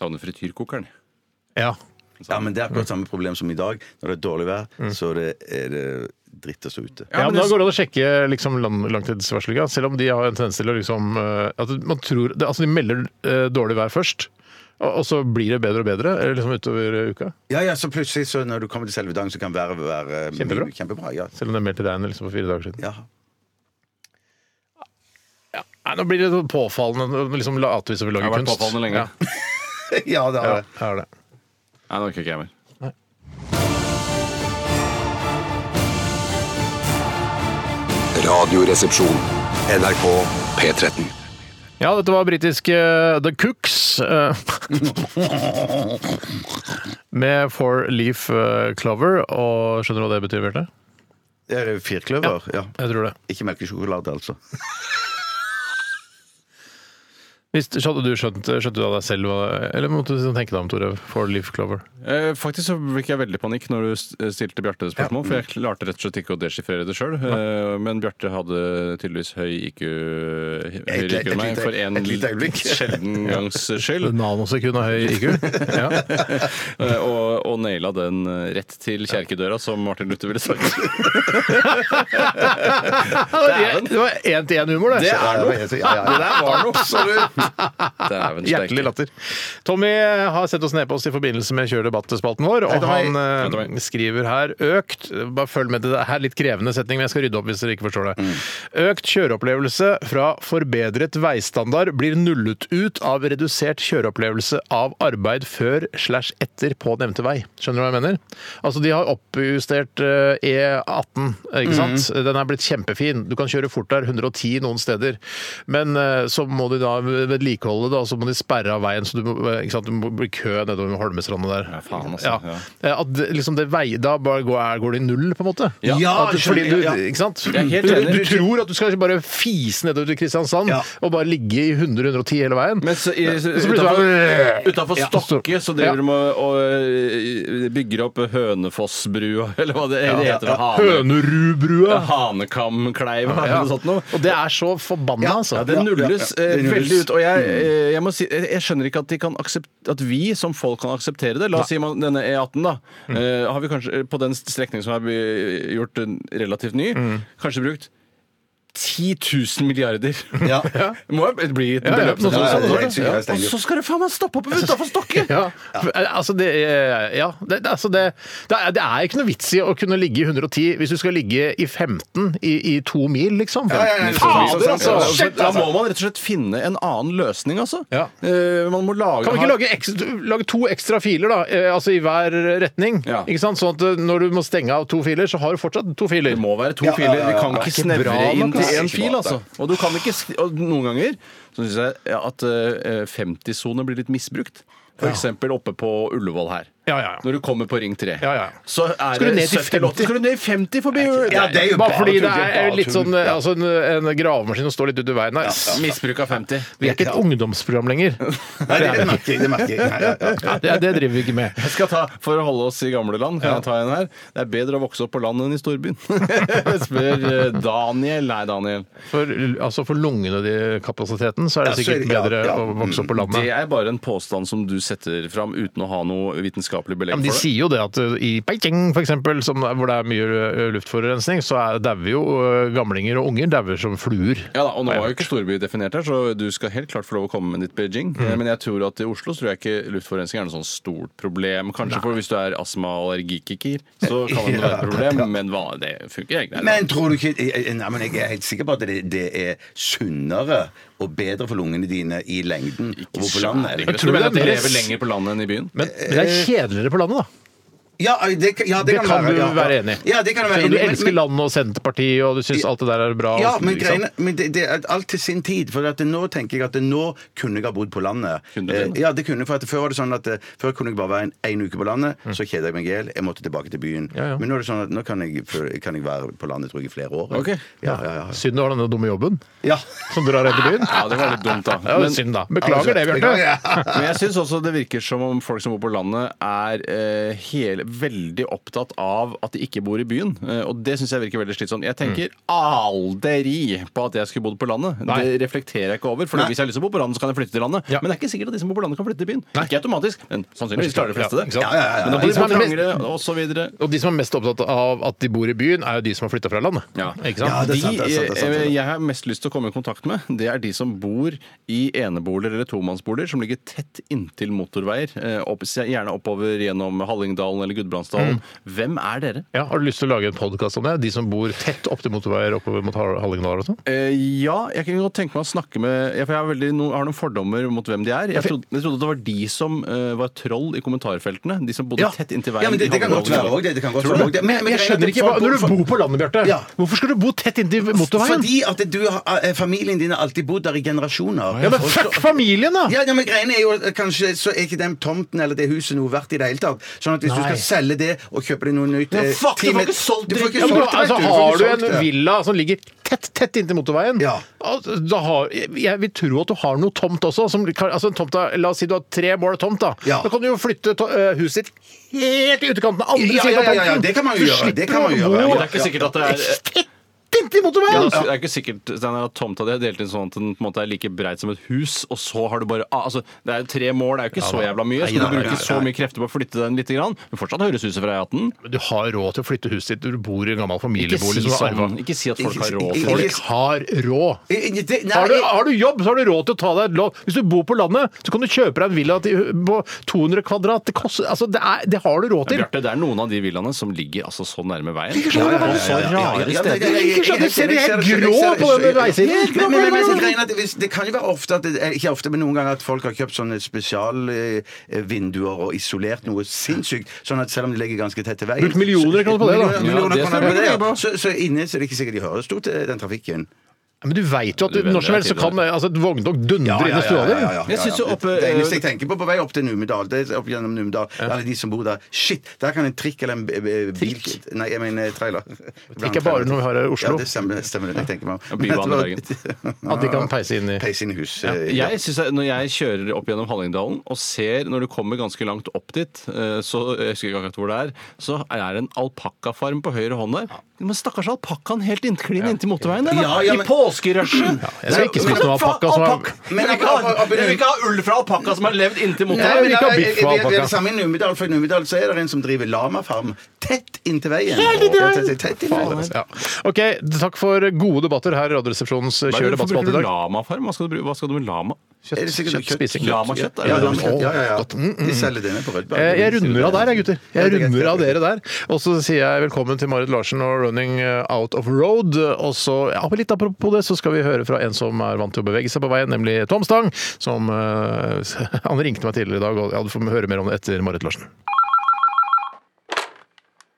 B: Savner frityrkokeren.
A: Ja.
C: Ja, men Det er akkurat samme problem som i dag. Når det er dårlig vær,
A: Mm.
C: så det er det dritt å stå ute.
A: Ja, men Da går det an å sjekke liksom, lang- langtidsvarselinga, selv om de har en tendens til å liksom eh, at man tror, det, altså De melder eh, dårlig vær først, og, og så blir det bedre og bedre eller liksom utover eh, uka.
C: Ja, ja, så plutselig så når du kommer til selve dagen, så kan været være eh,
A: Kjempebra.
C: mye- kjempebra ja.
A: Selv om det meldte regn liksom, for fire dager siden.
C: ja.
A: Nei, nå blir det så påfallende. nå liksom Later vi som vi
B: Jeg
A: lager
B: har vært
A: kunst.
B: påfallende lenge.
C: ja, det
A: Ja,
C: har
A: ja,
C: jeg.
A: jeg har det.
B: Nei, nå orker ikke jeg mer.
J: Radioresepsjon. NRK P13.
A: ja, dette var britiske eh, The Cooks eh, med Four Leaf eh, Clover. Og skjønner du hva det betyr, Bjarte?
C: Det er firkløver. Ja.
A: Jeg tror det.
C: Ikke melkesjokolade, altså.
A: Hvis, hadde du skjønt, skjønte du av deg selv hva det- Eller måtte du liksom tenke deg om, Tore? Four Leaf Clover.
B: Eh, Faktisk så fikk jeg veldig panikk når du st- stilte Bjarte det spørsmålet, for jeg
A: Mm.
B: klarte rett og slett ikke å deschiffrere det sjøl. Men Bjarte hadde tydeligvis høy IQ,
C: Et-
B: høyere IQ
C: et
B: enn
C: lite-
B: meg for en
C: et lite øyeblikk.
B: sjelden gangs skyld.
A: Nanosekund av høy IQ. Ja. Mm.
B: Eh, Og, og naila den eh, rett til kjerkedøra, som Martin Luther ville sagt. Dæven.
A: Det var én-til-én-humor, det.
C: Ja, ja, ja, ja, ja.
B: der var noe! Dæven steike.
A: Hjertelig latter. Tommy har sendt oss nedpost i forbindelse med Kjør debatt-spalten vår, og
C: Tommy.
A: han eh, skriver her økt Bare følg med til det her, litt krevende setning, men jeg skal rydde opp hvis dere ikke forstår det. Økt kjøreopplevelse fra forbedret veistandard blir nullet ut av redusert kjøreopplevelse av arbeid før slash etter på nevnte vei. Skjønner du hva jeg mener? Altså, de har oppjustert eh, E18, ikke sant?
B: Mhm.
A: Den er blitt kjempefin. Du kan kjøre fort der, 110 noen steder. Men eh, så må de da vedlikeholde det, og så må de sperre av veien, så du må, eh, ikke sant? Du må bli kø nedover Holmestranda der.
B: Ja, faen, altså,
A: Ja. Eh, At det- liksom det vei, da bare går, er- går det i null, på en måte.
C: Ja.
A: At du, fordi du,
C: Ja, ja.
A: Ikke sant?
B: er helt
A: du,
B: enig.
A: du tror at du skal bare fise nedover til Kristiansand
C: Ja.
A: og bare ligge i 100-110 hele veien.
B: Men så, i,
A: Så blir det sånn-
B: utenfor, utenfor Stokke så
A: Ja.
B: driver de og, og eh, bygger opp Hønefossbrua, eller hva det, det heter. Hane-
A: Hønerudbrua!
B: Hanekamkleiva eller noe sånt noe.
A: Og det er så forbanna, altså.
B: Ja, det nulles
C: ja, ja.
B: eh,
C: Det nulles.
B: veldig ut. Og jeg, eh, jeg må si, jeg jeg skjønner ikke at, de kan aksept, at vi som folk kan akseptere det. La oss si man, denne E18, da. eh, har vi kanskje, eh, på den strekningen som er by- gjort eh, relativt ny, kanskje brukt 10 000 milliarder.
C: Ja.
B: Det må jo bli et
A: Ja, ja,
B: beløp. som-
A: noe sånt,
C: ja, det er helt
B: Ja,
C: sikkert,
B: Og
C: Steinar.
B: så skal det faen meg stoppe opp utafor Stokke!
A: Ja, for, eh, altså det, eh, ja det, det- altså det, det, er, det er ikke noe vits i å kunne ligge i 110 hvis du skal ligge i 15 i, i to mil, liksom.
C: Ja, ja, ja,
A: Fader,
C: ja,
A: altså!
C: ja, ja.
A: Shit,
B: Da
A: altså!
B: må man rett og slett finne en annen løsning, altså.
A: Ja.
B: Eh, man må lage
A: Kan vi ikke
B: ha-
A: lage, ekstra, lage to ekstra filer da, eh, altså i hver retning?
B: Ja.
A: Ikke sant? Sånn at eh, når du må stenge av to filer, så har du fortsatt to filer.
B: Det må være to
C: Ja, ja,
B: filer.
C: ja,
B: Vi
C: ja.
B: kan
C: Det er
B: ikke
C: ikke
B: snevre
C: bra
B: inn
C: nok,
B: til
C: altså.
B: én
C: Ikke
B: fil,
C: bra,
B: altså. Og du kan ikke sk- og Noen ganger så eh, syns jeg at 50-sone blir litt misbrukt. For eksempel oppe på Ullevål her. når du kommer på Ring 3. Så er
A: Skal du ned til 50?
B: Skal du ned i 50 forbi?
A: Ja, det er jo bare fordi det er
B: tull.
A: litt sånn
B: Ja.
A: altså en, en gravemaskin som står litt ute i veien her.
B: Ja, Misbruk av 50.
A: Vi er ikke et ungdomsprogram lenger.
C: Nei, det merker jeg. Det merker jeg. Ja, ja, ja.
A: Ja, det, det driver vi ikke med.
B: Jeg skal ta, For å holde oss i gamle land, kan jeg ta en her. Det er bedre å vokse opp på landet enn i storbyen. Spør eh, Daniel. Nei, Daniel.
A: For, altså for lungene de kapasiteten så er det
C: Ja, så er
A: sikkert
C: det- ja,
A: bedre
C: ja.
A: å vokse opp på
B: Det
A: landet.
B: er bare en påstand som du setter fram uten å ha noe vitenskapelig
A: Ja,
B: belegg
A: men de
B: for det.
A: sier jo det at uh, i Beijing for eksempel, som, hvor det er mye uh, luftforurensning, så er- dauer jo uh, gamlinger og unger dauer som fluer.
B: Ja da, og Nå er jo ikke storby definert her, så du skal helt klart få lov å komme med ditt Beijing.
A: Mhm.
B: Eh, Men jeg tror at i Oslo tror jeg ikke luftforurensning er noe sånn stort problem. Kanskje for hvis du er astma- og allergikiker, så kan det være et problem, men hva, det funker egentlig.
C: Men tror du ikke jeg- jeg- Nei, men jeg er helt sikker på at det, det er sunnere og bedre for lungene dine i lengden. Ikke og på landet.
B: Herregud,
C: eller?
A: tror
B: Du mener at
A: det
B: de
A: er
B: lever
A: mer-
B: lenger på landet enn i byen?
A: Men det er kjedeligere på landet, da.
C: Ja, det, kan- ja, det,
A: Det
C: Eh, kan,
A: kan
C: være,
A: du
C: ja.
A: være enig i.
C: Ja, det kan du være enig
A: Selv om du
C: i, men-
A: elsker landet og Senterpartiet og du syns alt det der er bra. og
C: Ja,
A: så-
C: men,
A: ikke sant?
C: greiene, men det, det er alt til sin tid. For at nå tenker jeg at nå kunne jeg ha bodd på landet.
B: Kunne du det?
C: Eh, ja, det kunne for at Før var det sånn at eh, Før kunne jeg bare være en, en uke på landet, så kjeda jeg meg i hjel, jeg måtte tilbake til byen.
A: Mm. Ja, ja.
C: Men nå er det sånn at nå kan jeg, føle- kan jeg være på landet tror jeg, i flere år.
B: Ok.
C: Ja, ja, ja.
A: Synd du har denne dumme jobben
C: ja.
A: som drar etter byen.
B: Ja, det var litt dumt, da.
A: Ja, det er
B: Men-
A: synd, da. Beklager det, Bjarte.
B: Men jeg syns også det virker som om folk som bor på landet er eh, hele, veldig opptatt av at de ikke bor i byen. Eh, og det syns jeg virker veldig slitsomt. Jeg tenker aldri på at jeg skulle bodd på landet.
A: Nei.
B: Det reflekterer jeg ikke over. For hvis jeg har lyst til å bo på landet, så kan jeg flytte til landet.
A: Ja.
B: Men det er ikke sikkert at de som bor på landet, kan flytte til byen. Ikke automatisk, men sannsynligvis klarer de
A: Ja,
B: fleste det.
A: ikke sant?
C: Ja, ja, ja, ja.
B: Men da
A: De
B: blir
A: som er
B: det
A: mest-
B: trangere, og så videre.
A: Og de som er mest opptatt av at de bor i byen, er jo de som har flytta fra landet.
B: Ja.
A: Ikke sant?
C: Ja, det er sant, det er sant, det er sant, det er sant.
B: eh, Jeg har mest lyst til å komme i kontakt med, det er de som bor i eneboliger eller tomannsboliger som ligger tett inntil motorveier. eh, Opp, gjerne oppover gjennom Hallingdalen eller Gudbrandsdalen.
C: Mm.
B: Hvem er dere?
A: Ja, har du lyst til å lage en podkast om det? De som bor tett opp til motorveier oppover mot Hall- Hallingdal og sånn?
B: Eh, ja, jeg kunne godt tenke meg å snakke med ja, For jeg har, veldig, no, har noen fordommer mot hvem de er. Jeg trodde, jeg trodde det var de som eh, var troll i kommentarfeltene. De som bodde
C: Ja.
B: tett inntil veien.
C: Ja, men det,
B: i
C: det kan godt være
B: Hallingdalen.
C: òg. Det, det kan godt
B: Tror
C: være
B: du
C: også det. Men- men
A: Jeg
C: det er
A: skjønner
C: egentlig
A: ikke hva,
C: for-
A: Når du
C: for-
A: bor på landet, Bjarte,
C: Ja.
A: hvorfor skal du bo tett inntil motorveien?
C: Fordi at du har, eh, familien din har alltid bodd der i generasjoner.
A: Ja, men fuck familien, da!
C: Ja, ja, men greiene er jo at Kanskje så er ikke den tomten eller det huset noe verdt i det hele tatt. Sånn at hvis du
A: Nei.
C: skal selge det og kjøpe deg noe nytt
B: Men
C: eh,
B: fuck, du får
C: time-
B: ikke solgt
C: Du får
B: dritten.
C: ikke
A: Ja, men,
C: solgt
A: da-
C: det, vet
A: altså,
C: du. Du
A: har
C: får
A: du
C: ikke solgt
A: en
C: det.
A: villa som ligger tett tett inntil motorveien,
C: Ja.
A: altså, da har, jeg, jeg vil tro at du har noe tomt også. Som, kan- altså, en tomt da, la oss si du har tre mål tomt. Da
C: Ja.
A: Da kan du jo flytte to, ø, huset ditt helt i utkanten av andre
C: Ja, ja,
A: siden av
C: ja,
A: tomten.
C: ja, ja, det kan man jo
A: Så
C: gjøre,
A: slipper
C: det kan man
A: du
C: jo
A: å
C: gjøre,
A: bo
B: Men det er ikke sikkert at det er
A: Tett inntil
B: Ja,
A: motorveien!
B: det er ikke sikkert Steinar, at tomta di er delt inn sånn at den på en måte er like breit som et hus, og så har du bare ah, altså, Det er jo tre mål, det er jo ikke så jævla mye. Skal du bruke så mye krefter på å flytte den litt, grann? men fortsatt høres huset fra E18.
A: Men Du har råd til å flytte huset ditt. Du bor i en gammel
B: Ikke si
A: familiebolig. som du har
B: sånn.
A: arvet.
B: Ikke si at folk
C: Ikke-
B: har råd til
C: ikke-
A: Folk
B: det.
A: har råd.
C: Eh, eh, det- nei,
A: Har du,
C: jeg-
A: har du jobb, så har du råd til å ta deg et lån. Hvis du bor på landet, så kan du kjøpe deg en villa til, på 200 kvadrat. Det, koster, altså, det, er, det har du råd til.
B: Bjarte, det er noen av de villaene som ligger altså så nærme veien.
A: Ligger så nærme
B: Og
A: veien.
B: så rare
C: Ja, men
B: steder.
C: det- det-
A: Ikke sant, du ser det
C: jeg- jeg-
A: helt
C: jeg- jeg-
A: grå
C: jeg- jeg-
A: på den
C: jeg-
A: veisiden.
C: Men- men- men- men så er greien at hvis- Det kan jo være ofte at det- eh, Ikke ofte, men noen ganger at folk har kjøpt sånne spesialvinduer og isolert noe sinnssykt. Sånn at selv om de ligger ganske tett til veien
A: Brukt millioner av kroner på det, da.
C: Millioner- millioner
B: Ja, det
C: kroner på
B: stemmer.
C: det, ja. Så, så inne så er det ikke sikkert de hører stort til den trafikken.
A: Men du veit jo at
B: Du venner
A: når som
B: deg
A: helst så
B: til
A: kan altså, et vogntog dundre inn i stua
C: ja, ja,
A: di.
C: ja.
B: Jeg synes jo oppe- eh,
C: det eneste jeg tenker på på vei opp til Numedal, det er opp gjennom Numedal, alle de som bor der Shit, der kan en trikk eller en b- b- bil Nei, jeg mener eh, trailer.
A: Trikk er bare noe vi har her i Oslo.
C: Ja, det stemmer, stemmer det jeg tenker meg om.
B: Bybanen i
A: At de kan peise inn i
C: Peise inn i hus. eh, ja.
B: Jeg synes at Når jeg kjører opp gjennom Hallingdalen og ser når du kommer ganske langt opp dit, eh, så jeg husker ikke akkurat hvor det er, så er det en alpakkafarm på høyre hånd der. Men stakkars alpakkaen helt innklin inntil motorveien der, da.
C: Ja, ja, men-
B: I påskerushet!
A: jeg skal ikke spise noe alpakka som er-
C: Men
B: Jeg vil ikke ha-
C: alpakka-
B: jeg vil ikke ha ull fra alpakka som har levd inntil
C: Nei, men
B: motorveien!
A: vil ikke
C: da-
A: ha biff
C: jeg- jeg-
A: og
C: jeg- Det er
A: alpakka.
C: det samme i Numedal, for i Numedal så er det en som driver lamafarm tett inntil veien. Ja, tett- Tett inntil veien.
A: Ja. OK, takk for gode debatter her i Radioresepsjonens
B: Hva er
A: kjør
B: det-
A: debattspalte
B: Hvorfor bruker
A: i
B: du
A: dag.
B: lamafarm? Hva skal du, bruke- hva skal du med lama?
C: Er det sikkert kjøtt?
A: Kjøttspising.
B: Lamakjøtt? er det
C: Ja,
B: det du skal-
C: lamakjøtt, ja, ja,
A: Godt. Mm,
C: ja. De selger denne på Rødberg.
A: Eh, Jeg runder av der, jeg, gutter. Jeg
C: Ja, det er
A: runder
C: greit.
A: av dere der. Og så sier jeg velkommen til Marit Larsen og 'Running eh, Out of Road'. Og så, ja, men litt apropos det, så skal vi høre fra en som er vant til å bevege seg på veien, nemlig Tom Stang. Som eh, Han ringte meg tidligere i dag, og ja, du får høre mer om det etter Marit Larsen.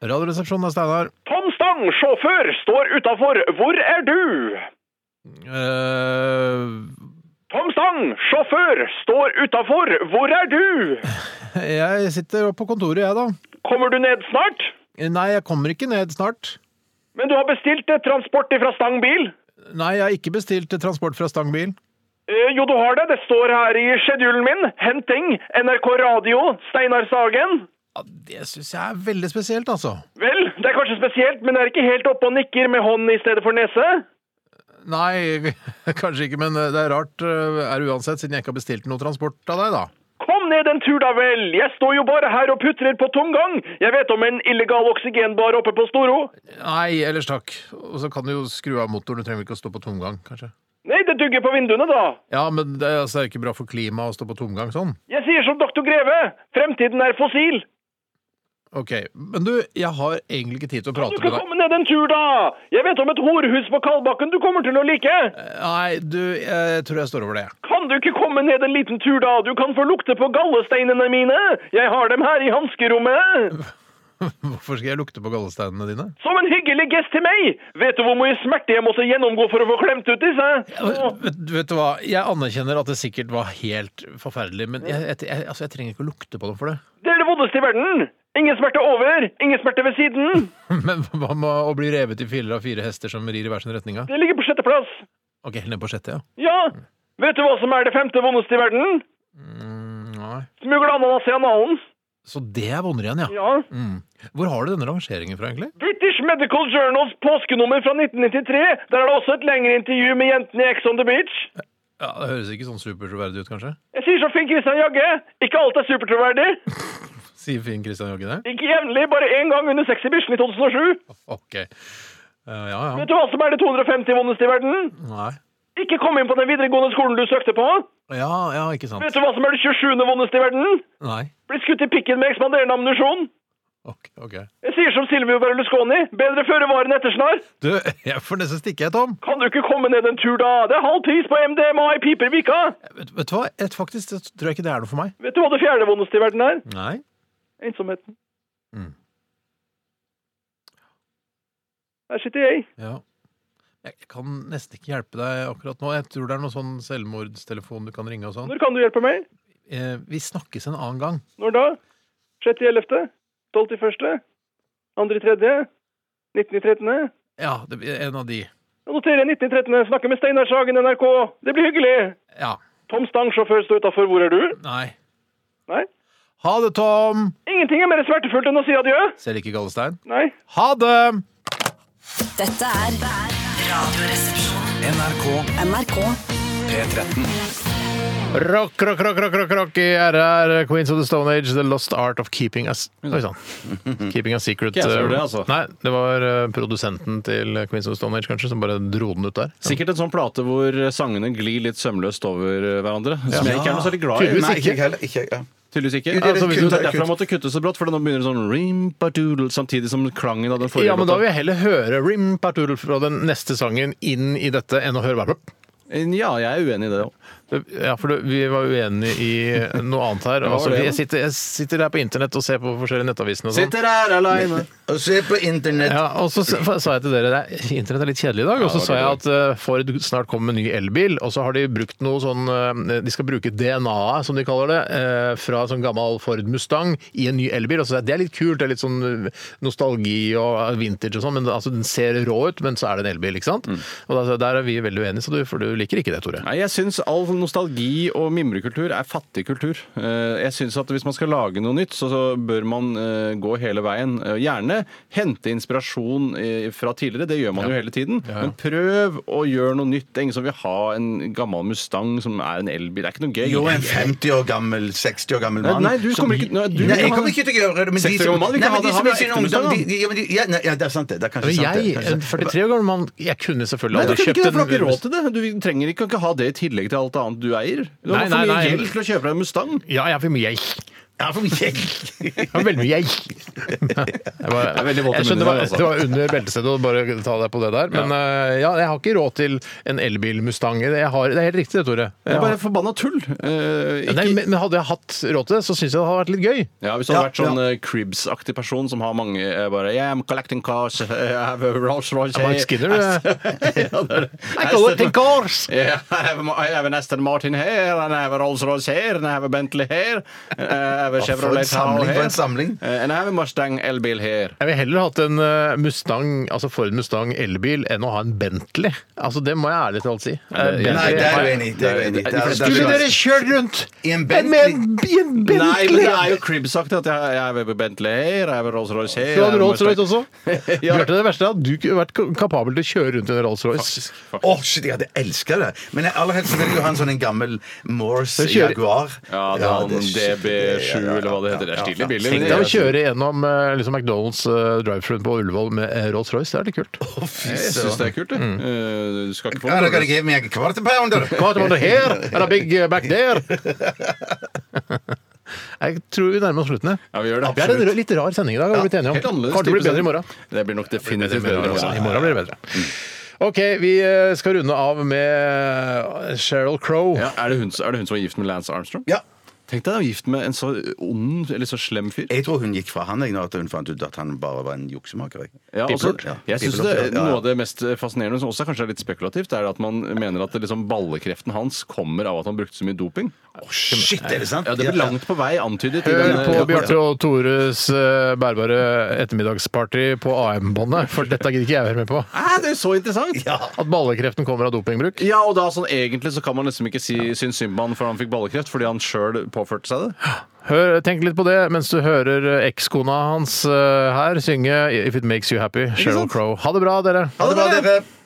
A: Radioresepsjonen er Steinar.
K: Tom Stang, sjåfør, står utafor. Hvor er du?
A: Eh,
K: Tom Stang, sjåfør! sjåfør står utafor, hvor er du?
A: Jeg sitter oppe på kontoret, jeg, da.
K: Kommer du ned snart?
A: Nei, jeg kommer ikke ned snart.
K: Men du har bestilt eh, transport fra Stang bil?
A: Nei, jeg har ikke bestilt transport fra Stang bil.
K: Eh, Jo, du har det. Det står her i schedulen min. Henting, NRK Radio, Steinar Sagen.
A: Det syns jeg er veldig spesielt, altså.
K: Vel, det er kanskje spesielt, men er ikke helt oppe og nikker med hånden i stedet for nese?
A: Nei, kanskje ikke, men det er rart eh, er det uansett, siden jeg ikke har bestilt noe transport av deg, da.
K: Kom ned en tur, da vel! Jeg står jo bare her og putrer på tomgang! Jeg vet om en illegal oksygenbar oppe på Storo.
A: Nei, ellers takk. Og så kan du jo skru av motoren, du trenger ikke å stå på tomgang, kanskje.
K: Nei, det dugger på vinduene, da.
A: Ja, men det altså, det er ikke bra for klimaet å stå på tomgang sånn.
K: Jeg sier som doktor Greve, fremtiden er fossil.
A: Ok, men du, jeg har egentlig ikke tid til å
K: Du
A: prate
K: kan
A: med deg.
K: komme ned en tur, da! Jeg vet om et horehus på Kalbakken du kommer til å like!
A: Nei, du, jeg tror jeg står over det, jeg.
K: Kan du ikke komme ned en liten tur, da? Du kan få lukte på gallesteinene mine! Jeg har dem her i hanskerommet!
A: Hvorfor skal jeg lukte på gallesteinene dine?
K: Som en hyggelig gest til meg! Vet du hvor mye smerte jeg måtte gjennomgå for å få klemt ut disse? Åh,
A: Vet, vet du hva, jeg anerkjenner at det sikkert var helt forferdelig, men jeg, jeg, jeg, altså, jeg trenger ikke å lukte på dem for det.
K: Det er det vondeste i verden! Ingen smerte over, ingen smerte ved siden.
A: Men hva med å bli revet i filler av fire hester som rir i hver sin retning? da?
K: Det ligger på sjette plass.
A: Ok, helt ned på sjette, ja.
K: Ja, vet du hva som er det femte vondeste i verden?
A: Mm, Nei.
K: Smugle ananas i analen.
A: Så det er vondere igjen, ja.
K: Ja.
A: Mm. Hvor har du denne rangeringen fra, egentlig?
K: British Medical Journals påskenummer fra 1993. Der er det også et lengre intervju med jentene i Ex on the Beach.
A: Ja, Det høres ikke sånn supertroverdig ut, kanskje?
K: Jeg sier som Finn Christian Jagge, ikke alt er supertroverdig.
A: Sier Finn Christian Jogge det?
K: Ikke jevnlig, bare én gang under Sexybition i 2007.
A: Ok. Eh, ja, ja.
K: Vet du hva som er det 250 vondeste i verden?
A: Nei.
K: Ikke komme inn på den videregående skolen du søkte på.
A: Ja, ja, ikke sant.
K: Vet du hva som er det 27. vondeste i verden?
A: Nei.
K: Bli skutt i pikken med ekspanderende ammunisjon.
A: Ok.
K: Jeg sier som Silvio Berlusconi, bedre føre var enn etter snar.
A: Du, jeg får nesten stikke, jeg, Tom.
K: Kan du ikke komme ned en tur, da? Det er halv pris på MDMA i Pipervika.
A: Vet, vet du hva, jeg, faktisk jeg tror jeg ikke det er noe for meg.
K: Vet du hva det fjerde vondeste i verden er?
A: Nei.
K: Ensomheten.
A: Mm.
K: Her sitter jeg.
A: Ja. Jeg jeg kan nesten ikke hjelpe deg akkurat nå. Jeg tror det er noen sånn selvmordstelefon du kan ringe og sånn.
K: Når kan du hjelpe meg?
A: Eh, vi snakkes en annen gang.
K: Når da? 6.11.? 12.1.? 2.3.? 19.13.?
A: Ja, det, blir en av de.
K: Jeg noterer 19.13. Snakker med Steinar Sagen, NRK. Det blir hyggelig.
A: Ja.
K: Tom Stang, sjåfør, står utafor. Hvor er du?
A: Nei.
K: Nei?
A: Ha det, Tom!
K: Ingenting er mer smertefullt enn å si adjø.
A: Ser ikke Gallestein.
K: Nei.
A: Ha det!
H: Dette er Radioresepsjonen.
I: NRK
H: NRK.
I: P13.
A: Rock, rock, rock, rock, rock, rock i RR, Queens of the Stone Age, The Lost Art of Keeping Us Oi sann. Keeping a Secret. eh,
B: sånn. Ikke jeg som gjorde det, altså.
A: Nei, det var eh, produsenten til Queens of the Stone Age, kanskje, som bare dro den ut der.
B: Sikkert en sånn plate hvor sangene glir litt sømløst over eh, hverandre. Som jeg ikke er noe særlig glad i.
A: Tydeligvis
C: Nei,
A: ikke.
C: ikke heller. Ikke, ja.
B: Tydeligvis ikke.
C: Jo, det er
B: Altså,
C: litt
B: hvis du
C: kutt, det er
B: derfor
C: kutt.
B: jeg måtte kutte så brått, for nå begynner det sånn rim-ba-doodle samtidig som klangen av den forrige
A: Ja, men da vil
B: låta.
A: jeg heller høre Rim Partoodle fra den neste sangen inn i dette, enn å høre bare
B: Eh, Ja, jeg er uenig i det òg.
A: Ja, for du- vi var uenige i noe annet her.
B: var
A: Altså,
B: det, ja.
A: jeg, sitter, jeg sitter her på internett og ser på forskjellige nettaviser og sånn.
B: Sitter her aleine.
C: Og se på internett.
A: Ja, og så sa sa jeg til dere det er- Internett er litt kjedelig i dag. Og så
B: det
A: sa jeg
B: var
A: at eh, Ford snart kommer med en ny elbil. Og så har de brukt noe sånn eh, De skal bruke DNA-et, som de kaller det, eh, fra en sånn gammel Ford Mustang i en ny elbil. Og så sa jeg, det er litt kult. Det er litt sånn nostalgi og vintage og sånn. Men det- altså, den ser rå ut, men så er det en elbil, ikke sant? Og da, sa jeg, der er vi veldig uenige, så du, for du liker ikke det, Tore.
B: Mm. Nei, jeg syns all nostalgi og mimrekultur er fattig kultur. Eh, Jeg syns at hvis man skal lage noe nytt, så så bør man eh, gå hele veien. Eh, Gjerne hente inspirasjon eh, fra tidligere, det gjør man jo hele tiden. Men prøv å gjøre noe nytt. Det er ingen som vil ha en gammel Mustang som er en elbil. Det er ikke noe gøy.
C: Jo, en 50 år gammel, 60 år gammel
B: Nei,
C: mann.
B: nei, du
C: som-
B: kommer ikke- nei, du-
C: Nei, jeg kommer ikke til å gjøre det. Men de
B: 60 år
C: som,
B: gammel, vi
C: nei,
B: kan ha
C: men de
B: det-
C: som i
B: ha det
C: sin
B: ekte
C: ungdom
B: Mustang,
C: de, de, ja, men de, ja, nei, ja, det er sant, det. Det er kanskje
A: Men
C: sant. det,
A: jeg,
C: kanskje
A: en
C: sant.
A: 43 år gammel mann, jeg kunne selvfølgelig
B: Nei, du
A: aldri
B: kunne
A: kjøpt
B: ikke det, for du har ikke
A: en
B: råd til det. Du trenger ikke å ha det i tillegg til alt annet du eier. Du
A: Nei,
B: har for
A: nei,
B: mye
A: nei.
B: gjeld til å kjøpe deg en Mustang.
A: Ja, jeg har for mye jeg.
C: Ja, for mye egg.
A: Det var veldig mye egg. Jeg, bare,
B: er veldig våt i
A: jeg skjønner det var,
B: munnen, altså.
A: det var under beltestedet å bare ta deg på det der. Men eh, ja, jeg har ikke råd til en elbil-Mustang. Jeg har- Det er helt riktig det, Tore.
B: Det
A: Jeg
B: er
A: har-
B: bare forbanna tull.
A: Ja,
B: Eh, ikke,
A: nei, men men hadde jeg hatt råd til det, så syns jeg det hadde vært litt gøy.
B: ja, Hvis du hadde
A: Ja,
B: vært sånn eh, Cribs-aktig person som har mange eh, bare yeah, I'm collecting cars, I have a Rolls Royce
A: Mark Skinner, du. eh.
B: Ja, det er det.
A: I collecting cars!
B: Yeah, I have a- I have an Aston Martin here, and I have a Rolls-Royce here, and I have a Bentley here, and I have
C: Ja, for en
B: a Chevrolet Tahoe
C: samling, for en
B: here,
C: samling.
B: eh, and I have a Mustang elbil here.
A: Jeg ville heller hatt en eh, Mustang, altså Ford Mustang elbil enn å ha en Bentley. Altså Det må jeg ærlig talt si. Eh, Bentley-
C: Nei, det er du enig i. det er du enig i. Det er- det er-
A: Skulle dere kjørt rundt
C: I en
A: med
C: Bentley?
A: en, i en
B: Nei, men
A: Bentley?
B: det er jo Cribs-aktig at jeg, jeg har Bentley her, jeg har Rolls-Royce her.
A: Du
B: jeg
A: hadde
B: har
A: Rolls-Royce
B: Mustang-
A: også.
B: Ja.
A: Bjarte, det verste er at du kunne vært kapabel til å kjøre rundt i en Rolls-Royce.
B: Faktisk.
C: Åh, shit, jeg hadde elska det! Men jeg- aller helst vil jeg jo ha en sånn en gammel Morse
A: Jeg kjører-
C: Jaguar.
B: Ja, det er
C: det er
B: en
C: shit,
B: DB7
C: ja, ja,
B: eller hva det heter. Det er
C: ja,
B: stilig
C: ja.
B: billig.
A: Tenk
B: men
A: deg å
B: det er-
A: kjøre gjennom eh, liksom McDonald's eh, drive-through på Ullevål med eh, Rolls-Royce. Det er litt kult.
C: Å, fy
B: Jeg syns
C: søren.
B: det er kult, det. Eh, Du skal ikke få
C: Ja, da kan jeg
B: noe.
C: give meg en kvart pounder!
A: Hva heter det her? Er det Big Back There? Jeg tror vi nærmer oss slutten. jeg.
B: Ja, vi gjør det.
A: Det er en rø- litt rar sending i dag, har vi blitt enige om.
B: helt annerledes
A: Kanskje det blir bedre
B: type
A: i
B: sending.
A: morgen.
B: Det blir nok definitivt bedre.
A: bedre, altså.
B: i
A: I morgen blir det bedre. OK, vi eh, skal runde av med Sheryl Crow.
B: Ja, er, det hun, er det hun som var gift med Lance Armstrong?
C: Ja.
B: Tenk deg å være gift med en så ond eller så slem fyr.
C: Jeg tror hun gikk fra han jeg, når at hun fant ut at han bare var en juksemaker. jeg.
B: Ja,
C: Pipel.
B: også,
C: Ja,
B: jeg synes
C: pipel.
B: det,
C: Ja, ja.
B: Noe av det mest fascinerende, som også kanskje er litt spekulativt, er at man mener at det liksom ballekreften hans kommer av at han brukte så mye doping.
C: Shit, er det sant?
B: Ja, Det blir langt på vei antydet. i
A: Hør
B: denne-
A: Eh, på Bjarte og Tores eh, bærbare ettermiddagsparty på AM-båndet, for dette gidder ikke jeg være med på.
B: Hæ, Ah, det er jo så interessant!
A: At ballekreften kommer av dopingbruk.
B: Ja, og da sånn egentlig så kan man liksom ikke si synes synd på han for han fikk ballekreft, fordi han sjøl påførte seg det.
A: Hør, tenk litt på det mens du hører eh, ekskona hans eh, her synge If It Makes You Happy, Sheryl
B: sant?
A: Crow. Ha det bra, dere.
C: Ha det bra, dere!